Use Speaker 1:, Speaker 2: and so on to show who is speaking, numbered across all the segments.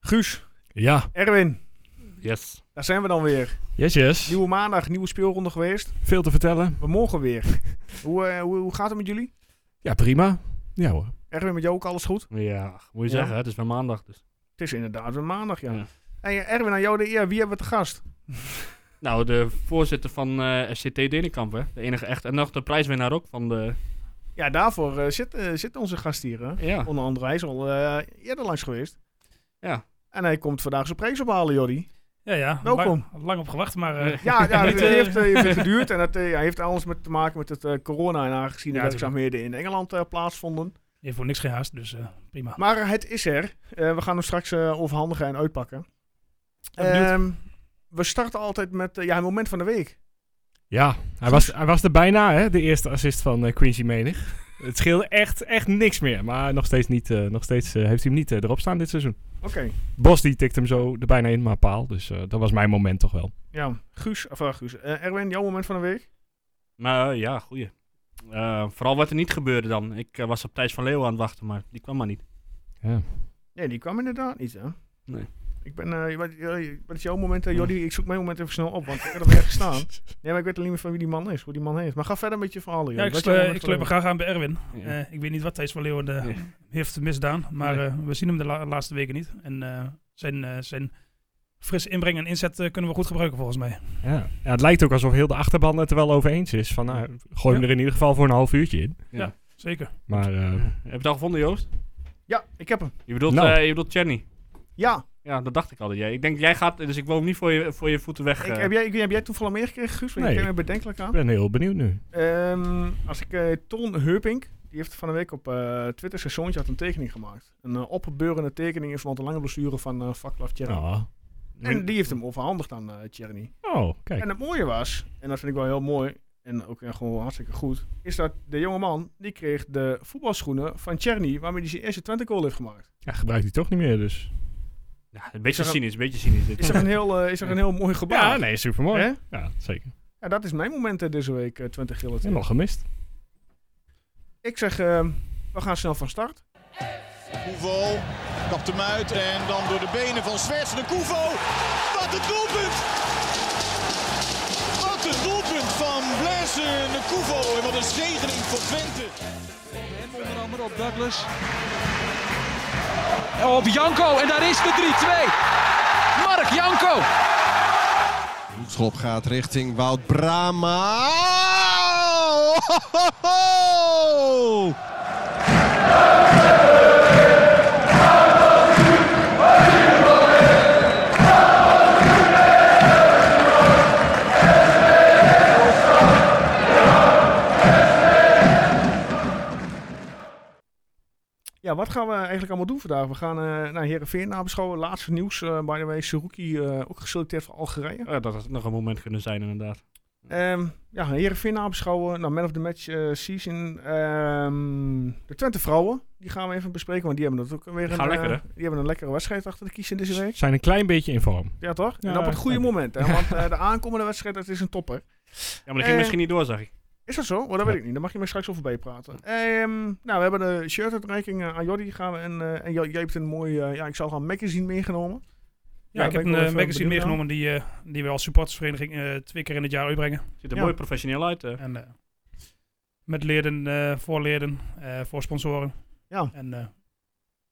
Speaker 1: Guus,
Speaker 2: Ja,
Speaker 1: Erwin,
Speaker 3: Yes.
Speaker 1: daar zijn we dan weer.
Speaker 2: yes, yes.
Speaker 1: Nieuwe maandag, nieuwe speelronde geweest.
Speaker 2: Veel te vertellen.
Speaker 1: We morgen weer. hoe, eh, hoe, hoe gaat het met jullie?
Speaker 2: Ja, prima. Ja hoor.
Speaker 1: Erwin, met jou ook alles goed?
Speaker 3: Ja, moet je
Speaker 1: Ja?
Speaker 3: zeggen, hè, het is weer maandag dus.
Speaker 1: Het is inderdaad weer maandag, ja.
Speaker 3: Ja.
Speaker 1: En eh, Erwin, aan jou de eer. Wie hebben we te gast?
Speaker 3: Nou, de voorzitter van eh SCT Denenkamp, hè. De enige echt. En nog de prijswinnaar ook van de...
Speaker 1: Ja, daarvoor eh, zit, eh, zit onze gast hier. Hè?
Speaker 3: Ja.
Speaker 1: Onder andere, hij is al eh, eerder langs geweest.
Speaker 3: Ja.
Speaker 1: En hij komt vandaag zijn prijs ophalen, Jordi.
Speaker 4: Ja, ja.
Speaker 1: Welkom.
Speaker 4: Lang, lang op gewacht, maar... eh,
Speaker 1: Ja, ja het
Speaker 4: Niet, eh,
Speaker 1: heeft eh, even geduurd. En dat eh, ja, heeft alles met te maken met het eh, corona. En aangezien de
Speaker 4: Ja,
Speaker 1: werkzaamheden in Engeland eh, plaatsvonden.
Speaker 4: Je hebt voor niks geen haast, dus eh, prima.
Speaker 1: Maar eh, het is er. Eh, we gaan hem straks eh, overhandigen en uitpakken.
Speaker 4: Ja, benieuwd.
Speaker 1: Ehm, we starten altijd met eh, ja, het moment van de week.
Speaker 2: Ja, hij was, hij was er bijna, hè, de eerste assist van eh, Quincy Menig. Het scheelde echt, echt niks meer. Maar nog steeds, niet, eh, nog steeds eh, heeft hij hem niet eh, erop staan dit seizoen.
Speaker 1: Oké.
Speaker 2: Bos die tikt hem zo er bijna in, maar paal. Dus eh, dat was mijn moment toch wel.
Speaker 1: Ja, Guus, of eh, Guus. Eh, Erwin, jouw moment van de week?
Speaker 3: Maar eh, ja, goeie. Eh, vooral wat er niet gebeurde dan. Ik eh, was op Thijs van Leeuwen aan het wachten, maar die kwam maar niet.
Speaker 2: Ja.
Speaker 1: Nee, die kwam inderdaad niet, hè?
Speaker 3: Nee.
Speaker 1: Ik ben, eh, wat, eh, wat is jouw moment, eh, Jordi? Ik zoek mijn moment even snel op, want ik heb hem ergens staan. Nee, maar ik weet alleen niet van wie die man is, hoe die man heet. Maar ga verder met je verhalen,
Speaker 4: Ja,
Speaker 1: Jordi.
Speaker 4: ik,
Speaker 1: Wat is
Speaker 4: slu-
Speaker 1: jouw
Speaker 4: ik
Speaker 1: moment
Speaker 4: sluit me
Speaker 1: van
Speaker 4: graag aan bij Erwin.
Speaker 3: Ja.
Speaker 4: Eh, ik weet niet wat Thijs van Leeuwen eh,
Speaker 3: Nee.
Speaker 4: heeft misdaan, maar
Speaker 3: Nee.
Speaker 4: eh, we zien hem de la- laatste weken niet. En eh, zijn, eh, zijn frisse inbreng en inzet eh, kunnen we goed gebruiken, volgens mij.
Speaker 2: Ja. ja, het lijkt ook alsof heel de achterban het er wel over eens is. Van, nou, gooi hem
Speaker 4: Ja.
Speaker 2: er in ieder geval voor een half uurtje in.
Speaker 4: Zeker.
Speaker 2: Maar eh,
Speaker 3: Heb je het al gevonden, Joost?
Speaker 1: de week? Ja, ik heb hem.
Speaker 3: Je bedoelt,
Speaker 2: Nou.
Speaker 3: eh je bedoelt Jenny.
Speaker 1: Ja,
Speaker 3: Ja, dat dacht ik al. dat jij- Ik denk, jij gaat... Dus ik wil hem niet voor je, voor je voeten weg...
Speaker 1: ik,
Speaker 3: eh,
Speaker 1: heb, jij, heb jij toevallig meegekregen, Guus? Want je
Speaker 2: Nee.
Speaker 1: keek me bedenkelijk aan.
Speaker 2: ik ben heel benieuwd nu.
Speaker 1: Ehm, als ik eh, Ton Heupink, die heeft van de week op eh, Twitter zijn zoontje had een tekening gemaakt. Een eh, opbeurende tekening in verband met de lange blessure van eh Vaklav Tjerni.
Speaker 2: Oh,
Speaker 1: En die heeft hem overhandigd aan eh Tjerni.
Speaker 2: oh kijk.
Speaker 1: En het mooie was, en dat vind ik wel heel mooi en ook eh, gewoon hartstikke goed, is dat de jongeman die kreeg de voetbalschoenen van Cherny, waarmee hij zijn eerste Twente goal heeft gemaakt.
Speaker 2: Ja, gebruikt hij toch niet meer, dus.
Speaker 3: ja, een beetje
Speaker 1: Is er-
Speaker 3: cynisch, een beetje cynisch. dit.
Speaker 1: Is er een heel, eh, is er een heel mooi gebaar.
Speaker 2: Ja, nee, supermooi.
Speaker 1: Hè?
Speaker 2: Ja, zeker.
Speaker 1: Ja, dat is mijn moment eh, deze week, eh, Twente Gillet.
Speaker 2: Helemaal gemist.
Speaker 1: Ik zeg, eh, we gaan snel van start.
Speaker 5: Koevo kapt hem uit en dan door de benen van Zwerts de Koevo. Wat een doelpunt! Wat een doelpunt van Blaise de Koevo en wat een zegening voor Twente.
Speaker 6: Hem onder andere op Douglas. Op Janko en daar is de 3-2. Mark Janko.
Speaker 5: Schop gaat richting Wout Brama.
Speaker 1: Ja, wat gaan we eigenlijk allemaal doen vandaag? We gaan eh naar Herenveen nabeschouwen. Laatste nieuws, eh, by the way, Seruki eh, ook geselecteerd voor Algerije.
Speaker 3: Ja, dat had nog een moment kunnen zijn, inderdaad.
Speaker 1: Ehm ja, Herenveen nabeschouwen. Nou, man of the match eh, season. Ehm, de Twente vrouwen, die gaan we even bespreken, want die hebben dat ook weer.
Speaker 3: gaan
Speaker 1: een,
Speaker 3: lekker,
Speaker 1: eh, die hebben een lekkere wedstrijd achter de kiezen deze week.
Speaker 2: Zijn een klein beetje in vorm.
Speaker 1: Ja, toch? en
Speaker 2: Ja,
Speaker 1: op het goede
Speaker 2: zeker.
Speaker 1: moment, hè? Want eh, de aankomende wedstrijd, dat is een topper.
Speaker 3: Ja, maar dat ging
Speaker 1: Eh,
Speaker 3: misschien niet door, zag ik.
Speaker 1: Is dat zo? Oh, dat weet ik niet. Daar mag je me straks over bijpraten. Ehm, nou, we hebben de shirtuitreiking eh, aan Jordi. Gaan we en eh, en jij jij hebt een mooi, eh, ja, ik zal gaan magazine meegenomen.
Speaker 4: Ja, ik
Speaker 1: ben
Speaker 4: heb
Speaker 1: wel
Speaker 4: een eh,
Speaker 1: even
Speaker 4: magazine
Speaker 1: benieuwd
Speaker 4: meegenomen die, eh, die we als supportersvereniging eh, twee keer in het jaar uitbrengen.
Speaker 3: Ziet er
Speaker 1: ja.
Speaker 3: mooi professioneel uit. eh.
Speaker 4: En, eh, met leden, eh, voor leden, eh, voor sponsoren.
Speaker 1: Ja.
Speaker 4: En eh,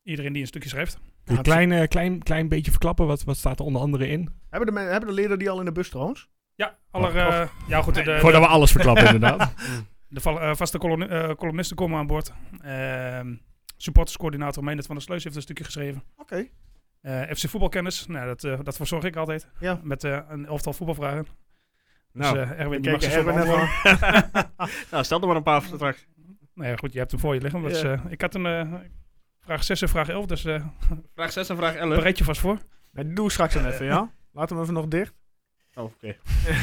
Speaker 4: iedereen die een stukje schrijft.
Speaker 2: Kun je een klein, eh, klein, klein beetje verklappen, wat, wat staat er onder andere in?
Speaker 1: Hebben de, me- hebben de leden die al in de bus trouwens?
Speaker 4: Ja, aller, eh, ja goed, de, de,
Speaker 2: Voordat we alles verklappen, inderdaad.
Speaker 4: de val- eh, vaste column- eh, columnisten komen aan boord. Ehm supporterscoördinator Meindert van der Sluis heeft een stukje geschreven.
Speaker 1: Oké.
Speaker 4: Eh, FC Voetbalkennis, nou, dat, eh, dat verzorg ik altijd.
Speaker 1: Ja.
Speaker 4: Met eh, een elftal voetbalvragen.
Speaker 3: Nou,
Speaker 4: dus eh, Erwin,
Speaker 1: Ik
Speaker 4: die
Speaker 1: kijk
Speaker 4: mag ze
Speaker 1: er
Speaker 4: zo
Speaker 1: even
Speaker 4: beantwoorden.
Speaker 1: naar.
Speaker 3: nou, stel er maar een paar voor straks.
Speaker 4: Nou ja, goed, je hebt hem voor je liggen. Dat is, eh, ik had een eh, vraag 6 en vraag 11, dus eh
Speaker 3: Vraag 6 en vraag 11.
Speaker 4: bereid je vast voor.
Speaker 1: Nee, doe straks dan even, ja? Laat hem even nog dicht.
Speaker 3: Oh, oké.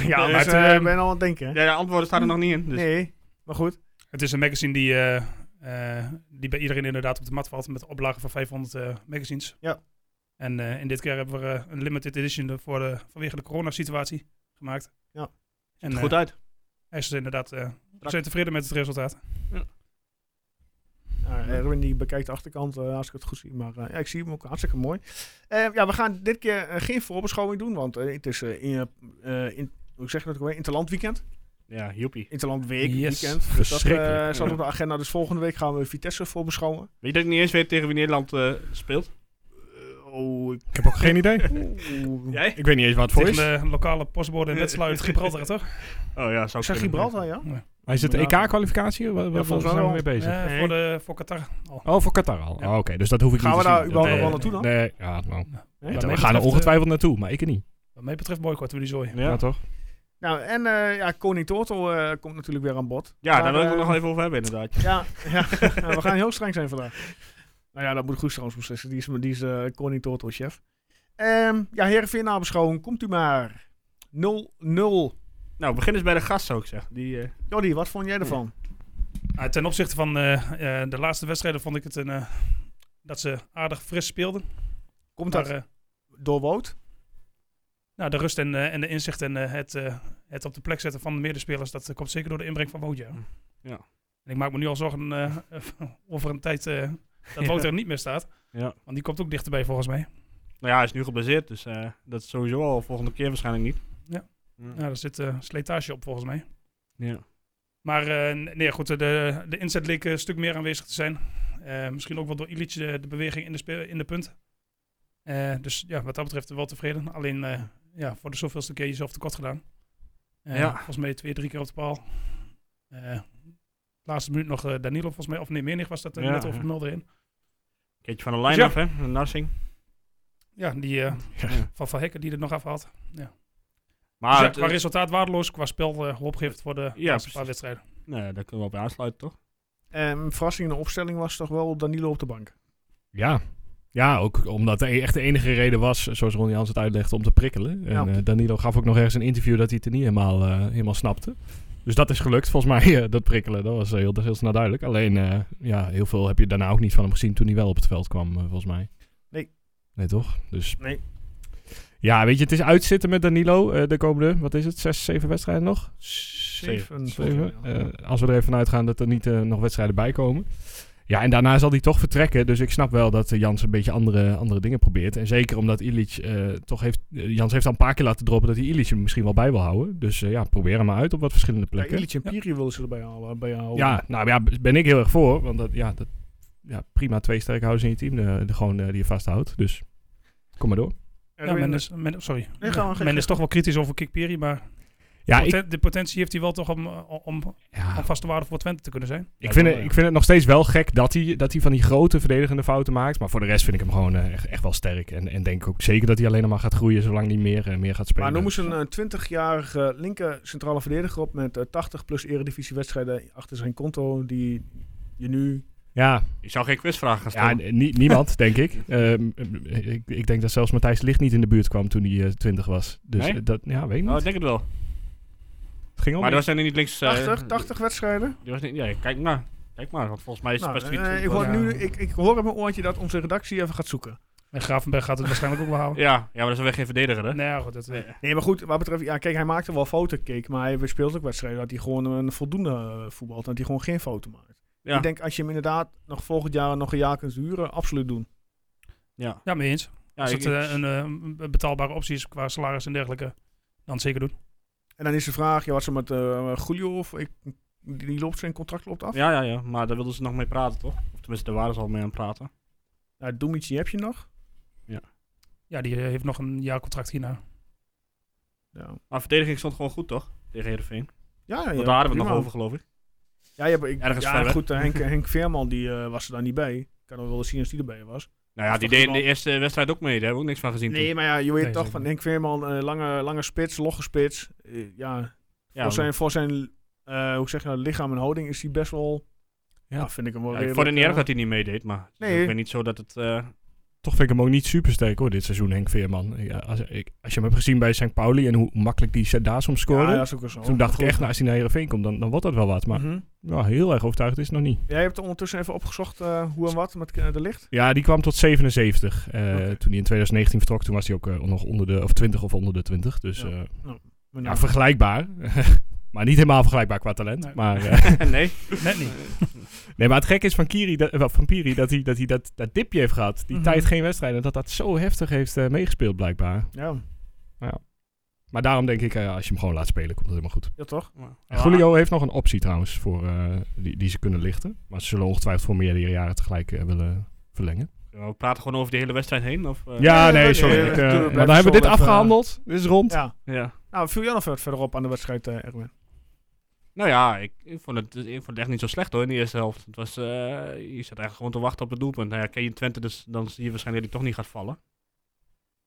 Speaker 1: ja,
Speaker 4: Dus,
Speaker 1: maar
Speaker 4: eh,
Speaker 1: eh, ik ben al aan het denken. hè?
Speaker 3: Ja, ja, antwoorden staan er nog niet in. Dus.
Speaker 1: Nee, maar goed.
Speaker 4: Het is een magazine die, eh, eh, die bij iedereen inderdaad op de mat valt met een oplage van 500 eh, magazines.
Speaker 1: Ja.
Speaker 4: En eh, in dit keer hebben we eh, een limited edition voor de, vanwege de coronasituatie gemaakt.
Speaker 1: Ja. Ziet
Speaker 4: En
Speaker 3: Goed
Speaker 4: eh,
Speaker 3: uit.
Speaker 4: hij is inderdaad eh, we zijn tevreden met het resultaat.
Speaker 1: Ja, Eh,
Speaker 3: Ah,
Speaker 1: Erwin die bekijkt de achterkant eh, als ik het goed zie. Maar eh, ja, ik zie hem ook hartstikke mooi. Eh, ja, we gaan dit keer eh, geen voorbeschouwing doen, want eh, het is eh, in, eh, in, hoe zeg je dat ook weer? Interland weekend.
Speaker 3: Ja, joepie.
Speaker 1: Interland week,
Speaker 2: Yes.
Speaker 1: weekend. Dus dat eh,
Speaker 2: Verschrikkelijk.
Speaker 1: staat op de agenda. Dus volgende week gaan we Vitesse voorbeschouwen.
Speaker 3: Weet je dat ik niet eens weet tegen wie Nederland eh, speelt?
Speaker 1: Oh,
Speaker 2: Ik heb ook geen idee.
Speaker 1: ik
Speaker 3: Jij?
Speaker 2: Ik weet niet eens waar het voor
Speaker 4: Tegen
Speaker 2: is.
Speaker 4: de lokale postbode en wedstrijd Gibraltar, toch?
Speaker 3: Oh ja, zou ik
Speaker 1: zeg
Speaker 3: kunnen.
Speaker 1: Gibraltar, ja.
Speaker 2: Hij E zit de
Speaker 1: Ja.
Speaker 2: EK-kwalificatie? Waar
Speaker 1: Ja,
Speaker 2: waar- waar
Speaker 1: volgens
Speaker 2: zijn
Speaker 1: mij
Speaker 2: we
Speaker 1: wel.
Speaker 2: mee bezig?
Speaker 4: Eh, voor, de, voor Qatar. al.
Speaker 2: Oh, voor Qatar al.
Speaker 4: Ja.
Speaker 2: Oh, Oké, dus dat hoef ik
Speaker 1: Gaan
Speaker 2: niet
Speaker 1: we
Speaker 2: te
Speaker 1: daar
Speaker 2: zien.
Speaker 1: überhaupt
Speaker 2: Nee,
Speaker 1: nog wel naartoe dan?
Speaker 2: Nee, ja, nou.
Speaker 1: Nee?
Speaker 2: Ja,
Speaker 4: Wat mij
Speaker 2: we gaan er
Speaker 4: betreft,
Speaker 2: ongetwijfeld naartoe, maar ik er niet.
Speaker 4: Wat mij betreft boycott we die zooi.
Speaker 2: Ja,
Speaker 3: Ja.
Speaker 2: toch?
Speaker 1: Nou, en eh, ja, Koning Tortel eh, komt natuurlijk weer aan bod.
Speaker 3: Ja, daar
Speaker 1: Maar,
Speaker 3: wil ik het
Speaker 1: eh,
Speaker 3: nog even over hebben inderdaad.
Speaker 1: Ja, ja. Ja, we gaan heel streng zijn vandaag. Nou ja, dat moet Guus trouwens beslissen. Die is, die is eh, Koning Tortel chef. Ehm ja, Heerenveen nabeschouwing. Komt u maar. 0-0.
Speaker 3: Nou, begin eens bij de gast zou ik zeggen. Die, eh,
Speaker 1: Jordi, wat vond jij ervan?
Speaker 4: Ah, ten opzichte van eh, eh, de laatste wedstrijden vond ik het een, eh, dat ze aardig fris speelden.
Speaker 1: Komt
Speaker 4: Maar
Speaker 1: dat
Speaker 4: eh,
Speaker 1: door Wout?
Speaker 4: nou, de rust en, eh, en de inzicht en eh, het, eh, het op de plek zetten van de medespelers, dat eh, komt zeker door de inbreng van Woutje.
Speaker 3: Mm. Ja.
Speaker 4: En ik maak me nu al zorgen eh, over een tijd eh, dat Wouter er niet meer staat.
Speaker 3: Ja.
Speaker 4: Want die komt ook dichterbij volgens mij.
Speaker 3: nou ja, hij is nu geblesseerd, dus eh, dat is sowieso al volgende keer waarschijnlijk niet.
Speaker 4: Ja.
Speaker 3: Ja.
Speaker 4: Ja, daar zit eh, slijtage op volgens mij.
Speaker 3: Ja.
Speaker 4: Maar eh, nee, goed, eh, de, de inzet leek eh, een stuk meer aanwezig te zijn. Eh, misschien ook wel door Illich de, de beweging in de, spe- in de punt. Eh, dus ja, wat dat betreft wel tevreden. Alleen eh, ja, voor de zoveelste keer jezelf tekort gedaan. Eh,
Speaker 3: Ja.
Speaker 4: Volgens mij twee, drie keer op de paal. Eh, laatste minuut nog eh, Danilo volgens mij. Of nee, Menig was dat eh,
Speaker 3: Ja,
Speaker 4: net over
Speaker 3: ja.
Speaker 4: de nul erin.
Speaker 3: Keertje van de lijn
Speaker 4: Dus ja.
Speaker 3: af, hè? Narsing.
Speaker 4: Ja, die eh,
Speaker 3: Ja.
Speaker 4: van Van Hekken die er nog afhaalt. Dus
Speaker 3: Maar
Speaker 4: ja,
Speaker 3: het,
Speaker 4: qua resultaat waardeloos, qua spel eh hoopgevend voor de laatste
Speaker 3: precies.
Speaker 4: paar wedstrijden.
Speaker 3: nou, ja, daar kunnen we op aansluiten, toch?
Speaker 1: Ehm verrassing in de opstelling was toch wel Danilo op de bank.
Speaker 2: Ja. Ja, ook omdat de e- echt de enige reden was, zoals Ronnie Jans het uitlegde, om te prikkelen. En
Speaker 1: Ja.
Speaker 2: eh, Danilo gaf ook nog ergens een interview dat hij het er niet helemaal, eh, helemaal snapte. Dus dat is gelukt, volgens mij, eh, dat prikkelen. Dat was eh, heel, dat is heel snel duidelijk. Alleen, eh, ja, heel veel heb je daarna ook niet van hem gezien toen hij wel op het veld kwam, eh, volgens mij.
Speaker 1: Nee.
Speaker 2: Nee, toch? Dus...
Speaker 1: Nee.
Speaker 2: Ja, weet je, het is uitzitten met Danilo eh, de komende, wat is het, zes, zeven wedstrijden nog?
Speaker 1: Zeven.
Speaker 2: Even,
Speaker 1: Ja.
Speaker 2: eh, als we er even vanuit gaan dat er niet eh, nog wedstrijden bij komen. Ja, en daarna zal hij toch vertrekken. Dus ik snap wel dat eh, Jans een beetje andere, andere dingen probeert. En zeker omdat Illich eh, toch heeft... eh, Jans heeft al een paar keer laten droppen dat hij Illich er misschien wel bij wil houden. Dus eh, ja, probeer hem maar uit op wat verschillende
Speaker 1: Ja,
Speaker 2: plekken.
Speaker 1: Illich en Piri wilden ze erbij halen. Bij jou.
Speaker 2: Ja, nou ja, b- ben ik heel erg voor. Want dat, ja, dat, ja, prima twee sterke houders in je team eh, de, gewoon, eh, die je vasthoudt. Dus kom maar door.
Speaker 4: Ja, men is, men, sorry.
Speaker 1: Nee, ga maar, ga
Speaker 4: men
Speaker 1: je
Speaker 4: is toch wel kritisch over Kikpiri, maar
Speaker 2: Ja, ik,
Speaker 4: Poten- de potentie heeft hij wel toch om, eh, om, om
Speaker 2: ja,
Speaker 4: vaste waarde voor Twente te kunnen zijn.
Speaker 2: Ik vind, het, ik vind het nog steeds wel gek dat hij, dat hij van die grote verdedigende fouten maakt. Maar voor de rest vind ik hem gewoon eh, echt, echt wel sterk. En, en denk ook zeker dat hij alleen nog maar gaat groeien zolang hij meer, eh, meer gaat spelen.
Speaker 1: Maar noem eens een eh, 20-jarige linker centrale verdediger op met eh, 80 plus eredivisie wedstrijden achter zijn konto die je nu...
Speaker 2: Ja,
Speaker 3: Ik zou geen quizvraag gaan
Speaker 2: ja
Speaker 3: stellen.
Speaker 2: n- nie- niemand, denk ik. Ehm, ik. Ik denk dat zelfs Matthijs Licht niet in de buurt kwam toen hij eh, 20 was. Dus
Speaker 3: Nee?
Speaker 2: eh, dat, ja, weet ik niet.
Speaker 3: oh, ik denk het wel.
Speaker 2: het ging om.
Speaker 3: Maar dat zijn er niet links... eh,
Speaker 1: 80, 80 wedstrijden?
Speaker 3: die was niet, ja, kijk maar. Kijk maar, want volgens mij is het
Speaker 1: Nou,
Speaker 3: best
Speaker 1: eh,
Speaker 3: 24.
Speaker 1: ik, hoor
Speaker 4: ja.
Speaker 1: nu, ik, ik hoor op mijn oortje dat onze redactie even gaat zoeken.
Speaker 4: En Gravenberg gaat het waarschijnlijk ook wel houden.
Speaker 3: ja, ja, maar dat is weer geen verdediger, hè?
Speaker 4: Nee, ja, goed, dat, eh,
Speaker 1: Nee, maar goed, wat betreft... Ja, kijk, hij maakte wel fouten, keek, maar hij speelt ook wedstrijden dat hij gewoon een voldoende eh, voetbalt. Dat hij gewoon geen fouten maakt.
Speaker 3: Ja.
Speaker 1: Ik denk, als je hem inderdaad nog volgend jaar nog een jaar kunt huren, absoluut doen.
Speaker 3: Ja.
Speaker 4: ja, mee eens.
Speaker 3: ja
Speaker 4: Als
Speaker 3: ik-
Speaker 4: het eh, een, eh, een betaalbare optie is qua salaris en dergelijke, dan zeker doen.
Speaker 1: En dan is de vraag, ja, wat ze met eh Julio of... Ik, die die loopt zijn contract loopt af. Ja.
Speaker 3: ja, ja, ja, maar daar wilden ze nog mee praten, toch? Of tenminste, daar waren ze al mee aan het praten.
Speaker 1: Doemic, die heb je nog.
Speaker 4: Ja, die eh, heeft nog een jaar contract hierna.
Speaker 1: Ja,
Speaker 3: Maar verdediging stond gewoon goed, toch? Tegen Heerenveen.
Speaker 1: ja, ja
Speaker 3: Want daar hadden we het nog
Speaker 1: prima.
Speaker 3: over, geloof ik.
Speaker 1: Ja, je hebt, ik,
Speaker 3: Ergens
Speaker 1: ja
Speaker 3: verder.
Speaker 1: goed, eh, Henk, Henk Veerman die, eh, was er daar niet bij. Ik kan nog wel eens zien als die erbij was.
Speaker 3: Nou ja,
Speaker 1: Of
Speaker 3: die
Speaker 1: toch
Speaker 3: deed in de
Speaker 1: iemand-
Speaker 3: eerste wedstrijd ook mee. Daar hebben we ook niks van gezien.
Speaker 1: Nee,
Speaker 3: toen.
Speaker 1: maar ja, je weet
Speaker 4: Nee,
Speaker 1: toch
Speaker 4: zeker
Speaker 1: van
Speaker 4: niet.
Speaker 1: Henk Veerman, eh, lange, lange spits, logge spits. Eh, ja,
Speaker 3: Ja,
Speaker 1: voor zijn,
Speaker 3: maar-
Speaker 1: voor zijn eh, hoe zeg je nou, lichaam en houding is hij best wel... Ja,
Speaker 2: Ja.
Speaker 1: vind ik hem wel
Speaker 3: ja, ik
Speaker 1: redelijk,
Speaker 3: vond het niet erg
Speaker 1: eh,
Speaker 3: dat hij niet meedeed, maar
Speaker 1: Nee.
Speaker 3: ik ben niet zo dat het... eh,
Speaker 2: Toch vind ik hem ook niet super sterk hoor, dit seizoen Henk Veerman. Ik, eh, als, ik, als je hem hebt gezien bij St. Pauli en hoe makkelijk die daar soms scoorde.
Speaker 1: Ja, dat is ook wel zo.
Speaker 2: toen dacht ik
Speaker 1: Goed.
Speaker 2: echt, nou, als hij naar Heerenveen komt, dan, dan wordt dat wel wat. Maar
Speaker 1: Mhm.
Speaker 2: ja, heel erg overtuigd is het nog niet.
Speaker 1: Jij hebt ondertussen even opgezocht eh, hoe en wat met eh, de licht.
Speaker 2: Ja, die kwam tot 77. eh,
Speaker 1: Oké.
Speaker 2: Toen hij in 2019 vertrok, toen was hij ook eh, nog onder de, of 20 of onder de 20. Dus
Speaker 1: Ja.
Speaker 2: eh,
Speaker 1: Maar
Speaker 2: ja,
Speaker 1: nou,
Speaker 2: vergelijkbaar. Maar niet helemaal vergelijkbaar qua talent.
Speaker 4: Nee.
Speaker 2: Maar, eh,
Speaker 3: nee.
Speaker 4: Net niet.
Speaker 2: nee, maar het gekke is van, Kiri, dat, eh, van Piri dat hij, dat, hij dat, dat dipje heeft gehad. Die
Speaker 4: Mhm.
Speaker 2: tijd geen wedstrijden. en Dat dat zo heftig heeft eh, meegespeeld blijkbaar.
Speaker 1: Ja,
Speaker 2: Maar daarom denk ik, eh, als je hem gewoon laat spelen, komt het helemaal goed.
Speaker 1: ja toch?
Speaker 2: En Julio heeft nog een optie trouwens voor, eh, die, die ze kunnen lichten. Maar ze zullen ongetwijfeld voor meerdere jaren tegelijk eh, willen verlengen.
Speaker 3: We praten gewoon over de hele wedstrijd heen? Of, eh?
Speaker 2: ja,
Speaker 1: nee,
Speaker 2: nee,
Speaker 1: nee,
Speaker 2: sorry.
Speaker 1: nee,
Speaker 2: ik,
Speaker 1: nee,
Speaker 2: eh,
Speaker 1: nee,
Speaker 2: maar
Speaker 1: blijf
Speaker 2: dan hebben we dit
Speaker 1: zo even-
Speaker 2: afgehandeld. Dit is rond.
Speaker 1: Ja.
Speaker 3: ja.
Speaker 1: Nou, viel jij nog ver- verder op aan de wedstrijd, eh Erwin?
Speaker 3: Nou ja, ik, ik, vond het, ik vond het echt niet zo slecht hoor in de eerste helft. Het was, eh, je zat eigenlijk gewoon te wachten op het doelpunt. Nou ja, ken je Twente, dus dan zie je waarschijnlijk dat hij toch niet gaat vallen.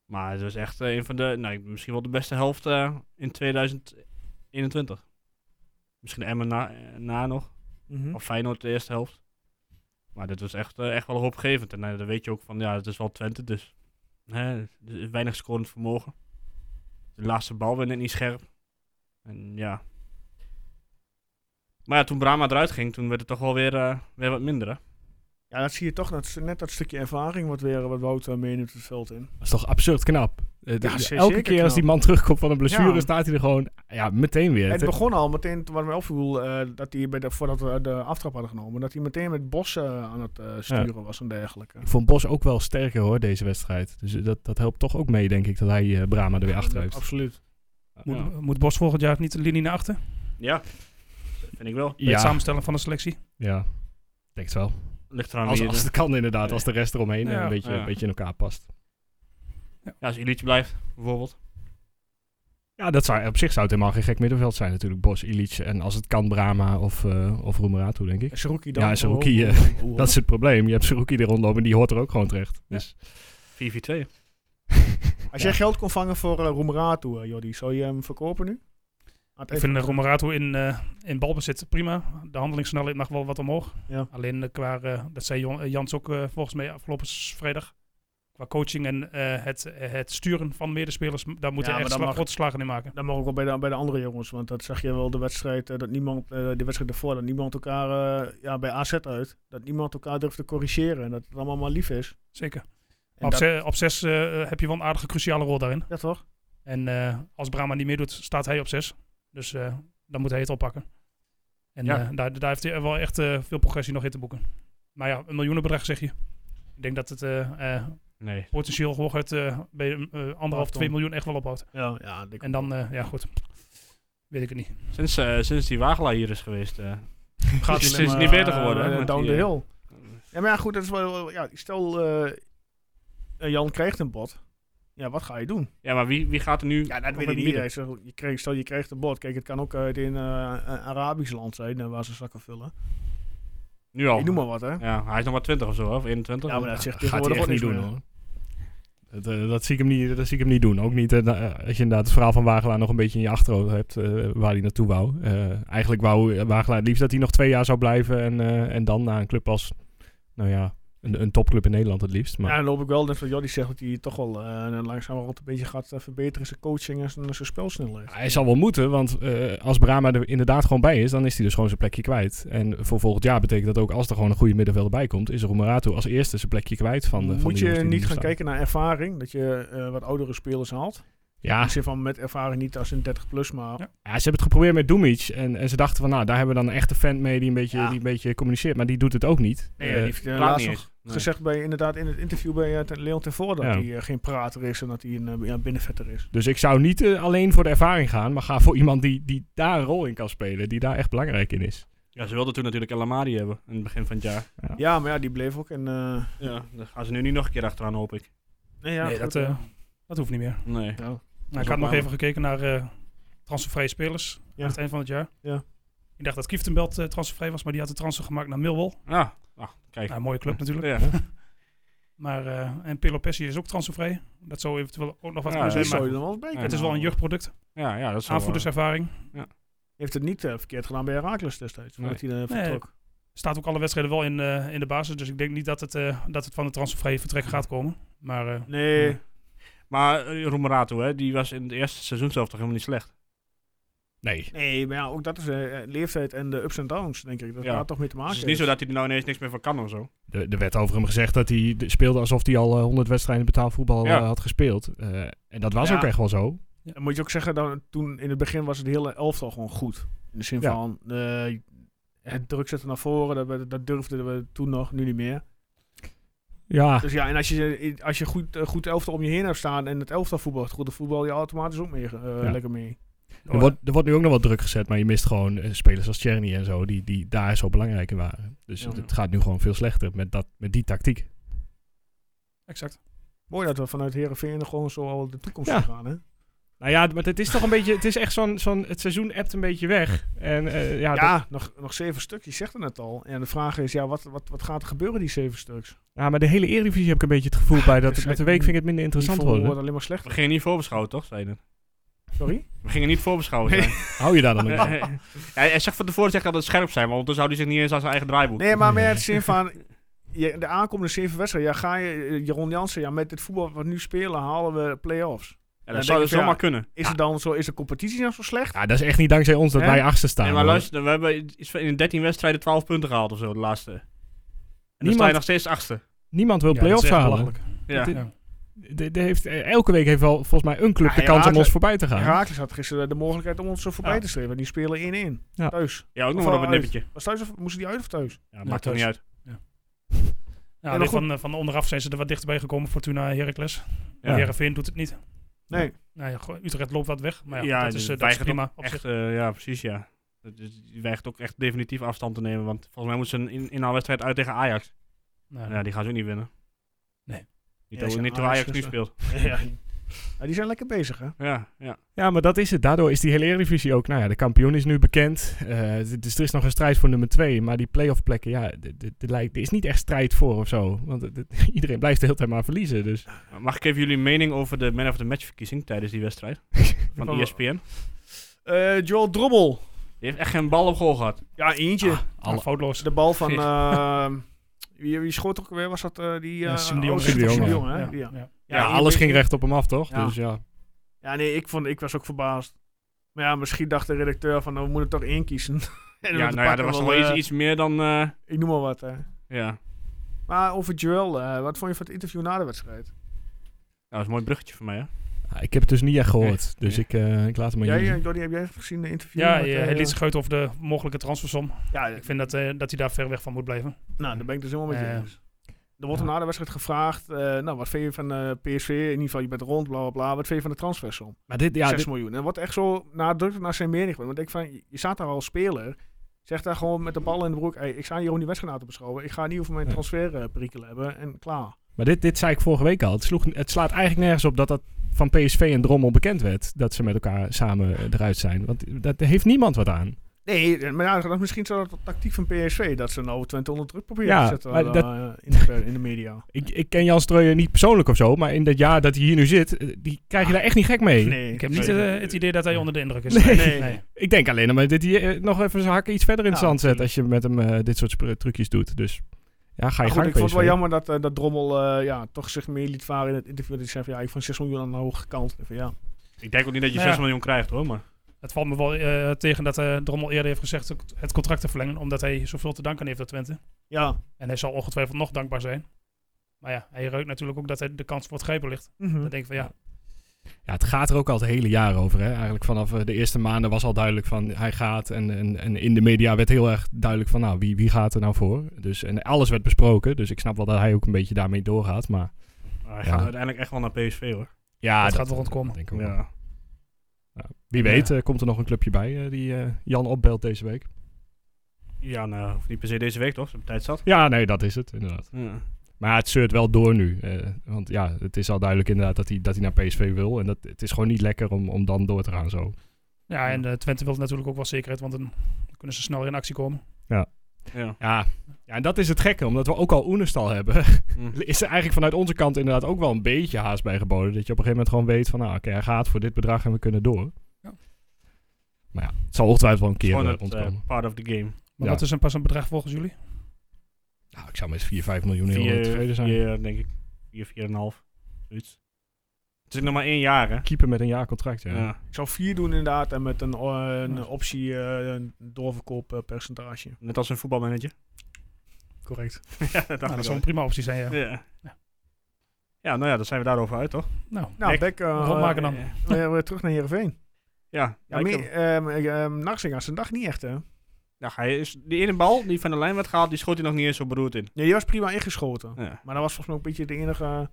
Speaker 3: Maar het was echt eh, een van de, nou, misschien wel de beste helft eh, in 2021. Misschien Emmen na, eh, na nog.
Speaker 4: Mhm.
Speaker 3: Of Feyenoord de eerste helft. Maar dit was echt, eh, echt wel hoopgevend. En eh, dan weet je ook van, ja, het is wel Twente, dus hè, er is weinig scorend vermogen. De laatste bal werd net niet scherp. En ja. Maar ja, toen Brahma eruit ging, toen werd het toch wel weer, eh, weer wat minder, hè?
Speaker 1: Ja, dat zie je toch. Dat, is net dat stukje ervaring wat weer wat Wouter meeneemt het veld in.
Speaker 2: Dat is toch absurd knap. Eh, de-
Speaker 1: Ja, zeker
Speaker 2: elke keer als die man terugkomt van een blessure,
Speaker 1: Ja.
Speaker 2: staat hij er gewoon ja, meteen weer.
Speaker 1: het
Speaker 2: Het-
Speaker 1: begon al meteen, toen wat mij opviel, eh, dat hij bij de, voordat we de aftrap hadden genomen, dat hij meteen met Bos eh, aan het eh, sturen was en dergelijke.
Speaker 2: Ik vond Bos ook wel sterker hoor, deze wedstrijd. Dus eh, dat, dat helpt toch ook mee, denk ik, dat hij eh, Brahma er weer achter
Speaker 1: Ja,
Speaker 2: heeft.
Speaker 1: Absoluut.
Speaker 4: Moet, moet Bos volgend jaar niet de linie naar achter? Bij
Speaker 3: Ja, dat vind ik wel.
Speaker 4: het
Speaker 2: Ja,
Speaker 4: samenstellen van de selectie?
Speaker 2: ja, ik denk het wel.
Speaker 3: Ligt eraan
Speaker 2: Als,
Speaker 3: wie je-
Speaker 2: als het kan inderdaad, als de rest eromheen eh,
Speaker 4: Ja.
Speaker 2: een, beetje,
Speaker 3: Ja.
Speaker 2: een beetje in elkaar past.
Speaker 3: ja, als Illich blijft, bijvoorbeeld.
Speaker 2: Ja, dat zou, op zich zou het helemaal geen gek middenveld zijn natuurlijk. Bos, Illich en als het kan Brahma of, eh of Roemeratu, denk ik.
Speaker 1: En Saruki dan.
Speaker 2: Ja, en Saruki,
Speaker 1: Oh,
Speaker 2: eh,
Speaker 1: oh, oh, oh.
Speaker 2: Dat is het probleem. Je hebt Seruki er rondlopen en die hoort er ook gewoon terecht. Dus
Speaker 3: 4-4-2.
Speaker 1: Als jij geld kon vangen voor uh, Roemeratu, eh, Jordi, zou je hem verkopen nu? Aan het
Speaker 4: Ik vind de Romerato in, eh in balbezit prima. De handelingssnelheid mag wel wat omhoog.
Speaker 1: Ja.
Speaker 4: Alleen eh, qua, eh, dat zei Jon- eh, Jans ook eh, volgens mij afgelopen s- vrijdag. Qua coaching en eh, het, het sturen van medespelers, m- daar moeten
Speaker 1: Ja, maar
Speaker 4: we echt
Speaker 1: dat
Speaker 4: sla-
Speaker 1: mag-
Speaker 4: grote slagen in maken.
Speaker 1: Dan mag ook wel bij de, bij de andere jongens, want dat zag je wel de wedstrijd, eh, dat niemand, eh, de wedstrijd ervoor, dat niemand elkaar, eh, ja, bij AZ uit, dat niemand elkaar durft te corrigeren en dat het allemaal maar lief is.
Speaker 4: Zeker.
Speaker 1: En
Speaker 4: Maar op,
Speaker 1: dat,
Speaker 4: ze- op zes eh, heb je wel een aardige cruciale rol daarin.
Speaker 1: ja, toch?
Speaker 4: En eh, als Brahma niet meedoet, staat hij op zes. Dus eh, dan moet hij het oppakken. En
Speaker 3: Ja.
Speaker 4: eh, daar, daar heeft hij wel echt eh, veel progressie nog in te boeken. Maar ja, een miljoenenbedrag zeg je. Ik denk dat het eh, eh,
Speaker 3: Nee.
Speaker 4: potentieel hooguit eh bij een, eh, anderhalf,
Speaker 1: ton.
Speaker 4: twee miljoen echt wel ophoudt.
Speaker 1: Ja, ja. ik-
Speaker 4: En dan, eh, ja goed, weet ik het niet.
Speaker 3: Sinds, eh, sinds die Wagelaar hier is geweest, eh,
Speaker 1: gaat
Speaker 3: is-
Speaker 1: het
Speaker 3: is
Speaker 1: alleen
Speaker 3: niet
Speaker 1: maar,
Speaker 3: beter geworden,
Speaker 1: eh,
Speaker 3: hè, met
Speaker 1: down
Speaker 3: die,
Speaker 1: the
Speaker 3: eh,
Speaker 1: hill. Ja, maar ja, goed, dat is wel, ja, stel, eh, eh, Jan krijgt een bot. Ja, wat ga je doen?
Speaker 3: ja, maar wie, wie gaat er nu... op het midden?
Speaker 1: Hij zegt, Je kreeg, stel, je krijgt een bot. Kijk, het kan ook uit een eh, een Arabisch land zijn, eh, waar ze zakken vullen.
Speaker 3: Nu al.
Speaker 1: Ik noem maar wat, hè?
Speaker 3: Ja, hij is nog maar 20 of zo, hè? of 21.
Speaker 1: Ja, maar dat zegt
Speaker 2: gaat hij
Speaker 1: tegenwoordig
Speaker 2: echt
Speaker 1: ook
Speaker 2: niet
Speaker 1: niks
Speaker 2: doen
Speaker 1: meer.
Speaker 2: hoor. Dat, eh, dat, zie ik hem niet, dat zie ik hem niet doen. Ook niet eh, na- eh, als je inderdaad het verhaal van Wagelaar nog een beetje in je achterhoofd hebt eh, waar hij naartoe wou. Eh, eigenlijk wou Wagelaar het liefst dat hij nog twee jaar zou blijven en, eh, en dan naar een club als, nou ja, een, een topclub in Nederland het liefst. Maar
Speaker 1: Ja, dan loop ik wel. Net wat Jordi zegt dat hij toch wel eh, langzaam langzamerhand een beetje gaat eh, verbeteren in zijn coaching en zijn, zijn spelsnelheid.
Speaker 2: hij zal wel moeten, want eh, als Brahma er inderdaad gewoon bij is, dan is hij dus gewoon zijn plekje kwijt. En voor volgend jaar betekent dat ook als er gewoon een goede middenvelder bij komt, is Roemerato als eerste zijn plekje kwijt van de van
Speaker 1: Moet
Speaker 2: die
Speaker 1: je
Speaker 2: jongens die
Speaker 1: niet
Speaker 2: nu
Speaker 1: gaan
Speaker 2: staan.
Speaker 1: kijken naar ervaring, dat je eh, wat oudere spelers haalt.
Speaker 2: Ja,
Speaker 3: Ah.
Speaker 1: In zin van met ervaring niet als een 30 plus, maar
Speaker 4: Ja.
Speaker 2: Ja, ze hebben het geprobeerd met Doemic. En, en ze dachten van, nou, daar hebben we dan een echte fan mee die een beetje,
Speaker 1: Ja.
Speaker 2: die een beetje communiceert. Maar die doet het ook niet.
Speaker 1: Nee,
Speaker 2: Eh,
Speaker 1: die heeft eh,
Speaker 3: Praat
Speaker 1: laatst
Speaker 3: niet
Speaker 1: nog
Speaker 3: eens. Nee.
Speaker 1: gezegd bij, inderdaad in het interview bij eh, ten- Leon ten Voor dat
Speaker 2: Ja.
Speaker 1: hij eh, geen prater is en dat hij een eh, ja, binnenvetter is.
Speaker 2: dus ik zou niet eh, alleen voor de ervaring gaan, maar ga voor iemand die, die daar een rol in kan spelen. Die daar echt belangrijk in is.
Speaker 3: Ja, ze wilden toen natuurlijk El Amadi hebben in het begin van het jaar.
Speaker 1: Ja, maar ja, die bleef ook. En, eh,
Speaker 3: Ja, daar gaan ze nu niet nog een keer achteraan, hoop ik.
Speaker 1: nee, ja,
Speaker 4: nee,
Speaker 1: goed,
Speaker 4: dat, eh,
Speaker 1: eh,
Speaker 4: dat hoeft niet meer.
Speaker 3: Nee.
Speaker 1: ja.
Speaker 4: Nou, ik
Speaker 3: ook
Speaker 4: had nog
Speaker 3: waar.
Speaker 4: even gekeken naar eh, transfervrije spelers
Speaker 1: Ja.
Speaker 4: aan het eind van het jaar.
Speaker 1: Ja.
Speaker 4: Ik dacht dat Kieftenbelt eh, transfervrij was, maar die had de transfer gemaakt naar Millwall.
Speaker 3: Ah, ah kijk.
Speaker 4: Nou, een mooie club natuurlijk.
Speaker 3: Ja.
Speaker 4: Maar, eh, en Pelopessi is ook transfervrij. Dat zou eventueel ook nog wat
Speaker 3: Ja,
Speaker 4: kunnen
Speaker 1: Zo
Speaker 4: zijn,
Speaker 1: zou
Speaker 4: maar
Speaker 1: je dan wel eens bij kunnen.
Speaker 4: het is wel een jeugdproduct.
Speaker 3: ja, ja, dat is wel, eh,
Speaker 4: Aanvoerderservaring.
Speaker 1: Heeft het niet eh, verkeerd gedaan bij Herakles destijds,
Speaker 3: Nee.
Speaker 1: voordat hij eh,
Speaker 4: Nee.
Speaker 1: vertrok.
Speaker 4: Staat ook alle wedstrijden wel in, eh, in de basis. Dus ik denk niet dat het, eh, dat het van de transfervrije vertrek gaat komen. Maar eh,
Speaker 1: Nee,
Speaker 3: Ja. Maar eh, Roemerato, hè, die was in het eerste seizoen zelf toch helemaal niet
Speaker 1: Ah,
Speaker 3: slecht. Dus
Speaker 2: Nee.
Speaker 1: nee, maar ja, ook dat is eh, eh, leeftijd en de ups en downs, denk ik. Dat
Speaker 3: Ja.
Speaker 1: gaat toch mee te maken.
Speaker 3: Dus het is niet zo dat hij er nou ineens niks meer van kan of zo.
Speaker 2: Er er werd over hem gezegd dat hij de- speelde alsof hij al eh, 100 wedstrijden betaald voetbal
Speaker 3: Ja.
Speaker 2: eh, had gespeeld. Eh, en dat was
Speaker 1: Ja.
Speaker 2: ook echt wel zo.
Speaker 4: Ja.
Speaker 1: Dan moet je ook zeggen, dan, toen in het begin was het hele elftal gewoon goed. In de zin
Speaker 2: Ja.
Speaker 1: van, eh, het druk zetten naar voren, dat, we- dat durfden we toen nog, nu niet meer.
Speaker 2: Ja,
Speaker 1: Dus ja, en als je, als je goed, eh, goed elftal om je heen hebt staan en het elftal voetbalt, goed, dan voetbal je automatisch ook meer, eh,
Speaker 2: Ja.
Speaker 1: lekker mee.
Speaker 2: er wordt, er wordt nu ook nog wat druk gezet, maar je mist gewoon eh, spelers als Cherny en zo, die, die daar zo belangrijk in waren. Dus
Speaker 1: Ja.
Speaker 2: het, het gaat nu gewoon veel slechter met, dat, met die tactiek.
Speaker 4: Exact.
Speaker 1: Mooi dat we vanuit Herenveen gewoon zo al de toekomst
Speaker 2: Ja.
Speaker 1: in gaan, hè?
Speaker 2: Nou ja, maar het is toch een beetje, het is echt zo'n, zo'n het seizoen ebt een beetje weg. En eh, ja, dat-
Speaker 1: ja, nog, nog zeven stuk, je zegt het net al. En de vraag is, ja, wat, wat, wat gaat er gebeuren, die zeven stuks?
Speaker 2: ja, maar de hele Eredivisie heb ik een beetje het gevoel bij dat
Speaker 1: Dus
Speaker 2: met de
Speaker 1: het
Speaker 2: week vind ik het minder
Speaker 1: Interessant
Speaker 2: interessant
Speaker 1: worden.
Speaker 2: worden.
Speaker 1: wordt alleen maar
Speaker 3: We
Speaker 1: slechter.
Speaker 3: gingen niet voorbeschouwen, toch? Zeiden.
Speaker 1: Sorry?
Speaker 3: We gingen niet voorbeschouwen.
Speaker 1: Nee.
Speaker 3: zijn.
Speaker 2: Hou je daar dan ook
Speaker 3: Nee. ja, hij zegt van tevoren zegt dat het scherp zijn, maar ondertussen houdt hij zich niet eens aan zijn eigen draaiboek.
Speaker 1: Nee, maar meer het zin van... je- de aankomende zeven wedstrijden, ja, ga je... eh, Jeroen Jansen, ja, met het voetbal wat we nu spelen halen we play-offs.
Speaker 3: Ja,
Speaker 1: Dan
Speaker 3: dat zou dus
Speaker 1: denk ik van,
Speaker 3: zomaar
Speaker 1: ja,
Speaker 3: kunnen.
Speaker 1: Is, het dan zo, is de competitie nou zo slecht?
Speaker 2: Ja, dat is echt niet dankzij ons dat
Speaker 1: Hè?
Speaker 2: wij achter staan.
Speaker 3: Nee, maar
Speaker 2: hoor.
Speaker 3: luister, we hebben iets van in 13 wedstrijden 12 punten gehaald of zo, de laatste. En dan sta je
Speaker 2: Niemand-
Speaker 3: nog steeds achtste.
Speaker 2: Niemand wil play-offs halen.
Speaker 3: Ja.
Speaker 2: Dit-
Speaker 4: Ja.
Speaker 2: De- de heeft, eh, elke week heeft wel volgens mij een club
Speaker 1: Ja,
Speaker 2: de
Speaker 1: ja,
Speaker 2: kans om
Speaker 1: laten-
Speaker 2: ons voorbij te gaan.
Speaker 1: Herakles had gisteren de mogelijkheid om ons zo voorbij
Speaker 3: Ja.
Speaker 1: te streven. Die spelen 1-1.
Speaker 2: Ja.
Speaker 1: Thuis.
Speaker 3: Ja, ook nog
Speaker 1: Of
Speaker 3: wel op het
Speaker 1: uit.
Speaker 3: nippertje.
Speaker 1: Was thuis of moesten die uit of thuis?
Speaker 3: Ja, maakt toch
Speaker 4: thuis.
Speaker 3: niet uit.
Speaker 4: Ja,
Speaker 1: Ja,
Speaker 4: alleen
Speaker 1: goed.
Speaker 4: van, eh, van onderaf zijn ze er wat dichterbij gekomen. Fortuna, Heracles.
Speaker 3: Ja.
Speaker 4: Ja. Heerenveen doet het niet.
Speaker 1: Nee.
Speaker 4: Nou ja, goh, Utrecht loopt wat weg. Maar ja,
Speaker 3: Ja,
Speaker 4: dat, is,
Speaker 3: dus
Speaker 4: eh, dat is
Speaker 3: weigert
Speaker 4: prima. Op zich.
Speaker 3: Echt, eh, ja, precies, ja. Dat is- Die weigert ook echt definitief afstand te nemen, want volgens mij moeten ze een in- inhaalwedstrijd uit tegen Ajax.
Speaker 4: Nou,
Speaker 3: Ja, die gaan ze ook niet winnen.
Speaker 4: Nee.
Speaker 3: Niet,
Speaker 1: Ja,
Speaker 3: dat
Speaker 1: ze-
Speaker 3: niet hoe
Speaker 1: Ajax
Speaker 3: Ajax nu
Speaker 1: is, eh,
Speaker 3: speelt.
Speaker 1: Ja. Ja, die zijn lekker bezig, hè?
Speaker 3: Ja, ja.
Speaker 2: Ja, maar dat is het. Daardoor is die hele Eredivisie ook... Nou ja, de kampioen is nu bekend. Eh, d- dus er is nog een strijd voor nummer twee. Maar die play-off plekken, ja, d- d- d- lijkt- er is niet echt strijd voor of zo. Want het- het- iedereen blijft de hele tijd maar verliezen. Dus
Speaker 3: Mag ik even jullie mening over de man of the match verkiezing tijdens die wedstrijd? Van E
Speaker 1: Van-
Speaker 3: ESPN.
Speaker 1: Eh, Joel Drobbel.
Speaker 3: Die heeft echt geen bal op goal gehad. Ah.
Speaker 1: Ja, eentje.
Speaker 4: nou, foutloos.
Speaker 1: De bal van... ehm, wie, wie schoot ook weer? Was dat eh, die... eh
Speaker 4: Ja, Sim de
Speaker 1: oh,
Speaker 4: Jong.
Speaker 1: Sim de
Speaker 2: Sim
Speaker 1: Jong,
Speaker 2: de Jong,
Speaker 1: hè?
Speaker 4: Ja,
Speaker 1: Die, ja.
Speaker 4: ja.
Speaker 2: ja,
Speaker 1: Ja,
Speaker 2: alles
Speaker 1: je-
Speaker 2: ging recht op hem af, toch?
Speaker 1: Ja.
Speaker 2: Dus ja.
Speaker 1: Ja, nee, ik, vond, ik was ook verbaasd. Maar ja, misschien dacht de redacteur van, nou, we moeten er toch één kiezen. en we
Speaker 3: Ja, nou ja,
Speaker 1: pakken
Speaker 3: dat was
Speaker 1: wel,
Speaker 3: wel iets,
Speaker 1: eh,
Speaker 3: iets meer dan... eh,
Speaker 1: Ik noem maar wat, hè.
Speaker 3: ja, Nou,
Speaker 1: Maar over Joel, eh, wat vond je van het interview na de wedstrijd?
Speaker 3: Ja, dat is een mooi bruggetje voor mij, hè?
Speaker 2: Ja, Ik heb het dus niet echt gehoord.
Speaker 3: Nee.
Speaker 2: Dus ik, eh, ik laat hem maar
Speaker 1: Jij,
Speaker 2: jullie.
Speaker 1: eh, Jordi, heb jij gezien de interview?
Speaker 4: Ja,
Speaker 1: met,
Speaker 4: ja,
Speaker 1: eh,
Speaker 4: hij liet zich uit over de mogelijke transfersom.
Speaker 1: ja,
Speaker 4: Ik vind dat, eh, dat hij daar ver weg van moet blijven.
Speaker 1: nou, daar ben ik dus helemaal met je
Speaker 4: Eh,
Speaker 1: eens. Er wordt
Speaker 2: ja.
Speaker 1: na de wedstrijd gevraagd, eh, nou, wat vind je van eh, PSV? In ieder geval, je bent rond, bla, bla, bla. Wat vind je van de transfersom?
Speaker 2: Maar dit, ja,
Speaker 1: 6
Speaker 2: dit-
Speaker 1: miljoen. En wat echt zo nadrukkelijk naar zijn mening wordt. Want ik van, je- je staat daar als speler. Zeg daar gewoon met de bal in de broek. Hey, ik sta hier om die wedstrijd na te beschouwen. Ik ga niet over mijn
Speaker 2: Ja.
Speaker 1: transferperikelen hebben. En klaar.
Speaker 2: Maar dit, dit zei ik vorige week al. Het, sloeg, het slaat eigenlijk nergens op dat dat van PSV en Drommel bekend werd. Dat ze met elkaar samen eh, eruit zijn. Want dat daar heeft niemand wat aan.
Speaker 1: Nee,
Speaker 2: eh,
Speaker 1: maar ja, dat is misschien zo dat tactiek van PSV. Dat ze nou Twente onder druk proberen
Speaker 2: Ja,
Speaker 1: te zetten
Speaker 2: maar
Speaker 1: eh,
Speaker 2: dat-
Speaker 1: eh, in, de, in de media.
Speaker 2: Ik, ik ken Jan Streuer niet persoonlijk of zo. Maar in dat jaar dat hij hier nu zit, eh, die krijg je daar echt niet gek mee.
Speaker 1: Ah. Nee,
Speaker 4: Ik heb niet eh, het idee dat hij onder de indruk is.
Speaker 2: Nee.
Speaker 1: Nee.
Speaker 2: Ik denk alleen maar dat hij eh, nog even zijn hakken iets verder in het
Speaker 1: Ja,
Speaker 2: zand zet. Als je met hem eh, dit soort spru- trucjes doet. Dus ja, ga je
Speaker 1: Maar goed,
Speaker 2: gang
Speaker 1: ik vond het wel
Speaker 2: PSV.
Speaker 1: jammer dat, eh, dat Drommel eh, ja, toch zich meer liet varen in het interview. Dat hij zei van, ja, ik vond 6 miljoen aan de hoge kant. Ik van, ja.
Speaker 3: Ik denk ook niet dat je
Speaker 4: Nou
Speaker 3: 6
Speaker 4: ja.
Speaker 3: miljoen krijgt, hoor, maar...
Speaker 4: Het valt me wel eh, tegen dat eh, Drommel eerder heeft gezegd het- het contract te verlengen. Omdat hij zoveel te danken heeft aan Twente.
Speaker 1: ja.
Speaker 4: En hij zal ongetwijfeld nog dankbaar zijn. Maar ja, hij ruikt natuurlijk ook dat hij de kans voor het grijpen ligt.
Speaker 1: Mhm.
Speaker 4: Dan denk ik van ja,
Speaker 2: Ja, het gaat er ook al het hele jaar over. Hè? Eigenlijk vanaf eh, de eerste maanden was al duidelijk van hij gaat. En, en, en in de media werd heel erg duidelijk van nou, wie, wie gaat er nou voor. Dus, en alles werd besproken. Dus ik snap wel dat hij ook een beetje daarmee doorgaat. Maar
Speaker 3: Hij
Speaker 2: Ja.
Speaker 3: gaat uiteindelijk echt wel naar PSV, hoor.
Speaker 2: ja,
Speaker 4: dat, gaat wel rondkomen.
Speaker 2: Denk ik ook wel.
Speaker 3: Ja.
Speaker 2: Ja. Wie weet eh, komt er nog een clubje bij eh, die eh, Jan opbelt deze week.
Speaker 3: Ja, nou, hoeft niet per se deze week, toch? Ze hebben tijd zat.
Speaker 2: Ja, nee, dat is het inderdaad.
Speaker 3: Ja.
Speaker 2: Maar het zeurt wel door nu. eh, want ja, het is al duidelijk inderdaad dat hij, dat hij naar PSV wil. En dat, het is gewoon niet lekker om, om dan door te gaan zo.
Speaker 4: Ja, en eh, Twente wil natuurlijk ook wel zekerheid, want dan kunnen ze sneller in actie komen.
Speaker 3: Ja.
Speaker 2: Ja. ja, en dat is het gekke, omdat we ook al Oenestal hebben.
Speaker 3: Hm.
Speaker 2: is er eigenlijk vanuit onze kant inderdaad ook wel een beetje haast bij geboden. Dat je op een gegeven moment gewoon weet van, nou oké, hij gaat voor dit bedrag en we kunnen door.
Speaker 4: Ja.
Speaker 2: Maar ja, het zal ongetwijfeld wel een keer
Speaker 3: Gewoon
Speaker 2: eh,
Speaker 3: het eh,
Speaker 2: rondkomen.
Speaker 3: part of the game.
Speaker 4: Maar
Speaker 2: Ja.
Speaker 4: wat is een passend bedrag volgens jullie?
Speaker 2: nou, ik zou met 4, 5 miljoen euro
Speaker 3: Vier-
Speaker 2: tevreden zijn.
Speaker 3: vier, eh, denk ik. 4, 4,5. Zoiets. Het is nog maar één jaar, hè?
Speaker 2: Keeper met een jaar contract, ja.
Speaker 3: Ja.
Speaker 1: Ik zou 4 doen inderdaad. En met een, o- een optie eh, een eh, doorverkooppercentage.
Speaker 3: Net als een voetbalmanager.
Speaker 1: Correct.
Speaker 3: ja, dat
Speaker 4: Nou,
Speaker 3: dacht
Speaker 4: dat
Speaker 3: ik
Speaker 4: zou een
Speaker 3: al.
Speaker 4: prima optie zijn, ja.
Speaker 3: Ja. Ja, nou ja, dan zijn we daarover uit, toch?
Speaker 4: Nou,
Speaker 1: Nou,
Speaker 3: Ik-
Speaker 1: Beck, eh,
Speaker 4: rondmaken dan.
Speaker 3: Eh,
Speaker 1: eh, weer terug naar Heerenveen.
Speaker 3: Ja,
Speaker 1: Ja,
Speaker 3: ik
Speaker 1: meer,
Speaker 3: heb-
Speaker 1: ehm, eh, ehm, Narsing had zijn dag niet echt, hè?
Speaker 3: nou, hij is, die ene bal die van de lijn werd gehaald, die schoot hij nog niet eens zo beroerd in.
Speaker 1: Ja, die was prima ingeschoten.
Speaker 3: Ja.
Speaker 1: Maar dat was volgens mij ook een beetje de enige... eh,
Speaker 3: Maar op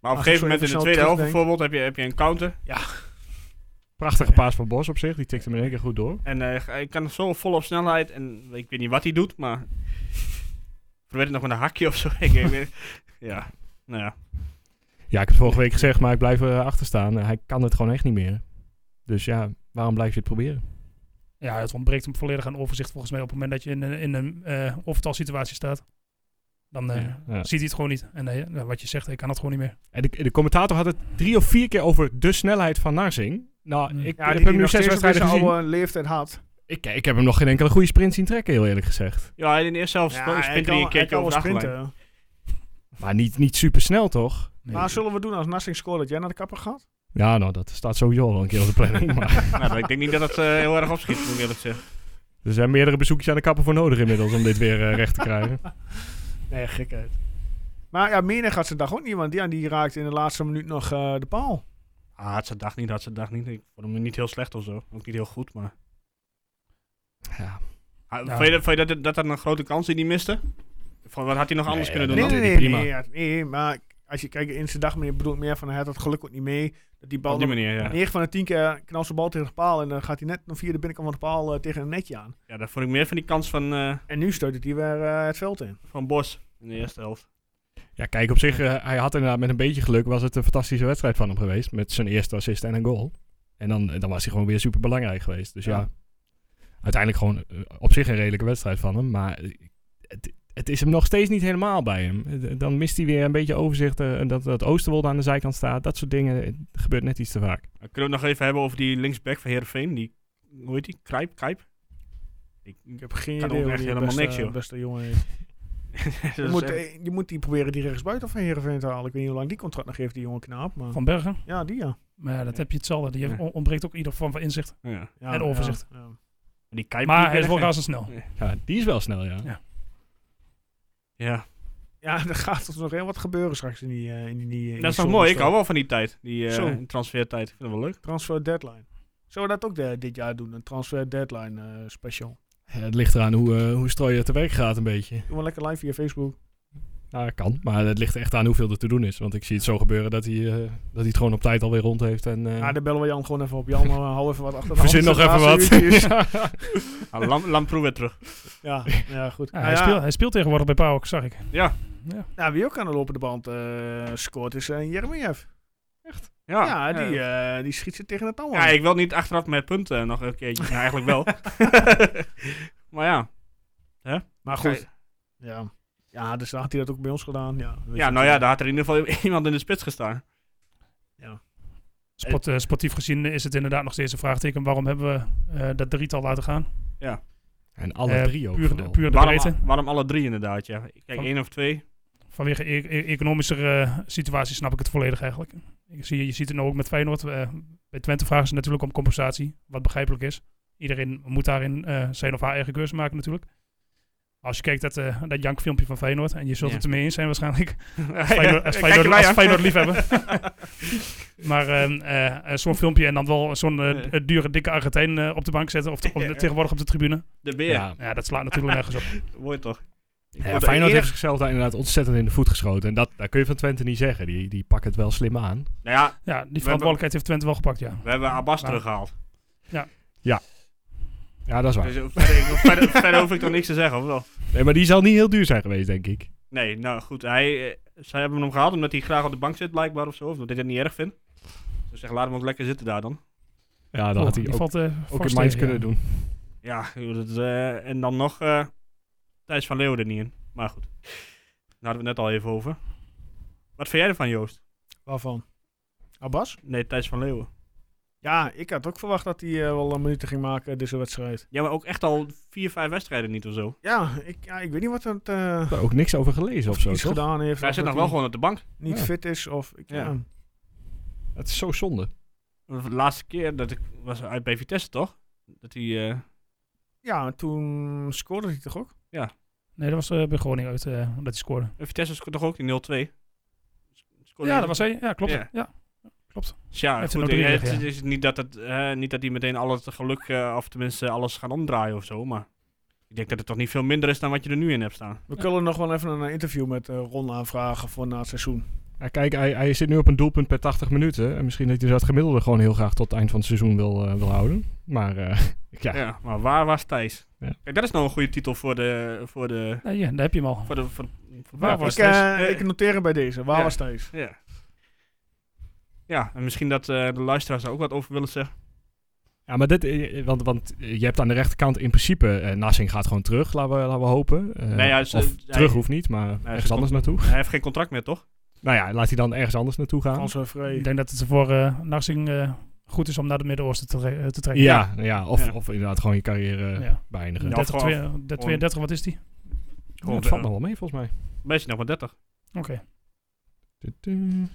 Speaker 3: een
Speaker 1: ik
Speaker 3: gegeven
Speaker 1: zo
Speaker 3: moment
Speaker 1: even
Speaker 3: in de
Speaker 1: snel
Speaker 3: tweede helft
Speaker 1: terugdenk.
Speaker 3: bijvoorbeeld heb je, heb je een counter.
Speaker 2: Prachtige paas van Bos op zich. Die tikte hem in één keer goed door.
Speaker 3: En eh, hij kan zo vol op snelheid. En ik weet niet wat hij doet, maar. Probeer het nog met een hakje of zo. Ik weet- ja, nou ja.
Speaker 2: Ja, ik heb het vorige week gezegd, maar ik blijf erachter staan. Hij kan het gewoon echt niet meer. Dus ja, waarom blijf je het proberen?
Speaker 4: Ja, het ontbreekt hem volledig aan overzicht volgens mij op het moment dat je in, een- in een eh overtalsituatie staat. Dan eh,
Speaker 2: Ja.
Speaker 4: ziet hij het gewoon niet. En eh, ja, wat je zegt, hij kan het gewoon niet meer.
Speaker 2: En de, de commentator had het drie of vier keer over de snelheid van Narsing. Nou,
Speaker 4: Ja,
Speaker 2: ik
Speaker 1: Ja,
Speaker 2: heb
Speaker 1: die,
Speaker 2: hem nu zes wedstrijden gezien.
Speaker 1: oude leeftijd had.
Speaker 2: Ik, ik heb hem nog geen enkele goede sprint zien trekken, heel eerlijk gezegd.
Speaker 3: Ja, in de eerste helft sp-
Speaker 1: hij
Speaker 3: sprintte
Speaker 1: kan-
Speaker 3: hij
Speaker 1: hij
Speaker 3: een keertje
Speaker 1: kan
Speaker 3: over de
Speaker 1: wel
Speaker 3: achterlijn.
Speaker 1: sprinten.
Speaker 2: Maar niet, niet super snel, toch?
Speaker 1: Maar zullen we doen als Narsing scoort dat jij naar de kapper gaat?
Speaker 2: Ja, nou, dat staat sowieso al een keer op de planning. maar
Speaker 3: Nou, ik denk niet dat het eh, heel erg opschiet, moet ik eerlijk zeggen.
Speaker 2: er zijn meerdere bezoekjes aan de kapper voor nodig inmiddels om dit weer eh, recht te krijgen.
Speaker 1: Nee, gekheid. Maar ja, Menig had zijn dag ook niet, want die, die raakte in de laatste minuut nog eh, de paal.
Speaker 3: Ah, had zijn dag niet, had zijn dag niet. Ik vond hem niet heel slecht of zo. Ook niet heel goed, maar...
Speaker 2: Ja.
Speaker 3: Ah,
Speaker 4: Ja.
Speaker 3: Vond je, dat- vond je dat, dat dat een grote kans die hij miste? Van, wat had hij nog anders
Speaker 2: Nee,
Speaker 3: kunnen doen
Speaker 2: nee,
Speaker 3: dan?
Speaker 2: nee. prima.
Speaker 1: ja, nee, maar als je kijkt in zijn dag, meneer, bedoel ik meer van hij had het geluk ook niet mee. Dat die bal
Speaker 3: Op die
Speaker 1: nog-
Speaker 3: manier, ja.
Speaker 1: 9 van de 10 keer knalt zijn bal tegen de paal en dan gaat hij net nog via de binnenkant van de paal eh, tegen een netje aan.
Speaker 3: Ja, dat vond ik meer van die kans van, eh,
Speaker 1: En nu stoot hij weer eh, het veld in.
Speaker 3: van Bos in de eerste helft.
Speaker 2: Ja, kijk, op zich, eh, hij had inderdaad met een beetje geluk, was het een fantastische wedstrijd van hem geweest. Met zijn eerste assist en een goal. En dan, eh, dan was hij gewoon weer super belangrijk geweest. Dus ja,
Speaker 1: Ja.
Speaker 2: uiteindelijk gewoon eh, op zich een redelijke wedstrijd van hem. Maar eh, het, het is hem nog steeds niet helemaal bij hem. Eh, Dan mist hij weer een beetje overzicht. eh, en dat, dat Oosterwolde aan de zijkant staat. Dat soort dingen eh, gebeurt net iets te vaak.
Speaker 3: We kunnen we het nog even hebben over die linksback van Heerenveen. Die, hoe heet die? Kruip, Kruip? Ik,
Speaker 1: Ik heb geen
Speaker 3: Kan
Speaker 1: idee
Speaker 3: ook
Speaker 1: hoe
Speaker 3: echt
Speaker 1: die
Speaker 3: helemaal
Speaker 1: beste,
Speaker 3: niks, joh.
Speaker 1: beste jongen heet.
Speaker 3: dat
Speaker 1: Je
Speaker 3: is
Speaker 1: moet,
Speaker 3: echt-
Speaker 1: eh, je moet die proberen die rechtsbuiten van Heerenveen te halen. Ik weet niet hoe lang die contract nog heeft, die jonge knaap. Maar
Speaker 4: Van Bergen.
Speaker 1: ja, die ja.
Speaker 4: Maar ja, dat heb je hetzelfde. Die heeft-
Speaker 3: Ja.
Speaker 4: ontbreekt ook ieder vorm van inzicht.
Speaker 3: ja.
Speaker 1: ja
Speaker 4: En overzicht.
Speaker 1: ja, ja.
Speaker 3: Die Kuip die
Speaker 4: Maar hij is
Speaker 3: weg,
Speaker 4: wel
Speaker 3: hè?
Speaker 4: razendsnel.
Speaker 2: Ja, die is wel snel, ja.
Speaker 4: Ja.
Speaker 3: Ja,
Speaker 1: Ja, er gaat toch nog heel wat gebeuren straks in die, eh, in die, in die
Speaker 3: dat is nog
Speaker 1: zomer-
Speaker 3: mooi. Ik hou wel van die tijd. Die eh,
Speaker 1: Zo.
Speaker 3: transfertijd. Ik vind dat wel leuk.
Speaker 1: Transfer deadline. Zullen we dat ook de- dit jaar doen? Een transfer deadline eh, special.
Speaker 2: Eh, Het ligt eraan hoe, eh hoe Strooijer te werk gaat een beetje.
Speaker 1: Doe maar lekker live via Facebook.
Speaker 2: Nou, dat kan. Maar het ligt echt aan hoeveel er te doen is. Want ik zie het zo gebeuren dat hij, eh, dat hij het gewoon op tijd alweer rond heeft. En, eh,
Speaker 1: Ja, dan bellen we Jan gewoon even op. Jan, eh, hou even wat achter de hand.
Speaker 2: Verzin nog
Speaker 1: De
Speaker 2: even wat.
Speaker 1: laatste uurtjes.
Speaker 3: Ah, Lam, Lamproe weer terug.
Speaker 1: Ja, ja goed.
Speaker 4: Ja,
Speaker 1: Nou
Speaker 4: hij,
Speaker 1: ja,
Speaker 4: speelt, hij speelt tegenwoordig bij PAOK, zag ik.
Speaker 3: Ja.
Speaker 4: Ja.
Speaker 1: nou, wie ook aan de lopende band eh, scoort is eh Jeremiev.
Speaker 3: Ah, Ja,
Speaker 1: ja, die,
Speaker 3: Ja.
Speaker 1: eh, die schiet ze tegen het touw
Speaker 3: Ja,
Speaker 1: aan.
Speaker 3: ik wil niet achteraf met punten nog een keertje. nou, eigenlijk wel. maar ja.
Speaker 1: Maar goed, ja. Ja, dus dan had hij dat ook bij ons gedaan. Ja, weet
Speaker 3: Ja,
Speaker 1: je. eh,
Speaker 3: nou ja, daar had er in ieder geval iemand in de spits gestaan.
Speaker 4: Sport, eh, sportief gezien is het inderdaad nog steeds een vraagteken. Waarom hebben we eh, dat drietal laten gaan?
Speaker 2: En alle
Speaker 4: Eh,
Speaker 2: drie ook.
Speaker 4: Puur de,
Speaker 2: vooral.
Speaker 4: puur de breedte.
Speaker 3: Waarom, waarom alle drie inderdaad, ja. Kijk,
Speaker 4: Van-
Speaker 3: één of twee.
Speaker 4: Vanwege e- e- economische eh, situatie snap ik het volledig eigenlijk. Ik zie, je ziet het nou ook met Feyenoord. eh, bij Twente vragen ze natuurlijk om compensatie, wat begrijpelijk is. Iedereen moet daarin eh, zijn of haar eigen keuze maken natuurlijk. Als je kijkt dat, eh dat jankfilmpje van Feyenoord, en je zult
Speaker 3: Ja.
Speaker 4: het ermee eens zijn waarschijnlijk, Feyenoord- als
Speaker 3: Kijk
Speaker 4: Feyenoord-
Speaker 3: erbij,
Speaker 4: als
Speaker 3: hè.
Speaker 4: Feyenoord liefhebber. maar ehm, eh, eh, zo'n filmpje en dan wel zo'n eh, d- eh, dure, dikke Argentijn eh, op de bank zetten, of, te- of
Speaker 3: Ja.
Speaker 4: tegenwoordig op de tribune.
Speaker 3: De beer.
Speaker 2: ja.
Speaker 4: Ja, dat slaat natuurlijk nergens op.
Speaker 3: Mooi toch?
Speaker 2: Ja,
Speaker 3: Wordt er
Speaker 2: Feyenoord heeft
Speaker 3: eerder-
Speaker 2: zichzelf daar inderdaad ontzettend in de voet geschoten. En dat, dat kun je van Twente niet zeggen. Die, die pakken het wel slim aan.
Speaker 3: Nou ja,
Speaker 4: Ja, die verantwoordelijkheid heeft Twente wel gepakt, ja.
Speaker 3: we hebben Abbas
Speaker 4: Maar-
Speaker 3: teruggehaald.
Speaker 2: Ja, dat is waar.
Speaker 3: Dus ook verder, ik- verder, verder hoef ik toch niks te zeggen, of wel?
Speaker 2: Nee, maar die zal niet heel duur zijn geweest, denk ik.
Speaker 3: Nee, nou goed. Hij, eh, zij hebben hem gehaald omdat hij graag op de bank zit, blijkbaar of zo. Of omdat hij dat niet erg vindt. Dus zeg, laat hem ook lekker zitten daar dan.
Speaker 2: Ja, dan
Speaker 4: Oh,
Speaker 2: had hij
Speaker 4: die
Speaker 2: ook,
Speaker 4: valt, eh,
Speaker 2: ook
Speaker 4: vast
Speaker 2: in Mainz
Speaker 4: tegen,
Speaker 2: kunnen
Speaker 4: ja.
Speaker 2: doen.
Speaker 3: Ja, joh, dat, eh, en dan nog eh Thijs van Leeuwen er niet in. Maar goed, daar hadden we het net al even over. Wat vind jij ervan, Joost?
Speaker 1: Waarvan? Abbas?
Speaker 3: Nee, Thijs van Leeuwen.
Speaker 1: Ja, ik had ook verwacht dat hij eh, wel een minuut ging maken, deze wedstrijd.
Speaker 3: Ja, maar ook echt al vier, vijf wedstrijden niet of zo.
Speaker 1: Ja, ik, ja, ik weet niet wat het eh,
Speaker 2: Daar ook niks over gelezen of zo,
Speaker 1: iets
Speaker 2: toch?
Speaker 1: gedaan heeft.
Speaker 3: Hij
Speaker 1: of
Speaker 3: zit nog
Speaker 1: dat
Speaker 3: wel gewoon op de bank.
Speaker 1: niet
Speaker 2: Ja.
Speaker 1: fit is. Of, ik, ja.
Speaker 3: Ja.
Speaker 2: Het is zo zonde.
Speaker 3: De laatste keer dat ik was uit bij Vitesse, toch? Dat hij... eh,
Speaker 1: Ja, toen scoorde hij toch ook?
Speaker 4: Nee, dat was eh bij Groningen uit, eh, dat hij scoorde.
Speaker 3: en Vitesse scoort toch ook die 0-2? Scoort
Speaker 4: Ja, dat was hij. Ja, klopt.
Speaker 3: Ja.
Speaker 4: Ja.
Speaker 3: Tja,
Speaker 4: Heeft
Speaker 3: goed,
Speaker 4: hij nog drie
Speaker 3: eh, het,
Speaker 4: liggen,
Speaker 3: is- is niet dat het, eh, niet dat die meteen al het geluk, eh, of tenminste alles gaan omdraaien of zo, maar ik denk dat het toch niet veel minder is dan wat je er nu in hebt staan.
Speaker 1: We kunnen nog wel even een eh, interview met eh, Ron aanvragen voor na het seizoen.
Speaker 2: Ja, kijk, hij, hij zit nu op een doelpunt per 80 minuten. En misschien dat hij dat gemiddelde gewoon heel graag tot het eind van het seizoen wil, eh, wil houden. Maar eh, ja.
Speaker 3: Ja. maar waar was Thijs?
Speaker 2: Ja.
Speaker 3: Kijk, dat is nou een goede titel voor de, voor de,
Speaker 4: Nou, ja, daar heb je hem al.
Speaker 3: voor de, voor de- voor-
Speaker 4: Waar
Speaker 3: ja,
Speaker 4: was
Speaker 1: ik, eh,
Speaker 3: Thijs?
Speaker 1: ik noteer hem bij deze. Waar
Speaker 3: Ja.
Speaker 1: was Thijs?
Speaker 3: Ja. Ja, en misschien dat eh, de luisteraars daar ook wat over willen zeggen.
Speaker 2: Ja, maar dit, eh, want, want je hebt aan de rechterkant in principe... eh, Nassing gaat gewoon terug, laten we, laten we hopen. Eh,
Speaker 3: Nee, Nou ja, ze-
Speaker 2: of
Speaker 3: hij- Nou,
Speaker 2: terug hoeft niet, maar ergens
Speaker 3: ze
Speaker 2: anders naartoe.
Speaker 3: Hij heeft geen contract meer, toch?
Speaker 2: Nou ja, laat hij dan ergens anders naartoe gaan.
Speaker 1: Frans Vree.
Speaker 4: Ik denk dat het voor eh Narsing eh, goed is om naar het Midden-Oosten te, tre- eh, te trekken.
Speaker 2: Ja, nou ja, of,
Speaker 3: Ja.
Speaker 2: of inderdaad gewoon je carrière eh,
Speaker 4: ja.
Speaker 2: beëindigen.
Speaker 3: Ja,
Speaker 2: Ja,
Speaker 4: 30,
Speaker 3: gewoon-
Speaker 4: twee- eh, de 32, wat is die?
Speaker 2: dat valt nog wel mee volgens mij.
Speaker 3: Meestal nog maar 30.
Speaker 4: Oké.
Speaker 2: Tudu.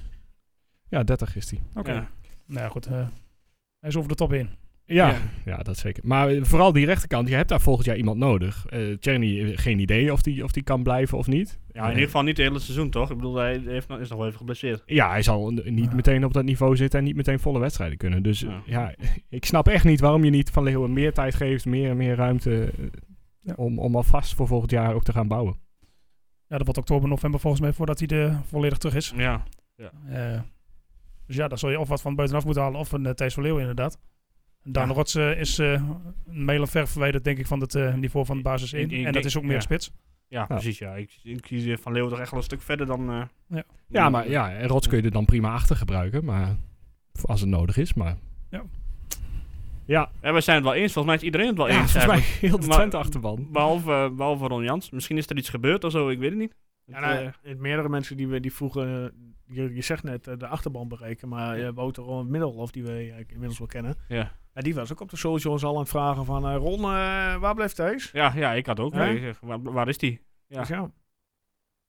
Speaker 2: Ja, 30 is hij.
Speaker 4: Oké.
Speaker 3: Ja.
Speaker 4: Nou ja, goed. eh, hij is over de top heen.
Speaker 2: Ja,
Speaker 3: Ja.
Speaker 2: ja. dat zeker. Maar eh, vooral die rechterkant, je hebt daar volgend jaar iemand nodig. Eh Tjerni, eh, geen idee of die, of die kan blijven of niet.
Speaker 3: Ja, in ieder geval niet het hele seizoen, toch? Ik bedoel, hij heeft, nog- is nog wel even geblesseerd.
Speaker 2: Ja, hij zal n- niet meteen op dat niveau zitten en niet meteen volle wedstrijden kunnen. Dus eh,
Speaker 3: Ja.
Speaker 2: ja, ik snap echt niet waarom je niet Van Leeuwen meer tijd geeft, meer en meer ruimte eh,
Speaker 4: Ja.
Speaker 2: om, om alvast voor volgend jaar ook te gaan bouwen.
Speaker 4: Ja, dat wordt oktober, november volgens mij voordat hij er volledig terug is.
Speaker 3: Ja.
Speaker 4: Eh, dus ja, daar zul je of wat van buitenaf moeten halen of een eh, Thijs van Leeuwen inderdaad. En Daan
Speaker 3: Ja.
Speaker 4: Rots eh, is eh, een mijl en ver verwijderd denk ik van het eh, niveau van basis
Speaker 3: Ik- ik
Speaker 4: 1. En
Speaker 3: denk-
Speaker 4: dat is ook meer
Speaker 3: ja.
Speaker 4: spits.
Speaker 3: Ja, precies. Ja. Ik, ik kies Van Leeuwen toch echt wel een stuk verder dan... eh,
Speaker 4: Ja.
Speaker 2: Ja, maar ja, en Rots kun je er dan prima achter gebruiken, maar of als het nodig is. Maar
Speaker 3: Ja, we zijn het wel eens. Volgens mij is iedereen het wel
Speaker 2: ja,
Speaker 3: eens.
Speaker 2: volgens mij
Speaker 3: eigenlijk.
Speaker 2: heel de
Speaker 3: Maar-
Speaker 2: Twente achterban.
Speaker 3: Behalve, eh, behalve Ron Jans. Misschien is er iets gebeurd of zo, ik weet het niet.
Speaker 1: Ja,
Speaker 3: Het,
Speaker 1: nou,
Speaker 3: eh,
Speaker 1: eh, meerdere mensen die, we- die vroegen, eh, je, je zegt net eh, de achterban bereiken, maar eh, Wouter Ron Middelhof, die we eh, inmiddels wel kennen,
Speaker 3: ja.
Speaker 1: ja, die was ook op de socials al aan het vragen van, eh, Ron, eh, waar blijft Thijs?
Speaker 3: Ja, ja, ik had ook.
Speaker 1: Hè?
Speaker 3: nee, zeg, waar, waar is die? Ja.
Speaker 1: Dus ja.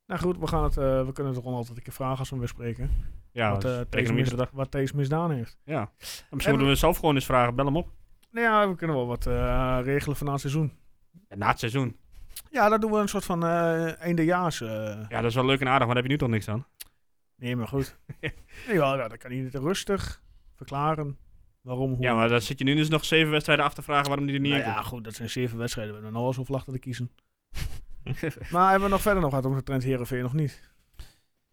Speaker 1: Nou goed, we, gaan het, eh, we kunnen het Ron altijd een keer vragen als we hem weer spreken.
Speaker 3: Ja,
Speaker 1: wat,
Speaker 3: dat
Speaker 1: eh,
Speaker 3: spreken
Speaker 1: Thees
Speaker 3: hem
Speaker 1: mis-
Speaker 3: iedere dag.
Speaker 1: wat Thees misdaan heeft.
Speaker 3: Ja. En Misschien moeten we zelf gewoon eens vragen. Bel hem op.
Speaker 1: Nou ja, we kunnen wel wat eh, regelen van na het seizoen.
Speaker 3: Ja, na het seizoen.
Speaker 1: Ja, dat doen we een soort van eh eindejaars. eh,
Speaker 3: Ja, dat is wel leuk en aardig, maar daar heb je nu toch niks aan.
Speaker 1: Nee, maar goed. nee, wel, nou, dan kan hij het rustig verklaren waarom, hoe.
Speaker 3: Ja, maar dan zit je nu dus nog zeven wedstrijden af te vragen waarom die er niet
Speaker 1: Nou
Speaker 3: in
Speaker 1: ja,
Speaker 3: komt.
Speaker 1: goed, dat zijn zeven wedstrijden. We hebben nog eens hoeveel achter te kiezen. maar hebben we nog verder nog wat over de trend Heerenveen nog niet?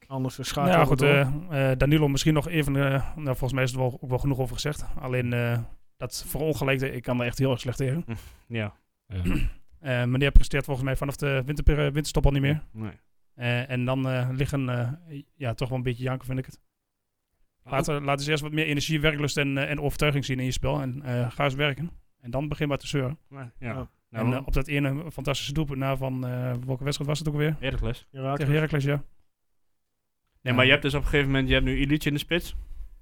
Speaker 1: Anders eh, schakelen
Speaker 4: ja,
Speaker 1: we
Speaker 4: goed.
Speaker 1: door.
Speaker 4: eh, eh, Danilo misschien nog even. eh, nou, volgens mij is er wel, ook wel genoeg over gezegd. Alleen eh, dat verongelijkte, ik kan er echt heel erg slecht tegen.
Speaker 3: Ja.
Speaker 4: Eh meneer presteert volgens mij vanaf de winter, eh, winterstop al niet meer.
Speaker 3: Nee.
Speaker 4: Eh, en dan eh, liggen, eh, ja, toch wel een beetje janken, vind ik het. Laat, eh, laat eens eerst wat meer energie, werklust en, eh, en overtuiging zien in je spel. En eh, ga eens werken. En dan begin maar te zeuren.
Speaker 3: Nee, Ja.
Speaker 1: Ja.
Speaker 3: Nou,
Speaker 4: en eh, op dat ene fantastische doelpunt na van, eh, welke wedstrijd was het ook weer?
Speaker 3: erg les.
Speaker 1: Je raakt-
Speaker 4: Tegen Heracles, ja.
Speaker 3: Nee, maar je hebt dus op een gegeven moment, je hebt nu Illich in de spits.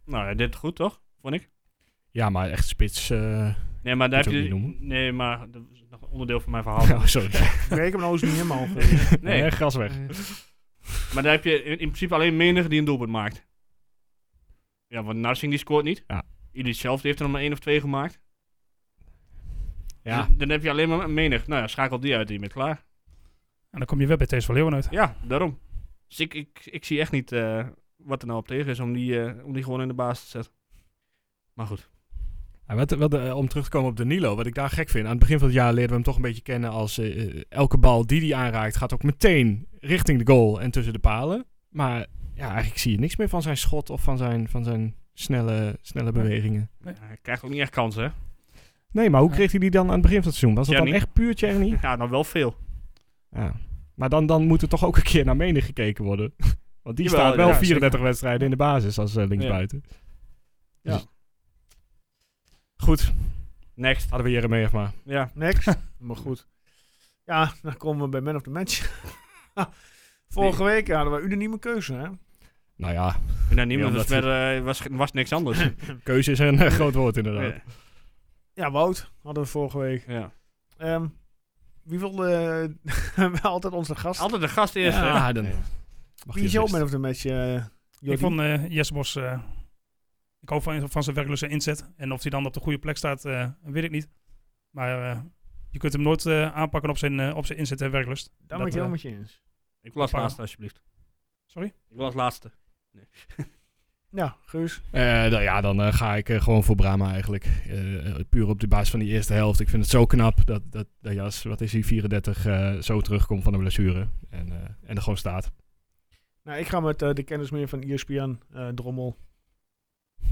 Speaker 3: Nou, hij deed het goed, toch? Vond ik.
Speaker 2: Ja, maar echt spits. eh,
Speaker 3: Nee, maar daar
Speaker 2: Moet
Speaker 3: heb je...
Speaker 2: je ook niet
Speaker 3: Nee, maar dat is nog een onderdeel van mijn verhaal.
Speaker 2: oh, sorry.
Speaker 1: Breek hem nou eens niet helemaal.
Speaker 3: Nee.
Speaker 2: Nee, gras weg.
Speaker 3: Maar daar heb je in, in principe alleen menige die een doelpunt maakt. Ja, want Narsing die scoort niet.
Speaker 2: Ja.
Speaker 3: Illich zelf die heeft er nog maar één of twee gemaakt.
Speaker 2: Ja,
Speaker 3: Dus dan heb je alleen maar menig. Nou ja, schakel die uit en je bent klaar.
Speaker 4: En dan kom je weer bij Thees van Leeuwen uit.
Speaker 3: Ja, daarom. Dus ik, ik, ik zie echt niet eh, wat er nou op tegen is om die, eh, om die gewoon in de baas te zetten. Maar goed.
Speaker 2: Ja, wat, wat, eh, om terug te komen op Danilo, wat ik daar gek vind. Aan het begin van het jaar leerden we hem toch een beetje kennen als eh, eh, elke bal die hij aanraakt gaat ook meteen richting de goal en tussen de palen. Maar ja, eigenlijk zie je niks meer van zijn schot of van zijn, van zijn snelle, snelle bewegingen.
Speaker 3: Hij krijgt ook niet echt kansen, hè?
Speaker 2: Nee, maar hoe
Speaker 4: Ja.
Speaker 2: kreeg hij die dan aan het begin van het seizoen? Was dat dan
Speaker 3: Tjerni.
Speaker 2: echt puur Tjerni?
Speaker 3: Ja, nou wel veel.
Speaker 2: Ja. Maar dan, dan moet er toch ook een keer naar menig gekeken worden. Want die
Speaker 3: Jawel,
Speaker 2: staat wel
Speaker 3: ja,
Speaker 2: 34 wedstrijden in de basis als eh, linksbuiten.
Speaker 3: Ja.
Speaker 2: Dus- Goed,
Speaker 3: Next.
Speaker 2: hadden we Jeremy even maar.
Speaker 3: Ja.
Speaker 1: Niks. maar goed. Ja, dan komen we bij Man of the Match. Vorige week hadden we unanieme keuze, hè?
Speaker 2: Nou ja,
Speaker 3: Nou, niemand
Speaker 2: Ja,
Speaker 3: was,
Speaker 2: omdat-
Speaker 3: verder, eh, was, was niks anders.
Speaker 2: keuze is een eh, groot woord inderdaad.
Speaker 3: ja.
Speaker 1: Ja, Wout hadden we vorige week.
Speaker 3: Ja.
Speaker 1: Ehm, wie wilde... we altijd onze gast.
Speaker 3: Altijd de gast eerst. hè?
Speaker 2: Ja, dan mag
Speaker 1: wie
Speaker 2: je
Speaker 1: is jouw
Speaker 2: het
Speaker 1: Man
Speaker 2: best.
Speaker 1: of the Match, eh, Jordi?
Speaker 4: Ik vond eh Jesse Bos... eh, ik hoop van, van zijn werklust en inzet. En of hij dan op de goede plek staat, eh, weet ik niet. Maar eh, je kunt hem nooit eh, aanpakken op zijn, eh, op zijn inzet en werklust.
Speaker 1: Daar ben ik
Speaker 4: dat,
Speaker 1: heel
Speaker 4: eh,
Speaker 1: met je eens.
Speaker 3: Ik was
Speaker 4: Paar.
Speaker 3: laatste, alsjeblieft.
Speaker 4: Sorry?
Speaker 3: Ik was laatste.
Speaker 1: Ja, Guus.
Speaker 2: Eh, dan, ja, dan eh, ga ik eh, gewoon voor Brama eigenlijk. Eh, puur op de basis van die eerste helft. Ik vind het zo knap dat, dat, dat Jas, wat is hij, 34, eh, zo terugkomt van de blessure. En, eh, en er gewoon staat.
Speaker 1: Nou, ik ga met eh, de kennis meer van ESPN, eh, Drommel.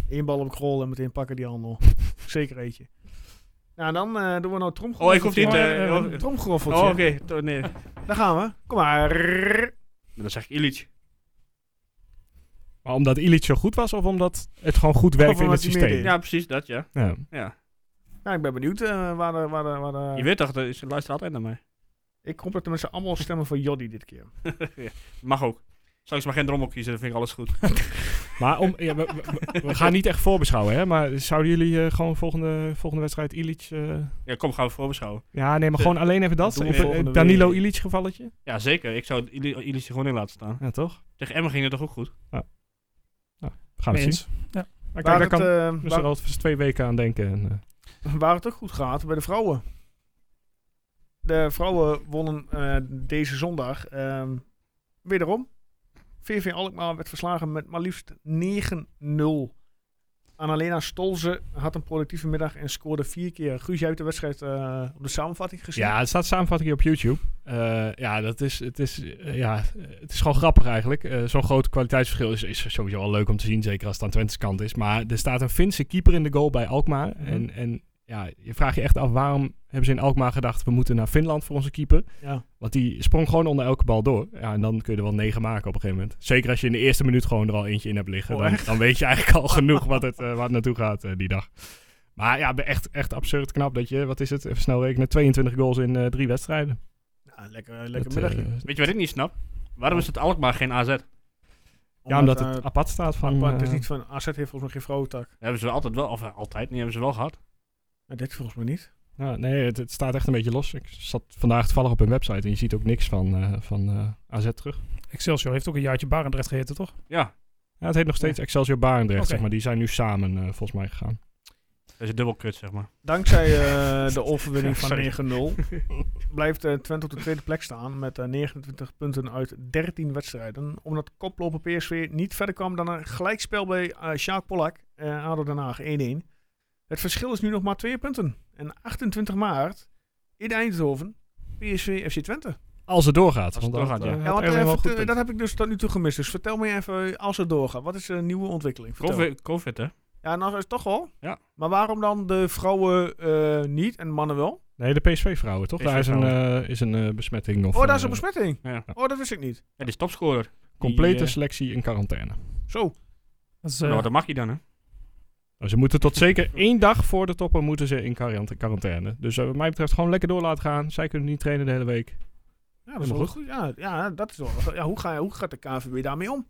Speaker 1: Eén bal op krol en meteen pakken die handel. Zeker eentje. Nou, dan eh, doen we nou tromgeroffel.
Speaker 3: Oh, ik hoef niet...
Speaker 1: Oh,
Speaker 3: eh,
Speaker 1: eh,
Speaker 3: oh,
Speaker 1: Tromgeroffeltje.
Speaker 3: oh, oké. to- Nee.
Speaker 1: Daar gaan we. Kom maar.
Speaker 3: Dan zeg ik Illich.
Speaker 2: Maar omdat Illich zo goed was of omdat het gewoon goed werkt in
Speaker 1: omdat
Speaker 2: het
Speaker 1: hij
Speaker 2: systeem?
Speaker 1: midden
Speaker 3: Ja, precies dat, ja.
Speaker 2: Ja.
Speaker 3: ja.
Speaker 1: Nou, ik ben benieuwd eh, waar de... Waar de, waar de-
Speaker 3: Je weet toch, dat is- ze luisteren altijd naar mij.
Speaker 1: Ik hoop dat de mensen allemaal stemmen voor Joddy dit keer.
Speaker 3: Mag ook. Straks maar geen drommel kiezen, dan vind ik alles goed.
Speaker 2: Maar om, ja, we, we- we gaan niet echt voorbeschouwen, hè? Maar zouden jullie eh, gewoon volgende, volgende wedstrijd Illich... eh,
Speaker 3: Ja, kom, gaan we voorbeschouwen.
Speaker 2: ja, nee, maar
Speaker 3: Eh,
Speaker 2: gewoon alleen even dat.
Speaker 1: doen we
Speaker 2: Even, eh,
Speaker 1: volgende
Speaker 2: Danilo
Speaker 1: week.
Speaker 2: Illich gevalletje.
Speaker 3: Ja, zeker. Ik zou Ili- Illich er gewoon in laten staan.
Speaker 2: Ja, toch?
Speaker 3: Tegen Emmen ging het toch ook goed?
Speaker 2: Gaan we
Speaker 4: Mee
Speaker 2: het
Speaker 4: eens.
Speaker 2: zien. Maar
Speaker 1: Waar
Speaker 2: kijk, daar
Speaker 1: het,
Speaker 2: kan
Speaker 1: eh,
Speaker 2: dus
Speaker 1: waar-
Speaker 2: er alvast twee weken aan denken. En, eh,
Speaker 1: waar het ook goed gaat bij de vrouwen. De vrouwen wonnen eh, deze zondag ehm, wederom. VV Alkmaar werd verslagen met maar liefst 9-0. Annalena Stolze had een productieve middag en scoorde vier keer. Guus, jij hebt de wedstrijd eh, op de samenvatting gezien.
Speaker 2: Ja, het staat samenvatting op YouTube. Eh, ja, dat is, het is, eh, ja, eh, het is gewoon grappig eigenlijk. Eh, Zo'n groot kwaliteitsverschil is, is sowieso al leuk om te zien, zeker als het aan Twente's kant is. Maar er staat een Finse keeper in de goal bij Alkmaar.
Speaker 1: Mhm.
Speaker 2: En, en ja, je vraagt je echt af, waarom hebben ze in Alkmaar gedacht, we moeten naar Finland voor onze keeper?
Speaker 1: Ja.
Speaker 2: Want die sprong gewoon onder elke bal door. Ja, en dan kun je er wel negen maken op een gegeven moment. Zeker als je in de eerste minuut gewoon er al eentje in hebt liggen.
Speaker 1: Oh,
Speaker 2: dan, dan weet je eigenlijk al genoeg wat het, eh, waar het naartoe gaat eh, die dag. Maar ja, echt, echt absurd knap dat je, wat is het, even snel rekenen, 22 goals in eh, drie wedstrijden.
Speaker 1: Nou, lekker, lekker
Speaker 2: Dat,
Speaker 1: middagje.
Speaker 2: eh,
Speaker 3: Weet je wat ik niet snap? Waarom is het Alkmaar geen AZ? Daar
Speaker 2: ja, omdat het
Speaker 1: eh,
Speaker 2: apart staat van...
Speaker 1: maar het is
Speaker 2: eh,
Speaker 1: niet van AZ heeft volgens mij geen vrouwentak.
Speaker 3: hebben ze altijd wel, of eh, altijd, niet hebben ze wel gehad.
Speaker 1: Nou, dit volgens mij niet.
Speaker 2: ja, nee, het, het staat echt een beetje los. Ik zat vandaag toevallig op een website en je ziet ook niks van, eh, van eh, AZ terug.
Speaker 4: Excelsior heeft ook een jaartje Barendrecht geheten, toch?
Speaker 3: Ja,
Speaker 2: Ja, het heet nog steeds Excelsior Barendrecht,
Speaker 4: Oké.
Speaker 2: zeg maar. Die zijn nu samen eh, volgens mij gegaan.
Speaker 3: dat is dubbel kut, zeg maar.
Speaker 1: Dankzij eh, de overwinning
Speaker 3: Ja, sorry.
Speaker 1: van 9-0 blijft eh, Twente op de tweede plek staan met eh, 29 punten uit 13 wedstrijden. Omdat koploper PSV niet verder kwam dan een gelijkspel bij eh Sjaak Polak, eh ADO Den Haag 1-1. Het verschil is nu nog maar 2 punten. En 28 maart in Eindhoven, PSV FC Twente.
Speaker 2: Als het doorgaat.
Speaker 3: Als
Speaker 2: want
Speaker 3: het doorgaat,
Speaker 2: dat,
Speaker 3: ja.
Speaker 2: eh,
Speaker 1: Ja,
Speaker 2: had
Speaker 1: want,
Speaker 2: Erwin
Speaker 1: eh,
Speaker 2: wel een
Speaker 1: vert-
Speaker 2: goed punt.
Speaker 1: dat heb ik dus tot nu toe gemist. Dus vertel me even, als het doorgaat, wat is eh, de nieuwe ontwikkeling? Vertel.
Speaker 3: COVID, COVID hè?
Speaker 1: Ja, nou is het toch wel.
Speaker 3: Ja.
Speaker 1: Maar waarom dan de vrouwen eh, niet en mannen wel?
Speaker 2: Nee, de PSV-vrouwen, toch? Daar is een, eh, is een eh, besmetting. Of,
Speaker 1: Oh, daar is een
Speaker 2: eh,
Speaker 1: besmetting.
Speaker 3: Ja.
Speaker 1: Oh, dat wist ik niet.
Speaker 3: Ja, die is topscorer.
Speaker 2: Complete
Speaker 3: Die, eh,
Speaker 2: selectie in quarantaine.
Speaker 1: Zo.
Speaker 4: Dat is, eh,
Speaker 3: Nou, dat mag je dan, hè?
Speaker 2: Nou, ze moeten tot zeker één dag voor de toppen moeten ze in quarant- quarantaine. Dus eh, wat mij betreft gewoon lekker door laten gaan. Zij kunnen niet trainen de hele week.
Speaker 1: Ja, dat is
Speaker 2: Helemaal
Speaker 1: wel goed. Ja, ja, dat is wel. Ja, hoe, ga, hoe gaat de KNVB daarmee om?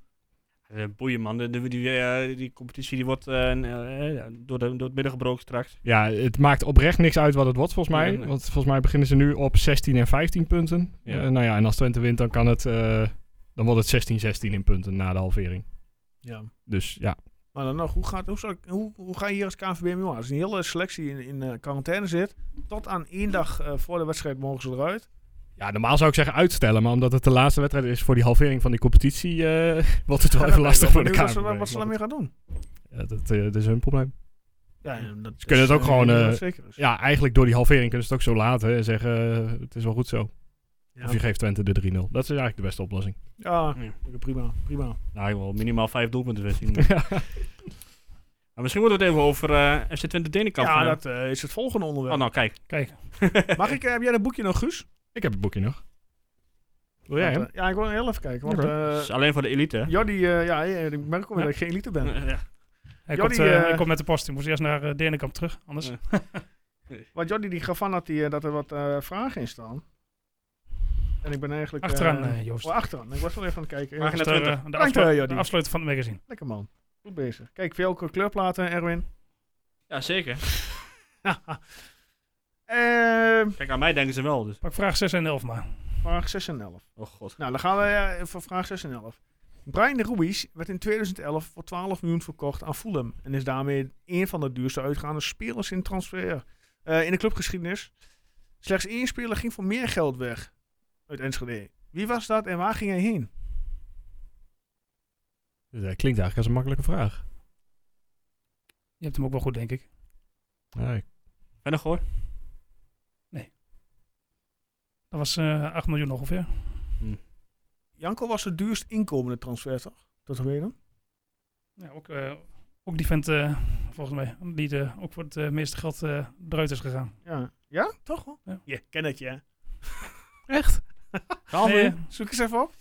Speaker 3: Eh, boeien, man. De, de- die, eh, die competitie die wordt eh, een, eh, door, de, door het midden gebroken straks.
Speaker 2: Ja, het maakt oprecht niks uit wat het wordt volgens mij.
Speaker 3: Nee, nee.
Speaker 2: Want volgens mij beginnen ze nu op 16 en 15 punten.
Speaker 3: Ja.
Speaker 2: Eh, nou ja, en als Twente wint, dan kan het... eh, dan wordt het 16-16 in punten na de halvering.
Speaker 1: Ja.
Speaker 2: Dus ja,
Speaker 1: Maar dan nog, hoe, gaat, hoe, zou ik- hoe, hoe ga je hier als KNVB mee om? Nou, Als een hele selectie in, in eh, quarantaine zit, tot aan één dag eh, voor de wedstrijd mogen ze eruit.
Speaker 2: Ja, normaal zou ik zeggen uitstellen, maar omdat het de laatste wedstrijd is voor die halvering van die competitie, eh, wordt het wel
Speaker 1: Ja, dan ben ik
Speaker 2: even lastig voor de
Speaker 1: benieuwd
Speaker 2: KNVB.
Speaker 1: Wat ze, wat ze daarmee gaan doen.
Speaker 2: Ja, dat, eh, dat is hun probleem.
Speaker 1: Ja, en dat ze
Speaker 2: kunnen het ook gewoon, eh,
Speaker 1: zeker is.
Speaker 2: Ja, eigenlijk door die halvering kunnen ze het ook zo laten en zeggen, eh, het is wel goed zo.
Speaker 1: Ja.
Speaker 2: Of je geeft Twente de 3-0. Dat is eigenlijk de beste oplossing.
Speaker 1: Ja,
Speaker 3: Ja.
Speaker 1: prima, prima.
Speaker 3: Nou, ik wil minimaal vijf doelpunten wisselen. maar misschien moeten we het even over eh FC Twente Denenkamp
Speaker 1: Ja,
Speaker 3: gaan
Speaker 1: dat eh, is het volgende
Speaker 3: hebben.
Speaker 1: onderwerp.
Speaker 3: Oh, nou, kijk.
Speaker 4: Kijk,
Speaker 1: Mag ik, eh, heb jij dat boekje nog, Guus?
Speaker 2: Ik heb het boekje nog. Wil jij
Speaker 1: Want,
Speaker 2: hem?
Speaker 1: eh, ja, ik wil heel even kijken. Want
Speaker 2: Oké.
Speaker 1: eh
Speaker 3: Het is alleen voor de elite, hè?
Speaker 1: Jordi, eh, ja, eh, ik merk ook weer
Speaker 3: Ja.
Speaker 1: dat ik geen elite ben.
Speaker 3: Ja.
Speaker 4: hij,
Speaker 1: Jordi,
Speaker 4: komt, eh,
Speaker 1: eh,
Speaker 4: hij komt met de post. Ik moest eerst naar eh Denenkamp terug, anders.
Speaker 3: Ja.
Speaker 1: Want Jordi die gaf aan dat, die, eh, dat er wat eh, vragen in staan. En ik ben eigenlijk... eh,
Speaker 4: Achteraan, eh, Joost.
Speaker 1: oh, achteraan. Ik was wel even aan het kijken.
Speaker 3: Pagina
Speaker 1: Joost,
Speaker 4: Dus daar,
Speaker 3: 20.
Speaker 4: eh, de,
Speaker 1: Dank
Speaker 4: afslu-
Speaker 1: je, Jordi.
Speaker 4: de afsluiter van het magazine.
Speaker 1: Lekker man. Goed bezig. Kijk, welke kleurplaten, Erwin?
Speaker 3: ja, zeker.
Speaker 1: Eh,
Speaker 3: Kijk, aan mij denken ze wel. Dus.
Speaker 4: Pak vraag 6 en 11 maar.
Speaker 1: vraag 6 en 11.
Speaker 3: Oh, god.
Speaker 1: Nou, dan gaan we eh, voor vraag 6 en 11. Brian de Ruiz werd in 2011 voor 12 miljoen verkocht aan Fulham. En is daarmee een van de duurste uitgaande spelers in, transfer, eh, in de clubgeschiedenis. Slechts één speler ging voor meer geld weg uit Enschede. Wie was dat en waar ging hij heen?
Speaker 2: Dus dat klinkt eigenlijk als een makkelijke vraag.
Speaker 4: Je hebt hem ook wel goed, denk ik.
Speaker 2: Ja, ik-
Speaker 3: Vennegoor?
Speaker 4: Dat was eh 8 miljoen ongeveer.
Speaker 1: Janko was het duurst inkomende transfer, toch? Dat weet je
Speaker 4: Ja, ook, eh, ook die vent, eh, volgens mij, die eh, ook voor het eh, meeste geld eh, eruit is gegaan.
Speaker 1: Ja. Ja? Toch? hoor?
Speaker 4: Ja.
Speaker 1: Je kent het, ja.
Speaker 2: Echt?
Speaker 4: Nee,
Speaker 1: Alweer. Zoek eens even op.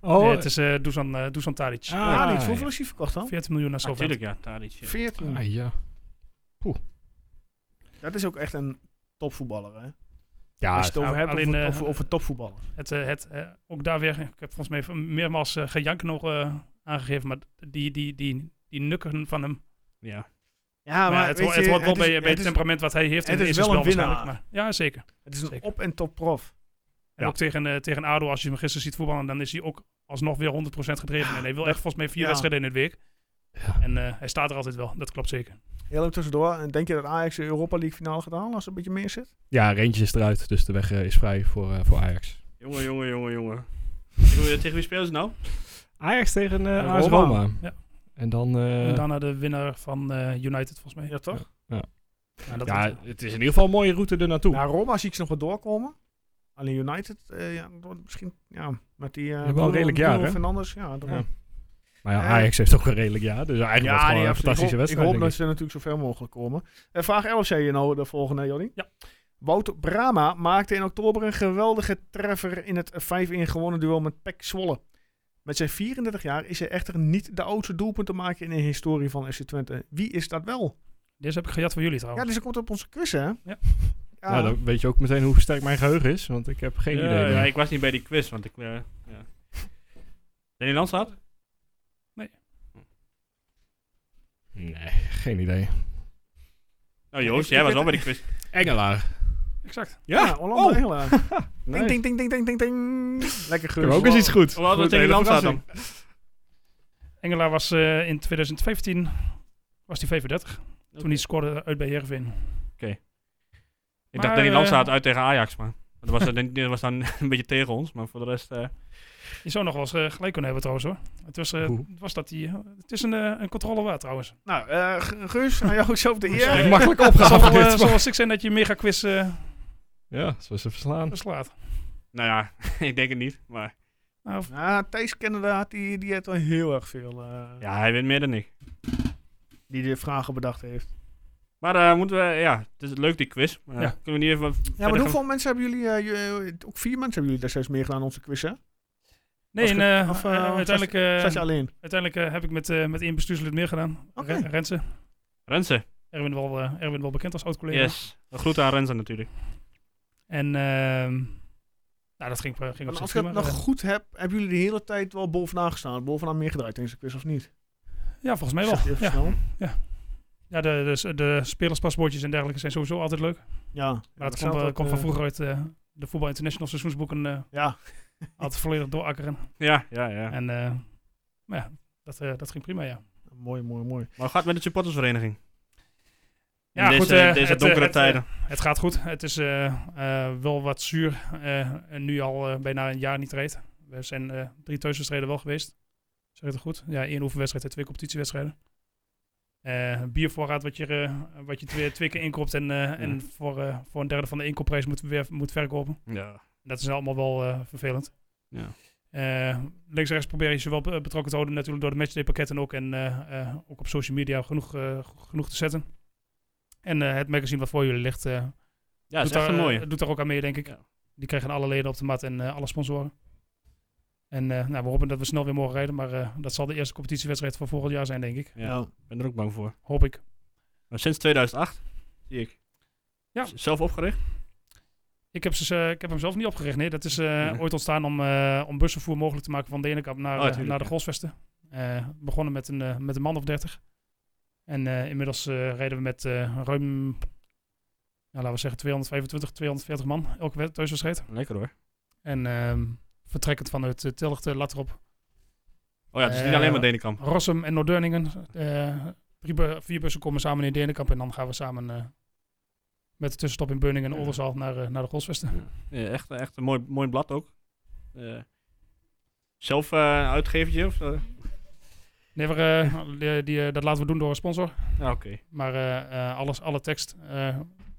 Speaker 2: Oh,
Speaker 4: nee, het is eh Dusan, eh, Dusan Tadic.
Speaker 2: Ah,
Speaker 1: Ah, niet. Hoeveel
Speaker 2: ja.
Speaker 1: is hij verkocht dan?
Speaker 4: 14 miljoen naar Southampton.
Speaker 3: Natuurlijk, ja. Tadic. ja.
Speaker 1: 14.
Speaker 2: ah, ja.
Speaker 1: Dat is ook echt een topvoetballer, hè?
Speaker 2: Ja,
Speaker 1: Als je het over
Speaker 4: nou,
Speaker 1: hebt
Speaker 4: alleen,
Speaker 1: over,
Speaker 4: eh,
Speaker 1: over, over topvoetballer.
Speaker 4: Het, eh, het, eh, ook daar weer, ik heb volgens mij even meermaals eh gejank nog eh, aangegeven, maar die, die, die, die nukken van hem.
Speaker 3: Ja.
Speaker 1: Ja,
Speaker 4: Maar ja, het, ho- het hoort wel bij, bij het
Speaker 1: is,
Speaker 4: temperament wat hij heeft.
Speaker 1: het
Speaker 4: in-
Speaker 1: is
Speaker 4: in zijn
Speaker 1: wel een
Speaker 4: spel
Speaker 1: winnaar.
Speaker 4: waarschijnlijk, Maar, ja, zeker.
Speaker 1: het is een
Speaker 4: zeker.
Speaker 1: op- en top prof.
Speaker 4: En
Speaker 2: Ja.
Speaker 4: ook tegen, eh, tegen ADO, als je hem gisteren ziet voetballen, dan is hij ook alsnog weer 100% gedreven. En hij wil echt volgens mij vier
Speaker 1: Ja.
Speaker 4: wedstrijden in het week.
Speaker 2: Ja.
Speaker 4: En eh, hij staat er altijd wel, dat klopt zeker.
Speaker 1: Heel even tussendoor. En denk je dat Ajax de Europa League finale gaat halen als er een beetje meer zit?
Speaker 2: ja, Reentjes is eruit, dus de weg eh, is vrij voor, eh, voor Ajax.
Speaker 3: Jongen, jongen, jongen, jongen. tegen, wie- tegen wie spelen ze nou?
Speaker 2: Ajax tegen eh
Speaker 1: Eh,
Speaker 2: AS
Speaker 1: Roma.
Speaker 2: Roma.
Speaker 4: Ja.
Speaker 2: En dan... eh,
Speaker 4: en daarna de winnaar van eh, United, volgens mij.
Speaker 1: Ja, toch?
Speaker 4: Nou, dat
Speaker 2: ja,
Speaker 4: wordt-
Speaker 2: het is in ieder geval een mooie route er naartoe.
Speaker 1: Nou, Roma zie ik ze nog wel doorkomen. Alleen United, eh, ja, dat wordt misschien ja, met die... eh
Speaker 2: Wel een redelijk jaar, hè?
Speaker 1: Fernandes, ja. daarom.
Speaker 2: Ja. maar ja,
Speaker 1: eh,
Speaker 2: Ajax heeft ook een redelijk jaar, dus eigenlijk wordt het
Speaker 1: nee,
Speaker 2: gewoon een
Speaker 1: absoluut.
Speaker 2: fantastische
Speaker 1: ik hoop,
Speaker 2: wedstrijd.
Speaker 1: Ik hoop
Speaker 2: denk
Speaker 1: dat ze natuurlijk zo ver mogelijk komen. Eh, vraag 11 zei je nou de volgende, Jordi.
Speaker 4: Ja.
Speaker 1: Wouter Brama maakte in oktober een geweldige treffer in het 5-1 gewonnen duel met Pek Zwolle. Met zijn 34 jaar is hij echter niet de oudste doelpuntenmaker in de historie van FC Twente. Wie is dat wel?
Speaker 4: Deze heb ik gejat voor jullie
Speaker 1: Ja,
Speaker 4: trouwens.
Speaker 1: dus dat komt op onze quiz, hè? Ja.
Speaker 2: ik. Nou, dan weet je ook meteen hoe sterk mijn geheugen is, want ik heb geen
Speaker 3: Ja,
Speaker 2: idee.
Speaker 3: ja,
Speaker 2: meer.
Speaker 3: ik was niet bij die quiz, want ik... eh ja. Danny Landstraat?
Speaker 2: Nee, geen idee.
Speaker 3: Nou Joost,
Speaker 1: Ik-
Speaker 3: jij
Speaker 1: ik
Speaker 3: was wel
Speaker 1: weet-
Speaker 3: bij die quiz.
Speaker 2: Engelaar.
Speaker 4: Exact.
Speaker 1: ja, Orlando
Speaker 2: Oh.
Speaker 1: Engelaar. Ding, ding, ding, ding, ding, ding, ding. Lekker
Speaker 2: Ik
Speaker 1: geur.
Speaker 2: heb ook eens iets goed.
Speaker 3: Wat was
Speaker 2: Goed,
Speaker 3: Danny
Speaker 2: hele
Speaker 3: Landstraat dan?
Speaker 2: verrassing.
Speaker 4: Engelaar was eh, in 2015 was hij 35. Toen hij scoorde uit bij Heerenveen.
Speaker 3: Ik
Speaker 4: Maar,
Speaker 3: dacht Danny
Speaker 4: eh,
Speaker 3: Landstraat uit tegen Ajax, maar... Dat was, dan- dat was dan een beetje tegen ons, maar voor de rest... eh,
Speaker 4: Je zou nog wel eens eh, gelijk kunnen hebben trouwens hoor. Het was, eh,
Speaker 2: Hoe?
Speaker 4: het was dat hij... het is een, eh, een controle waard trouwens.
Speaker 1: Nou, eh, Ge- Guus, aan jou zelf de
Speaker 4: Ja.
Speaker 1: eer.
Speaker 2: Ik makkelijk
Speaker 4: Zal,
Speaker 2: opgehaald.
Speaker 4: eh,
Speaker 2: dit, maar-
Speaker 4: zoals ik zei dat je een mega quiz eh,
Speaker 2: Ja, zoals ze verslaan.
Speaker 4: slaat.
Speaker 3: nou ja, ik denk het niet, maar...
Speaker 4: Nou, of-
Speaker 1: Nou, Thijs Canada, had die, die heeft wel heel erg veel. eh,
Speaker 3: Ja, hij wint meer dan ik.
Speaker 1: Die de vragen bedacht heeft.
Speaker 3: Maar eh, moeten we... Ja, het is leuk die quiz. maar,
Speaker 4: Ja.
Speaker 3: eh, Kunnen we niet even wat verder
Speaker 1: Ja, maar
Speaker 3: gaan-
Speaker 1: hoeveel mensen hebben jullie... eh, je- eh, ook vier mensen hebben jullie destijds meegedaan aan onze quiz, hè?
Speaker 4: nee,
Speaker 1: Als
Speaker 4: en, eh,
Speaker 1: of, eh,
Speaker 4: eh, uiteindelijk, eh,
Speaker 1: Zat je alleen?
Speaker 4: uiteindelijk eh, heb ik met, eh, met één bestuurslid meer gedaan.
Speaker 1: Oké.
Speaker 4: Ren- Rensen.
Speaker 3: Renze.
Speaker 4: Erwin wel, eh, Erwin wel bekend als oud-collega.
Speaker 3: Yes. Een groet aan Renze natuurlijk.
Speaker 4: En ehm, nou, dat ging, ging
Speaker 1: Want
Speaker 4: op zich
Speaker 1: als ik het
Speaker 4: prima.
Speaker 1: nog goed heb, hebben jullie de hele tijd wel bovenaan gestaan. Bovenaan meegedraaid in deze quiz, of niet?
Speaker 4: Ja, volgens mij
Speaker 1: Ik zeg dus. het
Speaker 4: wel.
Speaker 1: even
Speaker 4: Ja,
Speaker 1: snel.
Speaker 4: ja de, de, de spelerspaspoortjes en dergelijke zijn sowieso altijd leuk.
Speaker 1: Ja.
Speaker 4: Maar dat
Speaker 1: staat
Speaker 4: komt, eh,
Speaker 1: ook,
Speaker 4: komt
Speaker 1: eh,
Speaker 4: van vroeger uit eh, de Voetbal International seizoensboeken eh
Speaker 1: Ja.
Speaker 4: altijd volledig doorakkeren.
Speaker 3: Ja, ja, ja.
Speaker 4: En eh, maar ja, dat, eh, dat ging prima, ja.
Speaker 1: Mooi, mooi, mooi.
Speaker 3: Maar hoe gaat het met de supportersvereniging?
Speaker 4: Ja,
Speaker 3: In deze,
Speaker 4: goed, eh,
Speaker 3: deze
Speaker 4: het, eh,
Speaker 3: donkere
Speaker 4: het, eh,
Speaker 3: tijden.
Speaker 4: Het gaat goed. Het is eh, eh, wel wat zuur. eh, en nu al eh, bijna een jaar niet reed. We zijn eh, drie thuiswedstrijden wel geweest. Zeg ik het goed? Ja, één oefenwedstrijd en twee competitiewedstrijden. Eh, biervoorraad wat je, eh, wat je twee, twee keer inkoopt en, eh, en voor, eh, voor een derde van de inkoopprijs moet, weer, moet verkopen.
Speaker 3: ja.
Speaker 4: Dat is allemaal wel eh, vervelend.
Speaker 3: ja.
Speaker 4: Eh, links en rechts probeer je ze wel be- betrokken te houden natuurlijk door de matchday pakketten ook. En eh, eh, ook op social media genoeg, eh, genoeg te zetten. En eh, het magazine wat voor jullie ligt, eh,
Speaker 3: Ja, dat is
Speaker 4: doet,
Speaker 3: echt een
Speaker 4: daar,
Speaker 3: mooie.
Speaker 4: eh, doet daar ook aan mee, denk ik.
Speaker 3: Ja.
Speaker 4: Die krijgen alle leden op de mat en eh, alle sponsoren. En eh, nou, we hopen dat we snel weer mogen rijden, maar eh, dat zal de eerste competitiewedstrijd van volgend jaar zijn, denk ik.
Speaker 3: Ja, ik ben er ook bang voor.
Speaker 4: Hoop ik.
Speaker 3: Maar sinds 2008, zie ik.
Speaker 4: Ja.
Speaker 3: Z- Zelf opgericht?
Speaker 4: Ik heb, ze, eh, ik heb hem zelf niet opgericht, nee. Dat is eh,
Speaker 3: Ja.
Speaker 4: ooit ontstaan om, eh, om busvervoer mogelijk te maken van Denenkamp naar,
Speaker 3: Oh,
Speaker 4: eh,
Speaker 3: tuurlijk,
Speaker 4: naar de
Speaker 3: ja.
Speaker 4: Golsvesten. Eh, begonnen met een, eh, met een man of 30. En eh, inmiddels eh, rijden we met eh, ruim, nou, laten we zeggen, 225, 240 man elke wed- thuiswedstrijd.
Speaker 3: Lekker hoor.
Speaker 4: En ehm, vertrekkend vanuit uh, Tillich de Latrop
Speaker 3: Oh ja, het is niet
Speaker 4: Eh,
Speaker 3: alleen maar Denenkamp.
Speaker 4: Rossum en Noorderningen. eh, drie bu- vier bussen komen samen in Denenkamp. En dan gaan we samen eh, met de tussenstop in Beuningen en
Speaker 3: Ja.
Speaker 4: Oldenzaal naar, eh, naar de Golsvesten.
Speaker 3: Ja, Eh, echt, echt een mooi, mooi blad ook. Eh, zelf eh uitgevertje? Of, eh?
Speaker 4: Nee, maar, eh, die, die, eh, dat laten we doen door een sponsor.
Speaker 3: Ja, Oké.
Speaker 4: Maar eh, eh, alles, alle tekst, eh,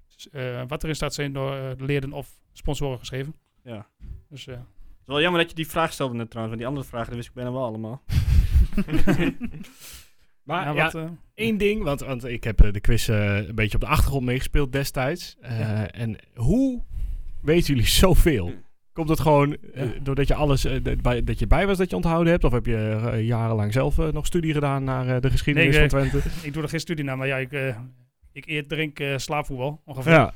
Speaker 4: s- eh, wat erin staat, zijn door eh, leden of sponsoren geschreven.
Speaker 3: Ja.
Speaker 4: Dus eh,
Speaker 3: Het is wel jammer dat je die vraag stelde net trouwens, want die andere vragen die wist ik bijna wel allemaal.
Speaker 2: Maar
Speaker 4: ja,
Speaker 2: ja,
Speaker 4: wat, eh,
Speaker 2: Eén ding, want, want ik heb eh, de quiz eh, een beetje op de achtergrond meegespeeld destijds. Eh, En hoe weten jullie zoveel? Komt dat gewoon eh, doordat je alles eh, dat bij, dat je bij was dat je onthouden hebt? Of heb je eh, jarenlang zelf eh, nog studie gedaan naar eh, de geschiedenis
Speaker 4: Nee, ik,
Speaker 2: van Twente?
Speaker 4: ik doe er geen studie naar, maar ja, ik, eh, ik eet, drink, eh, slaap voetbal ongeveer.
Speaker 2: ja.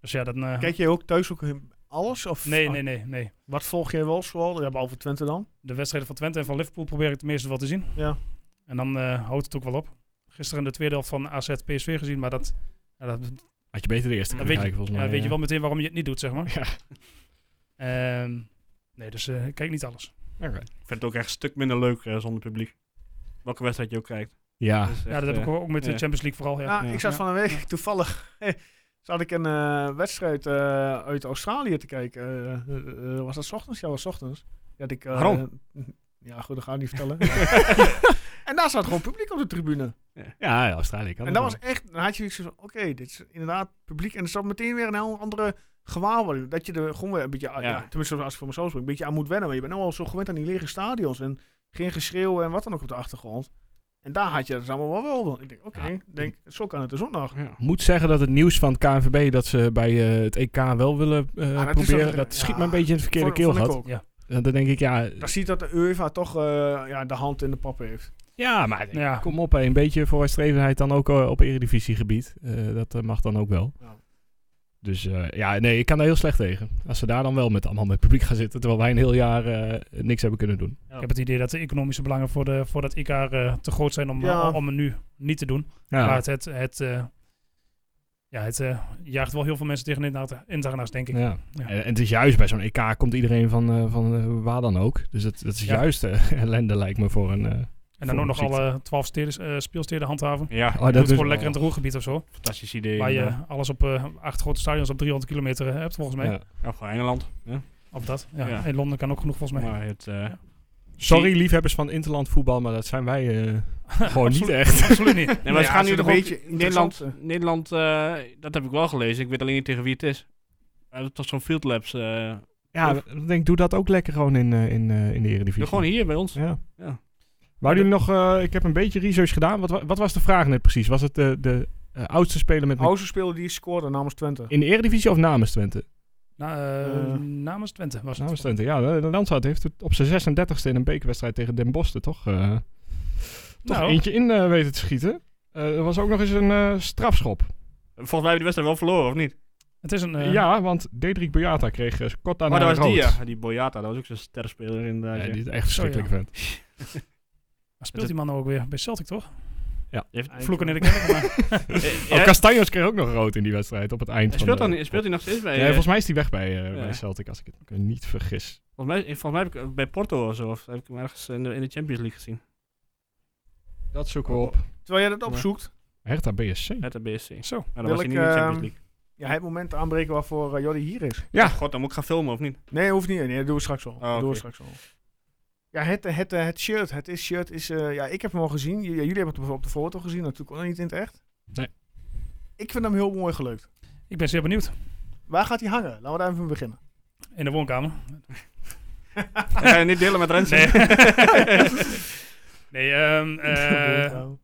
Speaker 4: Dus ja, dan... eh,
Speaker 1: Kijk jij ook thuis ook alles? Of ah,
Speaker 4: nee, nee, nee, nee.
Speaker 1: Wat volg jij wel zoal? Ja, behalve Twente dan.
Speaker 4: De wedstrijden van Twente en van Liverpool probeer ik tenminste wel te zien.
Speaker 1: Ja.
Speaker 4: En dan eh, houdt het ook wel op. Gisteren de tweede helft van AZ PSV gezien, maar dat, ja, dat,
Speaker 2: Had je beter de eerste
Speaker 4: Dan
Speaker 2: kunnen
Speaker 4: weet
Speaker 2: kijken
Speaker 4: je-
Speaker 2: volgens
Speaker 4: ja,
Speaker 2: mij.
Speaker 4: weet je
Speaker 2: ja.
Speaker 4: wel meteen waarom je het niet doet, zeg maar.
Speaker 2: Ja.
Speaker 4: Ehm, nee, dus eh, ik kijk niet alles.
Speaker 2: Oké.
Speaker 3: Ik vind het ook echt een stuk minder leuk eh, zonder publiek. Welke wedstrijd je ook kijkt.
Speaker 2: Ja.
Speaker 3: Dat is
Speaker 4: ja, Dus,
Speaker 3: echt,
Speaker 4: dat heb
Speaker 3: eh,
Speaker 4: ik ook met de
Speaker 3: ja.
Speaker 4: Champions League vooral. Ja.
Speaker 1: Ja, Nou, ik zat
Speaker 4: Ja.
Speaker 1: van een week toevallig. zat ik een eh, wedstrijd eh, uit Australië te kijken. Eh, eh, eh, was dat 's ochtends? Ja, was 's ochtends. Dat ik, eh,
Speaker 3: Waarom?
Speaker 1: ja, goed, dat ga ik niet vertellen. en daar zat gewoon publiek op de tribune.
Speaker 2: Ja, ja, Australië
Speaker 1: En
Speaker 2: kan het
Speaker 1: dat was
Speaker 2: wel.
Speaker 1: echt, dan had je zoiets van, oké, dit is inderdaad publiek. En er zat meteen weer een heel andere gewaarwording. Dat je er gewoon weer een beetje, ah, ja.
Speaker 3: Ja.
Speaker 1: tenminste als ik voor mezelf spreek, een beetje aan moet wennen. Maar je bent nou al zo gewend aan die lege stadions en geen geschreeuw en wat dan ook op de achtergrond. En daar had je het allemaal wel wel. van. Ik denk, oké,
Speaker 2: Ja.
Speaker 1: denk, zo kan het dus de zondag.
Speaker 3: Ja.
Speaker 2: moet zeggen dat het nieuws van het KNVB dat ze bij eh, het EK wel willen eh,
Speaker 4: Ah,
Speaker 1: dat is
Speaker 2: proberen,
Speaker 1: toch-
Speaker 2: dat
Speaker 1: ja.
Speaker 2: schiet me een beetje in het verkeerde
Speaker 1: Vond- vond ik
Speaker 2: keelgat.
Speaker 1: ook.
Speaker 2: En Dan denk ik, ja,
Speaker 1: Dan ziet dat de UEFA toch eh, ja, de hand in de pap heeft.
Speaker 2: Ja, maar
Speaker 4: Ja.
Speaker 2: kom op, hè. een beetje vooruitstrevendheid dan ook eh, op eredivisiegebied. Eh, dat eh, mag dan ook wel.
Speaker 1: Ja.
Speaker 2: Dus eh, ja, nee, ik kan daar heel slecht tegen. Als ze daar dan wel met allemaal met publiek gaan zitten, terwijl wij een heel jaar eh, niks hebben kunnen doen.
Speaker 4: Ik heb het idee dat de economische belangen voor, de, voor dat IK eh, te groot zijn om, eh,
Speaker 1: Ja.
Speaker 4: om het nu niet te doen.
Speaker 2: Ja,
Speaker 4: Maar het, het, het, eh, ja, het eh, jaagt wel heel veel mensen tegen in de interna's, denk ik.
Speaker 2: ja. En,
Speaker 4: Ja.
Speaker 2: en het is juist bij zo'n EK komt iedereen van, eh, van eh, waar dan ook. Dus dat, dat is
Speaker 4: Ja.
Speaker 2: juist eh, ellende lijkt me voor een... eh,
Speaker 4: En
Speaker 2: voor
Speaker 4: dan ook nog
Speaker 2: ziet.
Speaker 4: alle twaalf steden, eh, speelsteden handhaven.
Speaker 3: Ja,
Speaker 2: Oh,
Speaker 4: Dat
Speaker 2: dat is
Speaker 4: is gewoon lekker in het roergebied of zo.
Speaker 3: fantastisch idee.
Speaker 4: Waar
Speaker 3: inderdaad.
Speaker 4: je alles op eh, acht grote stadions op 300 kilometer eh, hebt, volgens mij.
Speaker 2: ja.
Speaker 3: Ja, gewoon Engeland. Ja.
Speaker 4: Of dat. Ja.
Speaker 3: Ja.
Speaker 4: In Londen kan ook genoeg, volgens mij.
Speaker 3: Maar het, eh,
Speaker 2: Sorry liefhebbers van interland voetbal, maar dat zijn wij eh, gewoon niet
Speaker 4: Absoluut.
Speaker 2: echt.
Speaker 4: Absoluut niet.
Speaker 3: Nee, maar ze gaan nu
Speaker 1: het
Speaker 3: toch
Speaker 1: een
Speaker 3: ook-
Speaker 1: beetje
Speaker 3: Nederland,
Speaker 1: interessant,
Speaker 3: Nederland eh, dat heb ik wel gelezen. Ik weet alleen niet tegen wie het is. Maar Het was zo'n Field Labs. eh,
Speaker 2: Ja, ik denk, doe dat ook lekker gewoon in, eh, in, eh, in de eredivisie.
Speaker 3: doe gewoon hier bij ons.
Speaker 2: Ja.
Speaker 3: Ja.
Speaker 2: Wouden jullie nog, eh, ik heb een beetje research gedaan. Wat, wa- wat was de vraag net precies? Was het de, de eh, oudste speler met
Speaker 1: Houser speelde die scoorde namens Twente.
Speaker 2: in de Eredivisie of namens Twente?
Speaker 4: Na, eh,
Speaker 1: Eh.
Speaker 4: namens Twente was het.
Speaker 2: Namens Twente, ja. de- De Landsaat heeft het op zijn 36e in een bekerwedstrijd tegen Den Bosch er toch, eh, toch
Speaker 4: Nou.
Speaker 2: eentje in eh, weten te schieten. Eh, er was ook nog eens een eh, strafschop.
Speaker 3: Volgens mij hebben we die wedstrijd wel verloren, of niet?
Speaker 4: Het is een... eh,
Speaker 2: ja, want Dedrik Boyata kreeg eh, kort
Speaker 4: Oh,
Speaker 2: daarna
Speaker 3: Maar Oh, dat was
Speaker 2: rood.
Speaker 3: die, ja. Die Boyata, dat was ook zo'n sterspeler inderdaad.
Speaker 2: Ja,
Speaker 3: ja.
Speaker 2: die is echt een verschrikkelijk vent.
Speaker 4: Maar speelt die man nou ook weer bij Celtic, toch?
Speaker 3: Die heeft-
Speaker 4: Vloeken in de kerk, maar...
Speaker 3: Eh,
Speaker 2: Oh,
Speaker 3: ja,
Speaker 2: Castanjos kreeg ook nog rood in die wedstrijd op het eind
Speaker 3: hij
Speaker 2: van
Speaker 3: speelt,
Speaker 2: de-
Speaker 3: dan, hij speelt hij nog steeds bij...
Speaker 2: Nee,
Speaker 3: eh,
Speaker 2: volgens mij is hij weg bij, eh,
Speaker 3: ja.
Speaker 2: bij Celtic, als ik het me niet vergis.
Speaker 3: volgens, mij, volgens mij heb ik eh, bij Porto of zo. Of heb ik hem ergens in de, in de Champions League gezien.
Speaker 2: Dat zoeken we op.
Speaker 1: Terwijl jij dat opzoekt,
Speaker 2: Hertha BSC.
Speaker 3: Met de BSC.
Speaker 4: Zo.
Speaker 1: Wil
Speaker 3: Maar dan was hij
Speaker 1: ik,
Speaker 3: niet in de Champions
Speaker 1: ehm,
Speaker 3: League.
Speaker 1: ja, het moment aanbreken waarvoor eh, Jordi hier is.
Speaker 2: Ja.
Speaker 3: God, dan moet ik gaan filmen, of niet?
Speaker 1: Nee, hoeft niet. Nee, dat doen we straks wel.
Speaker 3: Oh,
Speaker 1: Dat doen
Speaker 3: oké.
Speaker 1: we straks wel. Ja, het, het, het shirt, het is shirt is. eh, ja, ik heb hem al gezien. J- ja, jullie hebben het op de foto gezien, natuurlijk kon hij niet in het echt.
Speaker 2: Nee.
Speaker 1: Ik vind hem heel mooi gelukt.
Speaker 4: Ik ben zeer benieuwd.
Speaker 1: Waar gaat hij hangen? Laten we daar even mee beginnen.
Speaker 4: In de woonkamer.
Speaker 3: Dan ga je niet delen met Rensen.
Speaker 4: Nee. nee, ehm, eh,
Speaker 1: nou?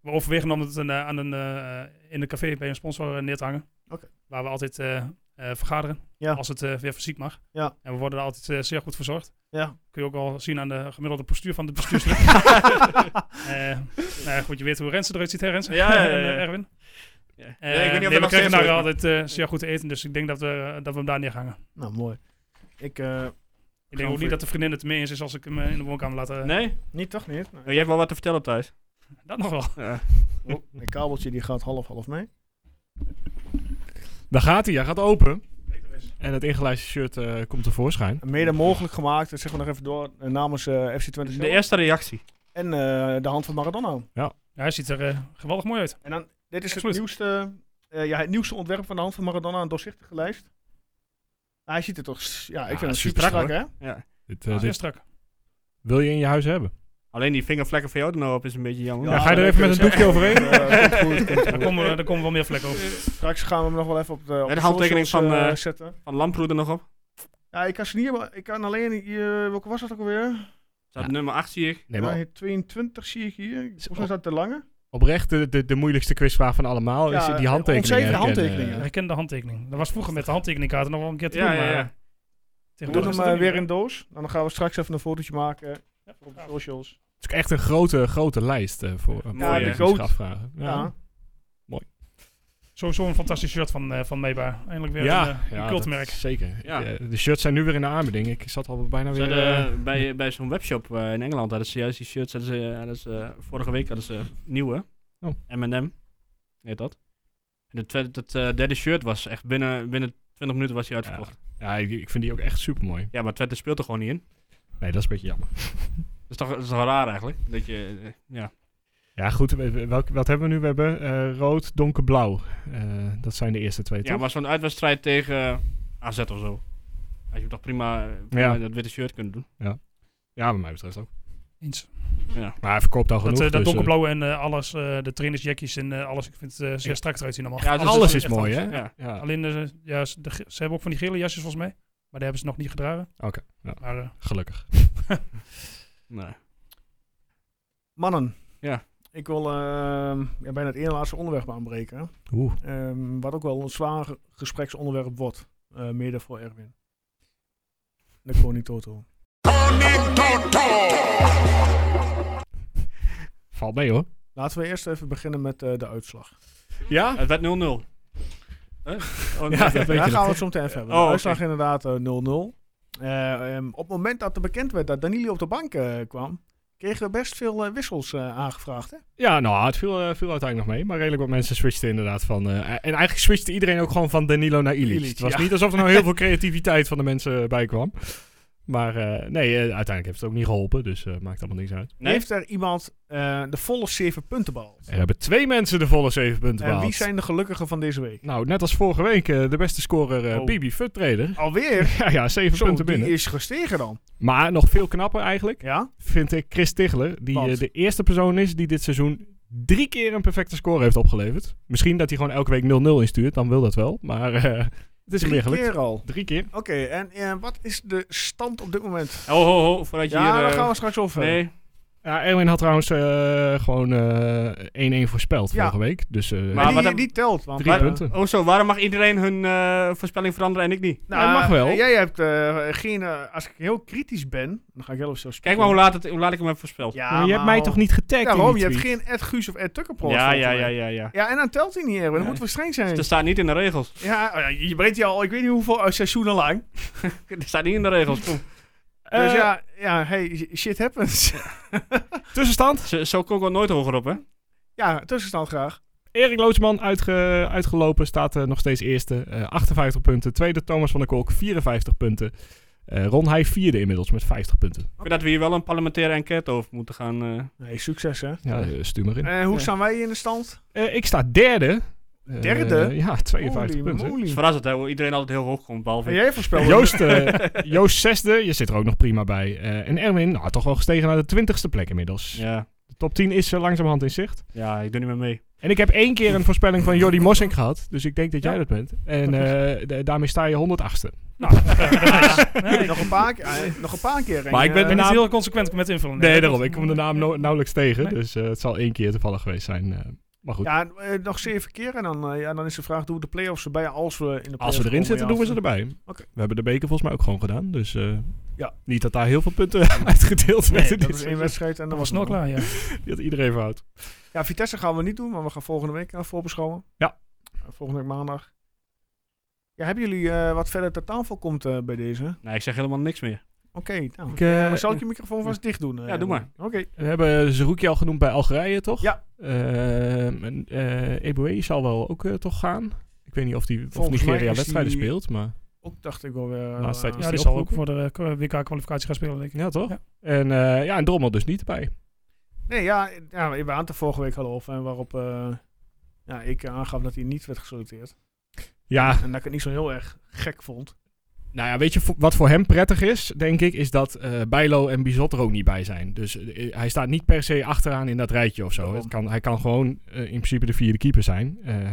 Speaker 4: we overwegen om het een, eh, aan een, eh, in een café bij een sponsor eh, neer te hangen.
Speaker 1: Oké.
Speaker 4: Waar we altijd eh, eh, vergaderen.
Speaker 1: Ja.
Speaker 4: Als het eh, weer fysiek mag.
Speaker 1: Ja.
Speaker 4: En we worden er altijd eh, zeer goed verzorgd.
Speaker 1: ja.
Speaker 4: Kun je ook al zien aan de gemiddelde postuur van de bestuurslid. Eh, nou ja, goed, je weet hoe Rensen eruit ziet, hè Rensen?
Speaker 3: Ja, ja, ja, ja.
Speaker 4: En, eh, Erwin.
Speaker 3: Ja.
Speaker 4: Eh,
Speaker 3: Ja, ik weet niet of
Speaker 4: nee,
Speaker 3: dat
Speaker 4: we
Speaker 3: nog steeds
Speaker 4: krijgen daar
Speaker 3: zo is,
Speaker 4: altijd eh, zeer goed te eten, dus ik denk dat we, dat we hem daar neer hangen.
Speaker 1: nou, mooi. Ik, eh,
Speaker 4: Ik denk ook niet dat de vriendin het mee eens is als ik hem eh, in de woonkamer laat. eh,
Speaker 3: maar- Nee?
Speaker 1: niet toch niet? Nee.
Speaker 3: Oh, Jij hebt wel wat te vertellen thuis.
Speaker 4: Dat nog wel.
Speaker 3: Ja.
Speaker 1: Oh, mijn kabeltje die gaat half-half mee.
Speaker 2: Daar gaat hij, hij gaat open. En het ingelijste shirt eh, komt tevoorschijn.
Speaker 1: Mede mogelijk gemaakt, dat zeggen we nog even door, eh, namens eh, FC Twente.
Speaker 3: De eerste reactie.
Speaker 1: En eh, de hand van Maradona.
Speaker 4: Ja, hij ziet er eh, geweldig mooi uit.
Speaker 1: En dan, dit is het
Speaker 4: Absoluut.
Speaker 1: nieuwste, eh, ja, het nieuwste ontwerp van de hand van Maradona, een doorzichtige lijst. Ah, Hij ziet er toch, s- ja, ik
Speaker 2: Ja,
Speaker 1: vind hem
Speaker 2: is
Speaker 1: super
Speaker 2: strak,
Speaker 4: Ah,
Speaker 1: strak, hè?
Speaker 3: Ja.
Speaker 2: Dit, eh,
Speaker 4: Zeer
Speaker 2: dit
Speaker 4: strak.
Speaker 2: wil je in je huis hebben.
Speaker 3: Alleen die vingervlekken van jou er nou op is een beetje jammer.
Speaker 4: Ja, ga je er
Speaker 3: dat-
Speaker 4: even met een doekje overheen?
Speaker 1: Eh, komt goed, komt
Speaker 4: Daar
Speaker 1: goed.
Speaker 4: komen, daar komen wel meer vlekken over.
Speaker 1: Straks gaan we hem nog wel even op de, op
Speaker 3: de handtekening
Speaker 1: socials,
Speaker 3: van,
Speaker 1: eh,
Speaker 3: eh,
Speaker 1: zetten.
Speaker 3: Van Lamproe er nog op.
Speaker 1: Ja, ik kan ze niet, maar ik kan alleen... hier- eh, welke was dat ook alweer?
Speaker 3: Staat
Speaker 2: Ja.
Speaker 3: nummer 8 zie ik.
Speaker 2: Nee, maar
Speaker 1: Ja, 22 zie ik hier. Volgens mij
Speaker 2: op-
Speaker 1: is dat de lange.
Speaker 2: oprecht de, de, de moeilijkste quizvraag van allemaal
Speaker 1: Ja,
Speaker 2: is die handtekeningen.
Speaker 1: ontzegende
Speaker 2: herkennen.
Speaker 1: handtekeningen.
Speaker 4: Ik ken de handtekening. Dat was vroeger met de handtekeningkaarten nog wel een keer te doen.
Speaker 3: Ja, ja,
Speaker 4: maar,
Speaker 3: ja.
Speaker 4: eh,
Speaker 1: We
Speaker 4: Tegenwoordig
Speaker 1: doen hem
Speaker 4: is dat
Speaker 1: eh,
Speaker 4: ook
Speaker 1: weer
Speaker 4: niet
Speaker 1: in doos. En dan gaan we straks even een fotootje maken
Speaker 4: meer.
Speaker 1: voor op de socials.
Speaker 2: Het is ook echt een grote, grote lijst eh, voor
Speaker 3: Ja,
Speaker 2: voor
Speaker 3: de
Speaker 2: deze
Speaker 1: goat.
Speaker 2: strafvragen. Ja.
Speaker 1: Ja.
Speaker 4: Sowieso een fantastisch shirt van, eh van Meba. Eindelijk weer
Speaker 2: Ja,
Speaker 4: een, eh, een
Speaker 2: ja,
Speaker 4: cultmerk.
Speaker 2: dat zeker.
Speaker 3: Ja.
Speaker 2: Eh, de shirts zijn nu weer in de aanbieding. Ik zat al bijna
Speaker 3: Ze
Speaker 2: weer... eh,
Speaker 3: hadden, eh, bij, bij zo'n webshop eh, in Engeland hadden ze juist die shirts. Hadden ze, eh, hadden ze, eh, vorige week hadden ze nieuwe.
Speaker 2: Oh.
Speaker 3: M&M heet dat. En het, tweede- het eh, derde shirt was echt binnen, binnen 20 minuten was hij uitverkocht. Ja,
Speaker 2: ja, ik, ik vind die ook echt super mooi.
Speaker 3: maar Twente speelt er gewoon niet in.
Speaker 2: Nee, dat is een beetje jammer.
Speaker 3: Dat is toch, dat is toch raar eigenlijk? Dat je, eh, ja.
Speaker 2: Ja, goed. we- we- Welk, wat hebben we nu? We hebben eh, rood, donkerblauw. Eh, dat zijn de eerste twee,
Speaker 3: ja,
Speaker 2: toch?
Speaker 3: maar zo'n uitwedstrijd tegen eh, AZ of zo. Als je toch prima, eh, prima dat witte shirt kunt doen.
Speaker 2: Ja, wat mij betreft ook.
Speaker 4: Eens.
Speaker 2: Maar hij verkoopt al genoeg.
Speaker 4: Dat, eh, dat
Speaker 2: dus, eh,
Speaker 4: donkerblauw en eh, alles, eh, de trainersjackies en eh, alles. Ik vind het eh, zeer strak eruit zien allemaal.
Speaker 3: Ja, dus
Speaker 2: alles
Speaker 3: het
Speaker 2: is
Speaker 3: echt
Speaker 2: mooi,
Speaker 3: anders.
Speaker 2: hè?
Speaker 3: Ja.
Speaker 2: Ja,
Speaker 4: Alleen, eh, ja, ze, de ge- ze hebben ook van die gele jasjes volgens mij. Maar die hebben ze nog niet gedragen.
Speaker 2: oké. Ja,
Speaker 4: Maar eh,
Speaker 2: gelukkig.
Speaker 3: Nee.
Speaker 1: Mannen.
Speaker 3: Ja.
Speaker 1: Ik wil ehm, ja, bijna het ene laatste onderwerp aanbreken.
Speaker 2: Oeh.
Speaker 1: Ehm, wat ook wel een zwaar gespreksonderwerp wordt. eh, mede voor Erwin. De koning Toto.
Speaker 2: Valt mee, hoor.
Speaker 1: Laten we eerst even beginnen met eh, de uitslag.
Speaker 2: Ja?
Speaker 3: Het werd 0-0. Huh? Oh,
Speaker 2: Ja,
Speaker 3: nee.
Speaker 2: dat weet
Speaker 1: Daar
Speaker 2: je
Speaker 1: gaan we
Speaker 2: nog.
Speaker 1: het zo meteen even hebben.
Speaker 3: Oh,
Speaker 1: de
Speaker 3: oké.
Speaker 1: uitslag inderdaad eh, 0-0. Eh, ehm, op het moment dat er bekend werd dat Danilo op de bank eh, kwam, kregen we best veel eh, wissels eh, aangevraagd. Hè?
Speaker 2: Ja, nou, het viel, eh, viel uiteindelijk nog mee. Maar redelijk wat mensen switchten inderdaad van... eh, en eigenlijk switchte iedereen ook gewoon van Danilo naar Illich.
Speaker 1: Illich,
Speaker 2: het was
Speaker 1: ja.
Speaker 2: niet alsof er nou heel veel creativiteit van de mensen eh, bij kwam. Maar eh, nee, eh, uiteindelijk heeft het ook niet geholpen. Dus eh, maakt allemaal niks uit.
Speaker 3: Nee?
Speaker 1: Heeft er iemand eh, de volle 7 punten behaald?
Speaker 2: Er hebben twee mensen de volle zeven punten
Speaker 1: En
Speaker 2: behaald.
Speaker 1: wie zijn de gelukkigen van deze week?
Speaker 2: Nou, net als vorige week eh, de beste scorer eh
Speaker 1: Oh.
Speaker 2: Bibi Futtreder.
Speaker 1: Alweer?
Speaker 2: Ja, ja, zeven
Speaker 1: Zo,
Speaker 2: punten
Speaker 1: die
Speaker 2: binnen.
Speaker 1: is gestegen dan.
Speaker 2: Maar nog veel knapper eigenlijk
Speaker 1: Ja?
Speaker 2: vind ik Chris Tichler. Die
Speaker 1: Want?
Speaker 2: eh, de eerste persoon is die dit seizoen drie keer een perfecte score heeft opgeleverd. Misschien dat hij gewoon elke week 0-0 instuurt, dan wil dat wel. Maar eh, het is hem weer
Speaker 1: Drie
Speaker 2: gelukt.
Speaker 1: keer al.
Speaker 2: Drie keer.
Speaker 1: Oké, en eh, wat is de stand op dit moment?
Speaker 3: Oh, ho, ho, voordat je
Speaker 1: Ja,
Speaker 3: hier...
Speaker 1: daar
Speaker 3: eh,
Speaker 1: gaan we straks over. hebben.
Speaker 3: Nee,
Speaker 2: Ja, Erwin had trouwens eh, gewoon eh 1-1 voorspeld
Speaker 1: Ja.
Speaker 2: vorige week. Dus eh,
Speaker 1: Maar
Speaker 3: Maar
Speaker 1: die,
Speaker 3: wat heb-
Speaker 1: die telt. Want,
Speaker 2: drie
Speaker 1: eh,
Speaker 2: punten.
Speaker 3: Oh zo, waarom mag iedereen hun eh, voorspelling veranderen en ik niet?
Speaker 1: nou,
Speaker 2: Ja, mag wel.
Speaker 1: Jij hebt eh, geen... eh, als ik heel kritisch ben, dan ga ik heel even zo
Speaker 3: Kijk
Speaker 1: spelen.
Speaker 3: maar hoe laat, het, hoe laat ik hem heb voorspeld.
Speaker 1: Ja,
Speaker 2: maar je hebt mij toch niet getagd in
Speaker 1: Daarom,
Speaker 2: die
Speaker 1: je hebt
Speaker 2: tweet?
Speaker 1: geen Ed Guus of Ed Tukkerpro.
Speaker 3: ja,
Speaker 1: volgens
Speaker 3: ja,
Speaker 1: mij.
Speaker 3: ja, ja, ja.
Speaker 1: Ja, en dan telt hij niet, Erwin. Dat
Speaker 3: Nee. Dus-
Speaker 1: moet wel streng zijn.
Speaker 3: Het staat niet in de regels.
Speaker 1: Ja, oh ja, je breekt die al, ik weet niet hoeveel eh, seizoenen lang.
Speaker 3: Het staat niet in de regels. Kom.
Speaker 1: dus
Speaker 2: Eh,
Speaker 1: ja, ja, hey, shit happens.
Speaker 2: Tussenstand.
Speaker 3: Zo, zo kom ik wel nooit hoger op, hè?
Speaker 1: ja, tussenstand graag.
Speaker 2: Erik Lootsman uitge- uitgelopen, staat eh, nog steeds eerste. eh, 58 punten. Tweede Thomas van der Kolk, 54 punten. Eh Ron Heij vierde inmiddels met 50 punten.
Speaker 3: Ik vind dat we hier wel een parlementaire enquête over moeten gaan... eh.
Speaker 1: Nee, succes hè.
Speaker 2: Ja, eh, stuur maar in.
Speaker 1: Eh, hoe
Speaker 3: Ja.
Speaker 1: staan wij in de stand?
Speaker 2: Eh, ik sta derde. Eh,
Speaker 1: Derde?
Speaker 2: ja, 52
Speaker 1: Holy
Speaker 2: punten.
Speaker 1: moly.
Speaker 3: Het is verrassend, hè, hoe iedereen altijd heel hoog komt, behalve
Speaker 1: En
Speaker 3: ik.
Speaker 1: jij voorspelde
Speaker 2: Joost, eh, Joost zesde, je zit er ook nog prima bij. Eh, en Erwin, nou, toch wel gestegen naar de twintigste plek inmiddels.
Speaker 3: Ja.
Speaker 2: De top 10 is eh, langzamerhand in zicht.
Speaker 3: ja, ik doe niet meer mee.
Speaker 2: En ik heb één keer een voorspelling van Jordi Mossink gehad. Dus ik denk dat jij dat bent. En eh, d- daarmee sta je 108ste.
Speaker 4: nou, nice. Nee, ik
Speaker 1: eh, nog, een paar, keer- eh, nog een paar keer.
Speaker 2: Maar
Speaker 1: En,
Speaker 2: ik ben
Speaker 1: eh,
Speaker 4: ben niet
Speaker 2: naam-
Speaker 4: heel consequent met invullen.
Speaker 2: Nee,
Speaker 4: dat
Speaker 2: daarom.
Speaker 4: is-
Speaker 2: Ik kom de naam nau- nauwelijks tegen.
Speaker 4: Nee.
Speaker 2: Dus eh, het zal één keer toevallig geweest zijn. eh, maar goed,
Speaker 1: Ja, eh, nog zeven keer. En dan, eh, ja, dan is de vraag, doen we de play-offs erbij als we in de
Speaker 2: als we erin zitten, doen we ze erbij.
Speaker 1: Oké.
Speaker 2: We hebben de beker volgens mij ook gewoon gedaan. Dus eh,
Speaker 1: Ja.
Speaker 2: niet dat daar heel veel punten uitgedeeld
Speaker 4: Nee,
Speaker 2: werden.
Speaker 1: Dat is
Speaker 2: dit
Speaker 1: één
Speaker 2: seizoen.
Speaker 1: wedstrijd en
Speaker 4: Dat
Speaker 1: dan
Speaker 4: was
Speaker 1: was
Speaker 4: snel
Speaker 1: nog
Speaker 4: klaar, ja.
Speaker 2: Die had iedereen fout.
Speaker 1: Ja, Vitesse gaan we niet doen, maar we gaan volgende week eh, voorbeschouwen.
Speaker 2: Ja.
Speaker 1: Eh, Volgende week maandag. Ja, hebben jullie eh, wat verder ter tafel komt eh, bij deze? Oké,
Speaker 3: Nee, ik zeg helemaal niks meer.
Speaker 1: nou.
Speaker 2: Ik, eh,
Speaker 1: Maar zal ik je microfoon vast dicht doen? eh,
Speaker 3: Ja, doe maar.
Speaker 1: Oké.
Speaker 2: We hebben Zerouki al genoemd bij Algerije, toch?
Speaker 1: Ja.
Speaker 2: Ehm, en eh Eboué zal wel ook eh, toch gaan. Ik weet niet of, die, of
Speaker 1: Volgens mij
Speaker 2: Nigeria
Speaker 1: is
Speaker 2: wedstrijden
Speaker 1: die-
Speaker 2: speelt, maar...
Speaker 1: Ook dacht ik wel weer... eh,
Speaker 2: Laatste tijd
Speaker 1: eh,
Speaker 2: is die
Speaker 4: Ja, die zal ook voor
Speaker 2: opgeroepen?
Speaker 4: de eh, WK-kwalificatie gaan spelen, denk ik.
Speaker 2: Ja, toch?
Speaker 4: Ja.
Speaker 2: En, eh, ja, en Drommel dus niet bij.
Speaker 1: Nee, ja, ja we waren het er vorige week al over. En waarop eh, ja, eh, ik aangaf dat hij niet werd geselecteerd.
Speaker 2: Ja,
Speaker 1: En dat ik het niet zo heel erg gek vond.
Speaker 2: Nou ja, weet je vo- wat voor hem prettig is, denk ik, is dat eh, Bijlo en Bizot er ook niet bij zijn. Dus eh, hij staat niet per se achteraan in dat rijtje of zo.
Speaker 1: Daarom.
Speaker 2: Het kan, hij kan gewoon eh, in principe de vierde keeper zijn. Eh,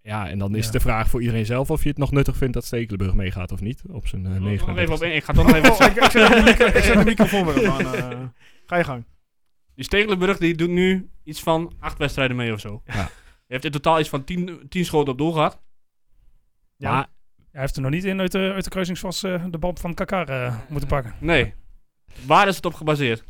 Speaker 2: ja, en dan is
Speaker 1: Ja.
Speaker 2: de vraag voor iedereen zelf of je het nog nuttig vindt dat Stekelenburg meegaat of niet. Op zijn eh
Speaker 3: Ik wil er nog
Speaker 2: 39e.
Speaker 3: even op in. Ik ga toch nog even op
Speaker 1: Oh, ik, ik zet de micro- ik zet de microfoon weer op aan. eh. ga je gang.
Speaker 3: Die Stekelenburg die doet nu iets van acht wedstrijden mee of zo.
Speaker 2: Ja.
Speaker 3: Hij heeft in totaal iets van tien, tien schoten op doel gehad.
Speaker 1: Ja.
Speaker 2: Maar
Speaker 4: Hij heeft er nog niet in uit de, uit de kruisingsvast eh, de bal van Kakar eh, moeten pakken.
Speaker 3: Nee. Waar is het op gebaseerd?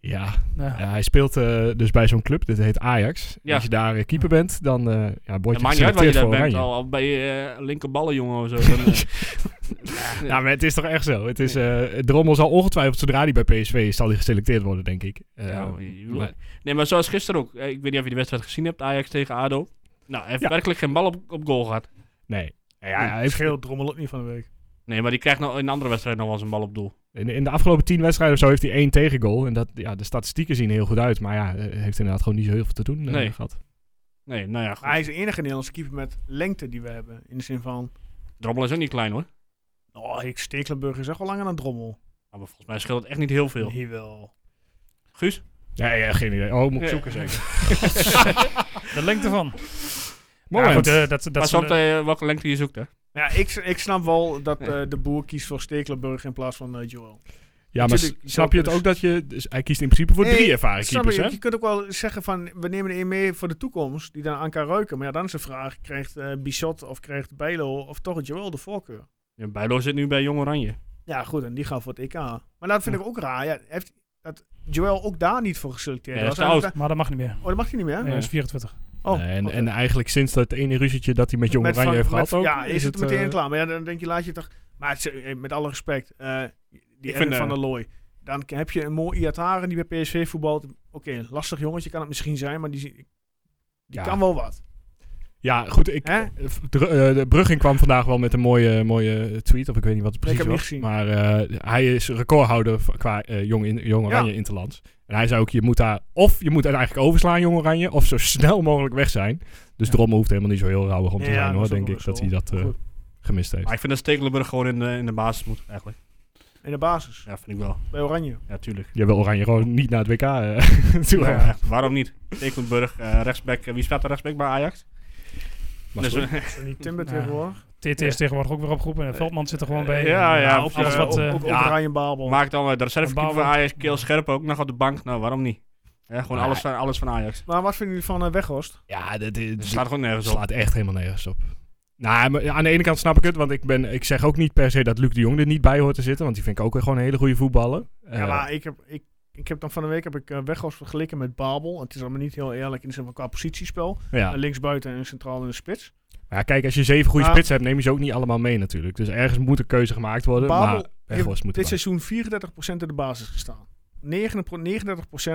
Speaker 2: ja,
Speaker 4: Ja.
Speaker 2: ja, hij speelt eh, dus bij zo'n club, dit heet Ajax.
Speaker 3: Ja.
Speaker 2: Als je daar eh, keeper bent, dan eh ja, word
Speaker 3: Het
Speaker 2: je
Speaker 3: maakt niet uit waar je
Speaker 2: geselecteerd
Speaker 3: daar
Speaker 2: voor
Speaker 3: bent.
Speaker 2: Oranje.
Speaker 3: Al, al bij je linkerballenjongen of zo. Dan, eh,
Speaker 2: Ja, maar het is toch echt zo. Het is, eh, Drommel zal ongetwijfeld, zodra hij bij PSV is, zal hij geselecteerd worden, denk ik. Eh,
Speaker 3: Ja, je-
Speaker 2: maar-
Speaker 3: Nee, maar zoals gisteren ook. Eh, Ik weet niet of je de wedstrijd gezien hebt, Ajax tegen ADO. Nou, hij heeft
Speaker 2: Ja.
Speaker 3: werkelijk geen bal op, op goal gehad.
Speaker 2: nee. Ja, hij
Speaker 1: Hij
Speaker 2: heeft,
Speaker 1: scheelt drommel ook niet van de week.
Speaker 3: Nee, maar die krijgt nou in een andere wedstrijd nog wel eens een bal op doel.
Speaker 2: in, in de afgelopen tien wedstrijden of zo heeft hij één tegengoal. En dat, ja, de statistieken zien er heel goed uit. Maar ja, eh, heeft inderdaad gewoon niet zo heel veel te doen eh,
Speaker 3: Nee.
Speaker 2: gehad.
Speaker 3: Nee, nou ja,
Speaker 1: Maar hij
Speaker 3: goed.
Speaker 1: is de enige Nederlandse keeper met lengte die we hebben. In de zin van,
Speaker 3: Drommel is ook niet klein hoor.
Speaker 1: oh, ik Stekelenburg is echt wel langer dan drommel.
Speaker 3: Maar volgens mij scheelt het echt niet heel veel.
Speaker 1: Hier wel.
Speaker 3: Guus?
Speaker 2: Ja, ja, geen idee. Oh, moet ik
Speaker 3: Ja.
Speaker 2: zoeken zeker.
Speaker 4: De lengte van.
Speaker 2: Moment.
Speaker 4: Ja, goed, eh, dat, dat
Speaker 3: Pas
Speaker 4: zullen-
Speaker 3: op eh, welke lengte je zoekt hè.
Speaker 1: Ja, ik, s- ik snap wel dat
Speaker 3: Ja.
Speaker 1: eh, de boer kiest voor Stekelenburg in plaats van eh, Joel.
Speaker 2: ja, maar s-
Speaker 1: Natuurlijk, je
Speaker 2: snap je
Speaker 1: zou
Speaker 2: het ook dat je... dus hij kiest in principe voor
Speaker 1: Nee,
Speaker 2: drie ervaren
Speaker 1: Snap
Speaker 2: keepers,
Speaker 1: je,
Speaker 2: hè?
Speaker 1: je kunt ook wel zeggen van, we nemen er één mee voor de toekomst, die dan aan kan ruiken. Maar ja, dan is de vraag, krijgt eh Bichot of krijgt Bijlo of toch Joel de voorkeur?
Speaker 3: Ja, Bijlo zit nu bij Jong Oranje.
Speaker 1: Ja, goed, en die gaan voor het EK. Maar dat vind ik ook raar. Ja, heeft dat Joel ook daar niet voor geselecteerd
Speaker 3: Ja, dat is
Speaker 1: was?
Speaker 3: te oud.
Speaker 1: En-
Speaker 4: Maar dat mag niet meer.
Speaker 1: Oh, dat mag hij niet meer?
Speaker 4: Nee,
Speaker 1: hè?
Speaker 4: hij is 24.
Speaker 1: Oh,
Speaker 2: Nee, en,
Speaker 1: oké.
Speaker 2: en eigenlijk sinds dat ene ruzietje dat hij met Jong
Speaker 1: Met
Speaker 2: Oranje
Speaker 1: Van-
Speaker 2: heeft
Speaker 1: met-
Speaker 2: gehad ook...
Speaker 1: Ja, is, het, meteen
Speaker 2: eh,
Speaker 1: klaar. Maar ja, dan denk je, laat je toch... Maar het is, eh, met alle respect, eh die
Speaker 3: vind,
Speaker 1: Erwin
Speaker 3: eh,
Speaker 1: van der Looy. Dan k- heb je een mooi Iataren die bij PSV voetbalt. Oké, lastig jongetje kan het misschien zijn, maar die, die
Speaker 2: ja.
Speaker 1: kan wel wat.
Speaker 2: Ja, goed. Ik,
Speaker 1: Hè?
Speaker 2: de, eh, de Brugging kwam vandaag wel met een mooie, mooie tweet. Of ik weet niet wat het
Speaker 1: Ik
Speaker 2: precies
Speaker 1: heb hem
Speaker 2: was.
Speaker 1: niet gezien.
Speaker 2: Maar eh, hij is recordhouder v- qua eh, jong, in, jong
Speaker 1: Ja.
Speaker 2: Oranje Interlands. En hij zei ook, je moet daar... Of je moet het eigenlijk overslaan, Jong Oranje. Of zo snel mogelijk weg zijn. Dus
Speaker 1: Ja.
Speaker 2: Drommel hoeft helemaal niet zo heel rauwig om te
Speaker 1: Ja,
Speaker 2: zijn,
Speaker 1: dat
Speaker 2: hoor.
Speaker 1: is ook
Speaker 2: Denk
Speaker 1: wel
Speaker 2: ik
Speaker 1: zo.
Speaker 2: dat hij dat eh,
Speaker 1: Goed.
Speaker 2: gemist heeft.
Speaker 3: Maar ik vind dat Stekelenburg gewoon in de, in de basis moet eigenlijk.
Speaker 1: In de basis,
Speaker 3: Ja, vind ik wel.
Speaker 1: bij Oranje.
Speaker 3: Ja, tuurlijk.
Speaker 2: Je wil Oranje gewoon niet naar het WK eh, toe.
Speaker 3: Ja,
Speaker 2: halen.
Speaker 3: echt, waarom niet? Stekelenburg, eh, rechtsback. eh, wie staat er rechtsback bij Ajax?
Speaker 2: Maar
Speaker 3: Dus,
Speaker 2: goed.
Speaker 3: eh,
Speaker 1: Is er niet Timber
Speaker 4: Ja.
Speaker 1: tegenwoordig?
Speaker 4: TT is tegenwoordig ook weer opgeroepen. En Veldman zit er gewoon bij.
Speaker 3: Ja, ja,
Speaker 4: Nou,
Speaker 1: Ook,
Speaker 4: alles
Speaker 1: eh,
Speaker 4: wat,
Speaker 1: ook,
Speaker 4: eh,
Speaker 1: ook
Speaker 3: ja.
Speaker 1: Oranje Babel.
Speaker 3: Maak dan eh, de reservekeeper
Speaker 4: Bouwen.
Speaker 3: van Ajax, Keel Scherp ook nog op de bank. Nou, waarom niet? Ja, gewoon
Speaker 2: Maar-
Speaker 3: alles, van, alles van Ajax.
Speaker 1: Maar wat vinden jullie van eh, Weghorst?
Speaker 2: ja, dat is...
Speaker 3: Het staat gewoon nergens op.
Speaker 2: slaat echt helemaal nergens op. Nou, maar aan de ene kant snap ik het, want ik, ben, ik zeg ook niet per se dat Luc de Jong er niet bij hoort te zitten, want die vind ik ook weer gewoon een hele goede voetballer.
Speaker 1: ja,
Speaker 2: Eh,
Speaker 1: maar ik heb, ik, ik heb dan van de week heb ik eh, Weghorst vergeleken met Babel. Het is allemaal niet heel eerlijk in de zin van qua positiespel.
Speaker 2: ja.
Speaker 1: Eh, Linksbuiten en centraal in de spits.
Speaker 2: Maar ja, kijk, als je zeven goede
Speaker 1: Maar-
Speaker 2: spitsen hebt, neem je ze ook niet allemaal mee natuurlijk. Dus ergens moet een keuze gemaakt worden,
Speaker 1: Babel
Speaker 2: maar Weghorst moet
Speaker 1: dit
Speaker 2: erbij.
Speaker 1: seizoen 34% in de basis gestaan. 39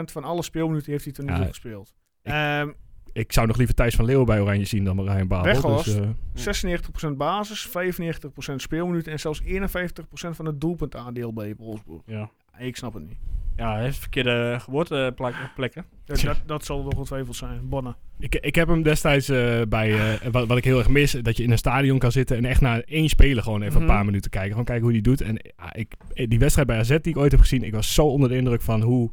Speaker 1: 39% van alle speelminuten heeft hij tot nu toe
Speaker 2: Ja,
Speaker 1: gespeeld.
Speaker 2: ik-
Speaker 1: Ehm,
Speaker 2: Ik zou nog liever Thijs van Leeuwen bij Oranje zien dan Ryan Babel.
Speaker 1: Weghorst.
Speaker 2: Dus, eh,
Speaker 1: 96% basis, 95% speelminuten en zelfs 51% van het doelpuntaandeel bij Wolfsburg.
Speaker 3: Ja.
Speaker 1: Ik snap het niet.
Speaker 3: Ja, hij heeft verkeerde eh, geboorteplekken.
Speaker 1: Dat, dat, dat zal nog ongetwijfeld zijn. Bonne.
Speaker 2: ik, ik heb hem destijds eh, bij, eh, wat, wat ik heel erg mis, dat je in een stadion kan zitten en echt naar één speler gewoon even
Speaker 1: Mhm.
Speaker 2: een paar minuten kijken. Gewoon kijken hoe die doet. En ja, ik, eh, die wedstrijd bij AZ die ik ooit heb gezien, ik was zo onder de indruk van hoe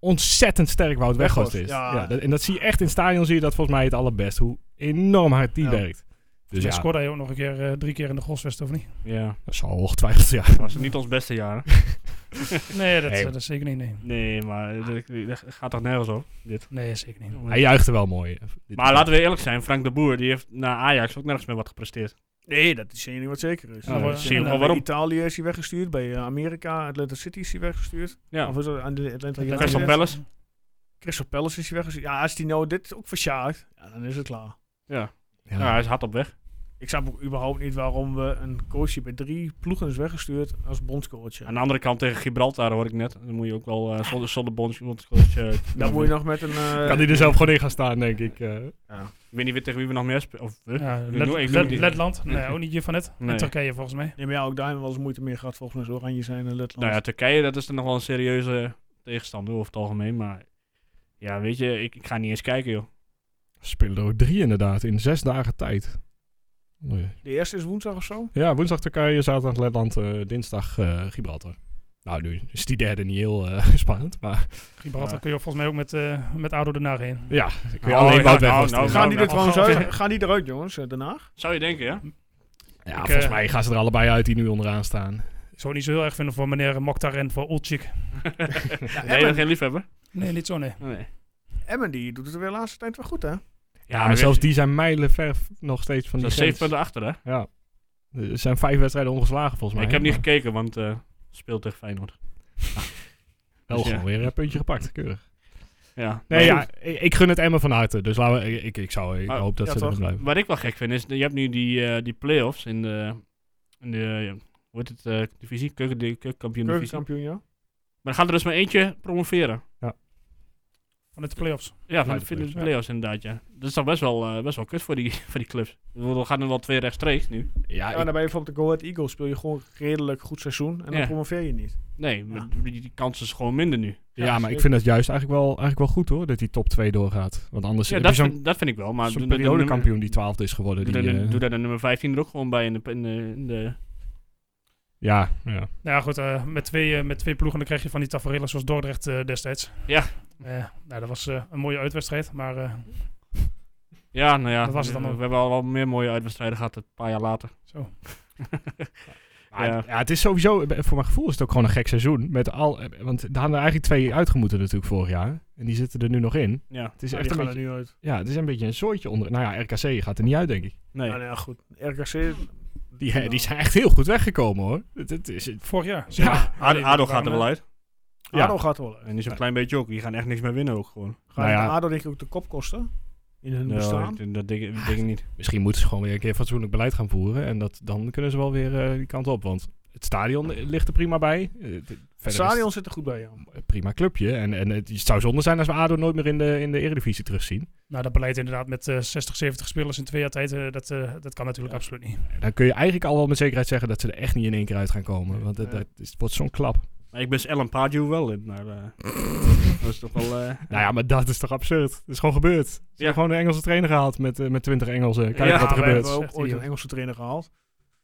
Speaker 2: ontzettend sterk Wout Weghorst is.
Speaker 1: Weghorst, ja.
Speaker 2: dat- en dat zie je echt in het stadion, zie je dat volgens mij het allerbest, hoe enorm hard die
Speaker 1: Ja.
Speaker 2: werkt. Dus
Speaker 4: Hij
Speaker 2: ja,
Speaker 4: scoorde hij ook nog een keer, eh, drie keer in de Groswest, of niet?
Speaker 3: Ja,
Speaker 2: dat zal ongetwijfeld, ja.
Speaker 3: was niet ons beste jaar. hè?
Speaker 4: Nee, dat,
Speaker 2: Nee.
Speaker 4: dat is zeker niet. Nee,
Speaker 3: Nee, maar eh, dat- dat gaat toch nergens op.
Speaker 4: nee zeker niet.
Speaker 2: Hij juichte wel mooi.
Speaker 3: Maar laten we eerlijk zijn, Frank de Boer die heeft na Ajax ook nergens meer wat gepresteerd.
Speaker 1: Nee, dat is één ding wat zeker is.
Speaker 4: Ja,
Speaker 1: Eh,
Speaker 4: dat
Speaker 1: ik denk
Speaker 3: je
Speaker 4: zie
Speaker 1: dat
Speaker 3: wel
Speaker 1: bij
Speaker 3: waarom.
Speaker 1: Italië is hij weggestuurd, bij eh, Amerika, Atlanta City is hij weggestuurd.
Speaker 3: Ja.
Speaker 1: Of is dat aan de Atlanta
Speaker 4: Ja,
Speaker 1: United?
Speaker 3: Crystal
Speaker 4: ja.
Speaker 3: Palace?
Speaker 1: Crystal Palace is hij weggestuurd. Ja, als hij nou dit ook versjaagt, ja, dan is het klaar.
Speaker 2: Ja.
Speaker 3: Ja, hij is hard op weg.
Speaker 1: Ik snap ook überhaupt niet waarom we een coach die bij drie ploegen is weggestuurd als bondscoach.
Speaker 3: Aan de andere kant tegen Gibraltar hoor ik net. Dan moet je ook wel eh, zonder, zonder bonds. bondscoach, eh,
Speaker 1: Dan moet je nog met een... eh,
Speaker 2: Kan hij er zelf gewoon in gaan staan, denk ik. eh.
Speaker 3: Ik weet niet weer tegen wie we nog meer spelen. Of we?
Speaker 4: Ja,
Speaker 3: Ik
Speaker 4: Let-
Speaker 3: noem- ik noem
Speaker 4: Let-
Speaker 3: die-
Speaker 4: Letland, nee, ook niet van net.
Speaker 3: Nee.
Speaker 4: En Turkije volgens mij.
Speaker 1: Nee, maar ja, ook daar hebben we wel eens moeite mee gehad volgens mij. Zo oranje zijn in Letland.
Speaker 3: Nou ja, Turkije dat is dan nog wel een serieuze tegenstander over het algemeen. Maar ja, weet je, ik, ik ga niet eens kijken joh.
Speaker 2: Spelen er ook drie inderdaad, in zes dagen tijd. Oh jee.
Speaker 1: De eerste is woensdag of zo.
Speaker 2: Ja, woensdag Turkije, zaterdag Letland, eh, dinsdag eh, Gibraltar. Nou, nu is die derde niet heel eh, spannend, maar
Speaker 4: Gibraltar
Speaker 2: Ja.
Speaker 4: kun je volgens mij ook met, eh met ADO daarna heen.
Speaker 2: ja, ik weet
Speaker 3: Oh,
Speaker 2: alleen
Speaker 3: ja,
Speaker 2: Wout weg
Speaker 3: nou,
Speaker 2: was
Speaker 3: nou,
Speaker 2: terug.
Speaker 3: nou.
Speaker 1: Gaan die er trouwens
Speaker 4: oh,
Speaker 1: uit?
Speaker 4: oké.
Speaker 1: Gaan die eruit, jongens, eh, daarna?
Speaker 3: Zou je denken, ja?
Speaker 2: Ja,
Speaker 4: Ik,
Speaker 2: volgens
Speaker 4: eh,
Speaker 2: mij gaan ze er allebei uit die nu onderaan staan.
Speaker 4: Ik zou het niet zo heel erg vinden voor meneer Mokhtar en voor Olcik.
Speaker 3: nee, dat geen liefhebber.
Speaker 4: Nee, niet zo, nee.
Speaker 3: Nee.
Speaker 1: Emmen die doet het er weer de laatste tijd wel goed, hè?
Speaker 2: Ja, maar zelfs die zijn mijlenver nog steeds van die
Speaker 3: zeven
Speaker 2: grens.
Speaker 3: punten achter, hè?
Speaker 2: Ja. Er zijn vijf wedstrijden ongeslagen volgens mij.
Speaker 3: ik heb niet
Speaker 2: Maar
Speaker 3: gekeken, want eh speelt tegen Feyenoord.
Speaker 2: Wel
Speaker 3: dus ja.
Speaker 2: gewoon weer een puntje gepakt, keurig.
Speaker 3: Ja. Oh,
Speaker 2: Nee,
Speaker 3: Maar
Speaker 2: ja,
Speaker 3: goed,
Speaker 2: ik, ik gun het Emmen van harte. Dus laten we, ik, ik, zou, ik
Speaker 3: Maar-
Speaker 2: hoop dat
Speaker 1: ja,
Speaker 2: ze
Speaker 1: toch?
Speaker 2: erin blijven.
Speaker 3: Wat ik wel gek vind, is je hebt nu die, eh, die play-offs in de, in de eh, hoe heet het, eh, divisie? Keuken, de, keukenkampioen divisie.
Speaker 1: Keukenkampioen, ja.
Speaker 3: Maar dan gaat er dus maar eentje promoveren.
Speaker 4: Vanuit de playoffs.
Speaker 3: Ja, van
Speaker 2: Vanuit
Speaker 3: de,
Speaker 2: de
Speaker 3: van de
Speaker 2: play-offs, ja.
Speaker 3: play-offs inderdaad, ja. Dat is toch best wel, eh, best wel kut voor die, voor die clubs. Ik bedoel, Er gaan er wel twee rechtstreeks nu.
Speaker 2: Ja,
Speaker 1: Ja,
Speaker 2: ik-
Speaker 3: nou,
Speaker 1: dan ben je bijvoorbeeld de Go Ahead Eagles, speel je gewoon redelijk goed seizoen en dan
Speaker 3: Ja.
Speaker 1: promoveer je niet.
Speaker 3: Nee, maar die, die kans is gewoon minder nu.
Speaker 2: ja,
Speaker 1: Ja,
Speaker 2: maar ik
Speaker 1: zeker.
Speaker 2: vind het juist eigenlijk wel, eigenlijk wel goed hoor, dat die top 2 doorgaat. Want anders
Speaker 3: Ja,
Speaker 2: heb
Speaker 3: dat,
Speaker 2: je zo'n
Speaker 3: vind, dat vind ik wel. Maar
Speaker 2: zo'n
Speaker 3: doe- doe- doe-
Speaker 2: periodekampioen die twaalfde is geworden.
Speaker 3: Doe,
Speaker 2: Die,
Speaker 3: daar de-
Speaker 2: eh,
Speaker 3: doe daar de nummer 15 er ook gewoon bij in de... In de, in de-
Speaker 2: ja, ja.
Speaker 4: Nou ja, goed, eh, met, twee, eh, met twee ploegen dan krijg je van die tafereelen zoals Dordrecht eh, destijds.
Speaker 3: Ja.
Speaker 4: Eh, nou, dat was eh, een mooie uitwedstrijd, maar eh,
Speaker 3: ja, nou ja.
Speaker 4: Dat was het dan
Speaker 3: we,
Speaker 4: ook.
Speaker 3: we hebben al wel meer mooie uitwedstrijden gehad een paar jaar later.
Speaker 4: zo.
Speaker 2: Maar
Speaker 3: Ja.
Speaker 2: het- ja, het is sowieso, eh, voor mijn gevoel is het ook gewoon een gek seizoen. Met al, eh, want daar hadden er eigenlijk twee uitgemoeten natuurlijk vorig jaar. En die zitten er nu nog in.
Speaker 3: Ja.
Speaker 2: Het is
Speaker 1: Ja,
Speaker 2: echt
Speaker 1: die
Speaker 2: een
Speaker 1: gaan
Speaker 2: beetje,
Speaker 1: er nu uit.
Speaker 2: ja, het is een beetje een zooitje onder. Nou ja, RKC gaat er niet uit, denk ik.
Speaker 3: Nee.
Speaker 1: Ja, nou ja, goed. RKC,
Speaker 2: Die, eh, die zijn echt heel goed weggekomen hoor. Het, het is,
Speaker 4: Vorig jaar.
Speaker 2: Ja,
Speaker 3: Ado, Ado gaat er wel uit.
Speaker 2: Ja.
Speaker 1: ADO gaat er wel uit.
Speaker 3: En die zo'n klein beetje ook. Die gaan echt niks meer winnen ook gewoon.
Speaker 1: Gaan
Speaker 2: Nou ja.
Speaker 1: de ADO denk ik ook de kop kosten? In hun bestaan?
Speaker 3: dat, dat denk, ik- dat denk ik niet.
Speaker 2: misschien moeten ze gewoon weer een keer fatsoenlijk beleid gaan voeren. En dat, dan kunnen ze wel weer eh, die kant op. Want het stadion eh, ligt er prima bij. Eh, het- verder
Speaker 1: Het
Speaker 2: is
Speaker 1: stadion zit er goed bij, ja.
Speaker 2: het een prima clubje. En, en het zou zonde zijn als we ADO nooit meer in de, in de Eredivisie terugzien.
Speaker 4: Nou, dat beleid inderdaad met eh, 60, 70 spelers in twee jaar tijd, eh, dat, eh, dat kan natuurlijk absoluut niet.
Speaker 2: Dan kun je eigenlijk al wel met zekerheid zeggen dat ze er echt niet in één keer uit gaan komen. Want het,
Speaker 1: Nee.
Speaker 2: dat is- het wordt zo'n klap.
Speaker 3: Maar ik ben Ellen Pardew wel in. Maar, eh, dat is toch wel... eh,
Speaker 2: Nou ja, maar dat is toch absurd. Dat is gewoon gebeurd. Ze hebben gewoon een Engelse trainer gehaald met, eh, met 20 Engelsen. Kijk
Speaker 3: Ja,
Speaker 2: wat er
Speaker 1: we
Speaker 2: gebeurt.
Speaker 1: hebben ook
Speaker 4: Echt
Speaker 1: ooit een
Speaker 4: idioot.
Speaker 1: Engelse trainer gehaald.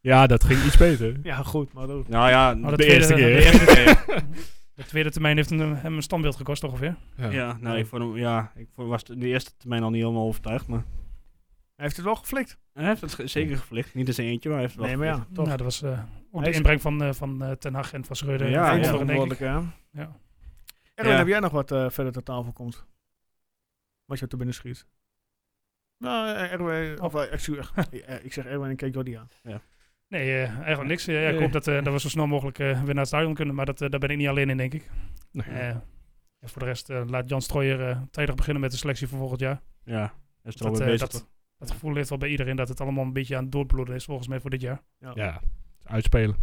Speaker 2: Ja, dat ging iets beter.
Speaker 1: Ja, goed, maar dat...
Speaker 3: nou ja,
Speaker 4: Maar
Speaker 2: de eerste
Speaker 3: de
Speaker 2: keer.
Speaker 3: eerste keer.
Speaker 4: De tweede termijn heeft hem, hem een standbeeld gekost ongeveer.
Speaker 3: Ja, nou, ik, vond hem, ja, ik vond- was in de eerste termijn al niet helemaal overtuigd. Maar
Speaker 1: Hij heeft het wel geflikt.
Speaker 3: hij heeft het ge- zeker gevlicht. Niet eens eentje, maar hij heeft het wel
Speaker 1: Nee, maar ja, toch.
Speaker 4: Nou, dat was eh, ook
Speaker 1: Hij
Speaker 4: de
Speaker 1: is-
Speaker 4: inbreng van, eh, van eh, Ten Hag en van Schreuder.
Speaker 3: Ja,
Speaker 4: en
Speaker 3: ja.
Speaker 4: anderen, denk ik.
Speaker 1: Eindverantwoordelijk, hè.
Speaker 4: Ja.
Speaker 1: Erwin,
Speaker 3: Ja.
Speaker 1: heb jij nog wat eh, verder ter tafel komt? Wat je te binnen schiet? Nou, eh, Erwin... Of, eh, excuus, eh, ik zeg Erwin en kijk Jordi aan.
Speaker 4: Nee, eh, eigenlijk niks. Eh, ik
Speaker 2: Nee.
Speaker 4: hoop dat, eh, dat we zo snel mogelijk eh, weer naar het stadion kunnen, maar dat, eh, daar ben ik niet alleen in, denk ik.
Speaker 2: Nee.
Speaker 4: Eh, en voor de rest eh, laat Jan Strooijer eh, tijdig beginnen met de selectie voor volgend jaar.
Speaker 3: Ja, hij is er al
Speaker 4: Dat,
Speaker 3: mee
Speaker 4: eh,
Speaker 3: bezig.
Speaker 4: dat, dat gevoel ligt wel bij iedereen dat het allemaal een beetje aan het doorbloeden is, volgens mij, voor dit jaar.
Speaker 2: Ja, uitspelen.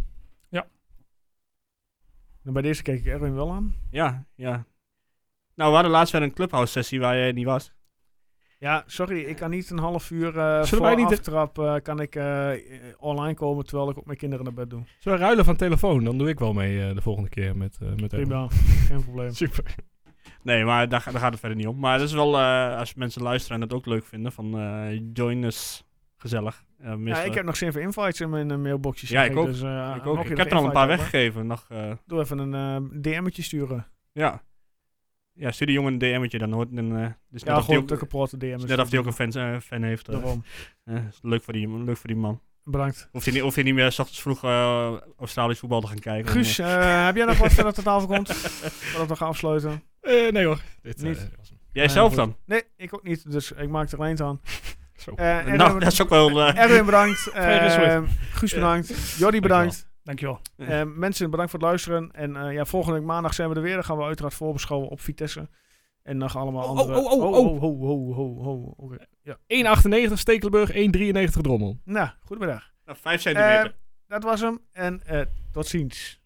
Speaker 1: En bij deze keek ik Erwin wel aan.
Speaker 3: Ja, ja. Nou, we hadden laatst weer een clubhouse sessie waar jij niet was.
Speaker 1: Ja, sorry, ik kan niet een half uur eh voor
Speaker 2: Zullen wij niet de-
Speaker 1: aftrap eh, kan ik eh, eh, online komen terwijl ik ook mijn kinderen naar bed doe.
Speaker 2: Zullen we ruilen van telefoon? Dan doe ik wel mee eh, de volgende keer met, eh met Emma.
Speaker 1: Prima, geen probleem.
Speaker 2: Super.
Speaker 3: Nee, maar daar, ga- daar gaat het verder niet om. Maar dat is wel, eh, als mensen luisteren en dat ook leuk vinden, van eh, join us. Gezellig. Eh,
Speaker 1: Ja,
Speaker 3: meestal-
Speaker 1: ik heb nog zin voor invites in mijn eh, mailboxje.
Speaker 3: Ja,
Speaker 1: zag
Speaker 3: ik ook.
Speaker 1: Dus, eh,
Speaker 3: ik, ook.
Speaker 1: mocht je
Speaker 3: ik heb er al een
Speaker 1: invite
Speaker 3: paar
Speaker 1: hebben,
Speaker 3: weggegeven. Nog, eh,
Speaker 1: Doe even een eh, DM'tje sturen.
Speaker 3: ja. ja, stuur die jongen een DM'tje dan hoort. En, eh, dus
Speaker 1: Ja,
Speaker 3: net of die
Speaker 1: gewoon een
Speaker 3: ook,
Speaker 1: tukke protte DM.
Speaker 3: is net of die ook een fan, eh, fan heeft. eh.
Speaker 1: Daarom.
Speaker 3: Eh, is leuk, voor die, leuk voor die man.
Speaker 1: Bedankt.
Speaker 3: Of hij niet, hoeft hij niet meer s ochtends vroeg eh, Australisch voetbal te gaan kijken.
Speaker 1: Guus, eh, heb jij nog wat verder tot tafel komt? Voordat we gaan afsluiten.
Speaker 2: Eh, nee hoor. Dit, eh,
Speaker 1: Niet.
Speaker 2: was hem.
Speaker 3: Jij zelf
Speaker 1: Eh,
Speaker 3: dan?
Speaker 1: Nee, ik ook niet. Dus ik maak er alleen aan.
Speaker 2: Zo.
Speaker 1: Eh, Erwin,
Speaker 3: nou, dat is ook wel... eh,
Speaker 1: Erwin bedankt.
Speaker 4: Vrij
Speaker 1: Eh, Guus bedankt. Jordi bedankt.
Speaker 4: Dankjewel.
Speaker 1: Eh, mensen, bedankt voor het luisteren. En eh, ja, volgende week maandag zijn we er weer. Dan gaan we uiteraard voorbeschouwen op Vitesse. En nog allemaal
Speaker 2: Oh,
Speaker 1: andere...
Speaker 2: oh, oh,
Speaker 1: ho, ho, ho, ho, ho. oh, Oké.
Speaker 2: 1,98 Stekelenburg, 1,93 Drommel.
Speaker 1: Nou, goedemiddag.
Speaker 3: nou, vijf centimeter.
Speaker 1: Eh, dat was hem. En eh, tot ziens.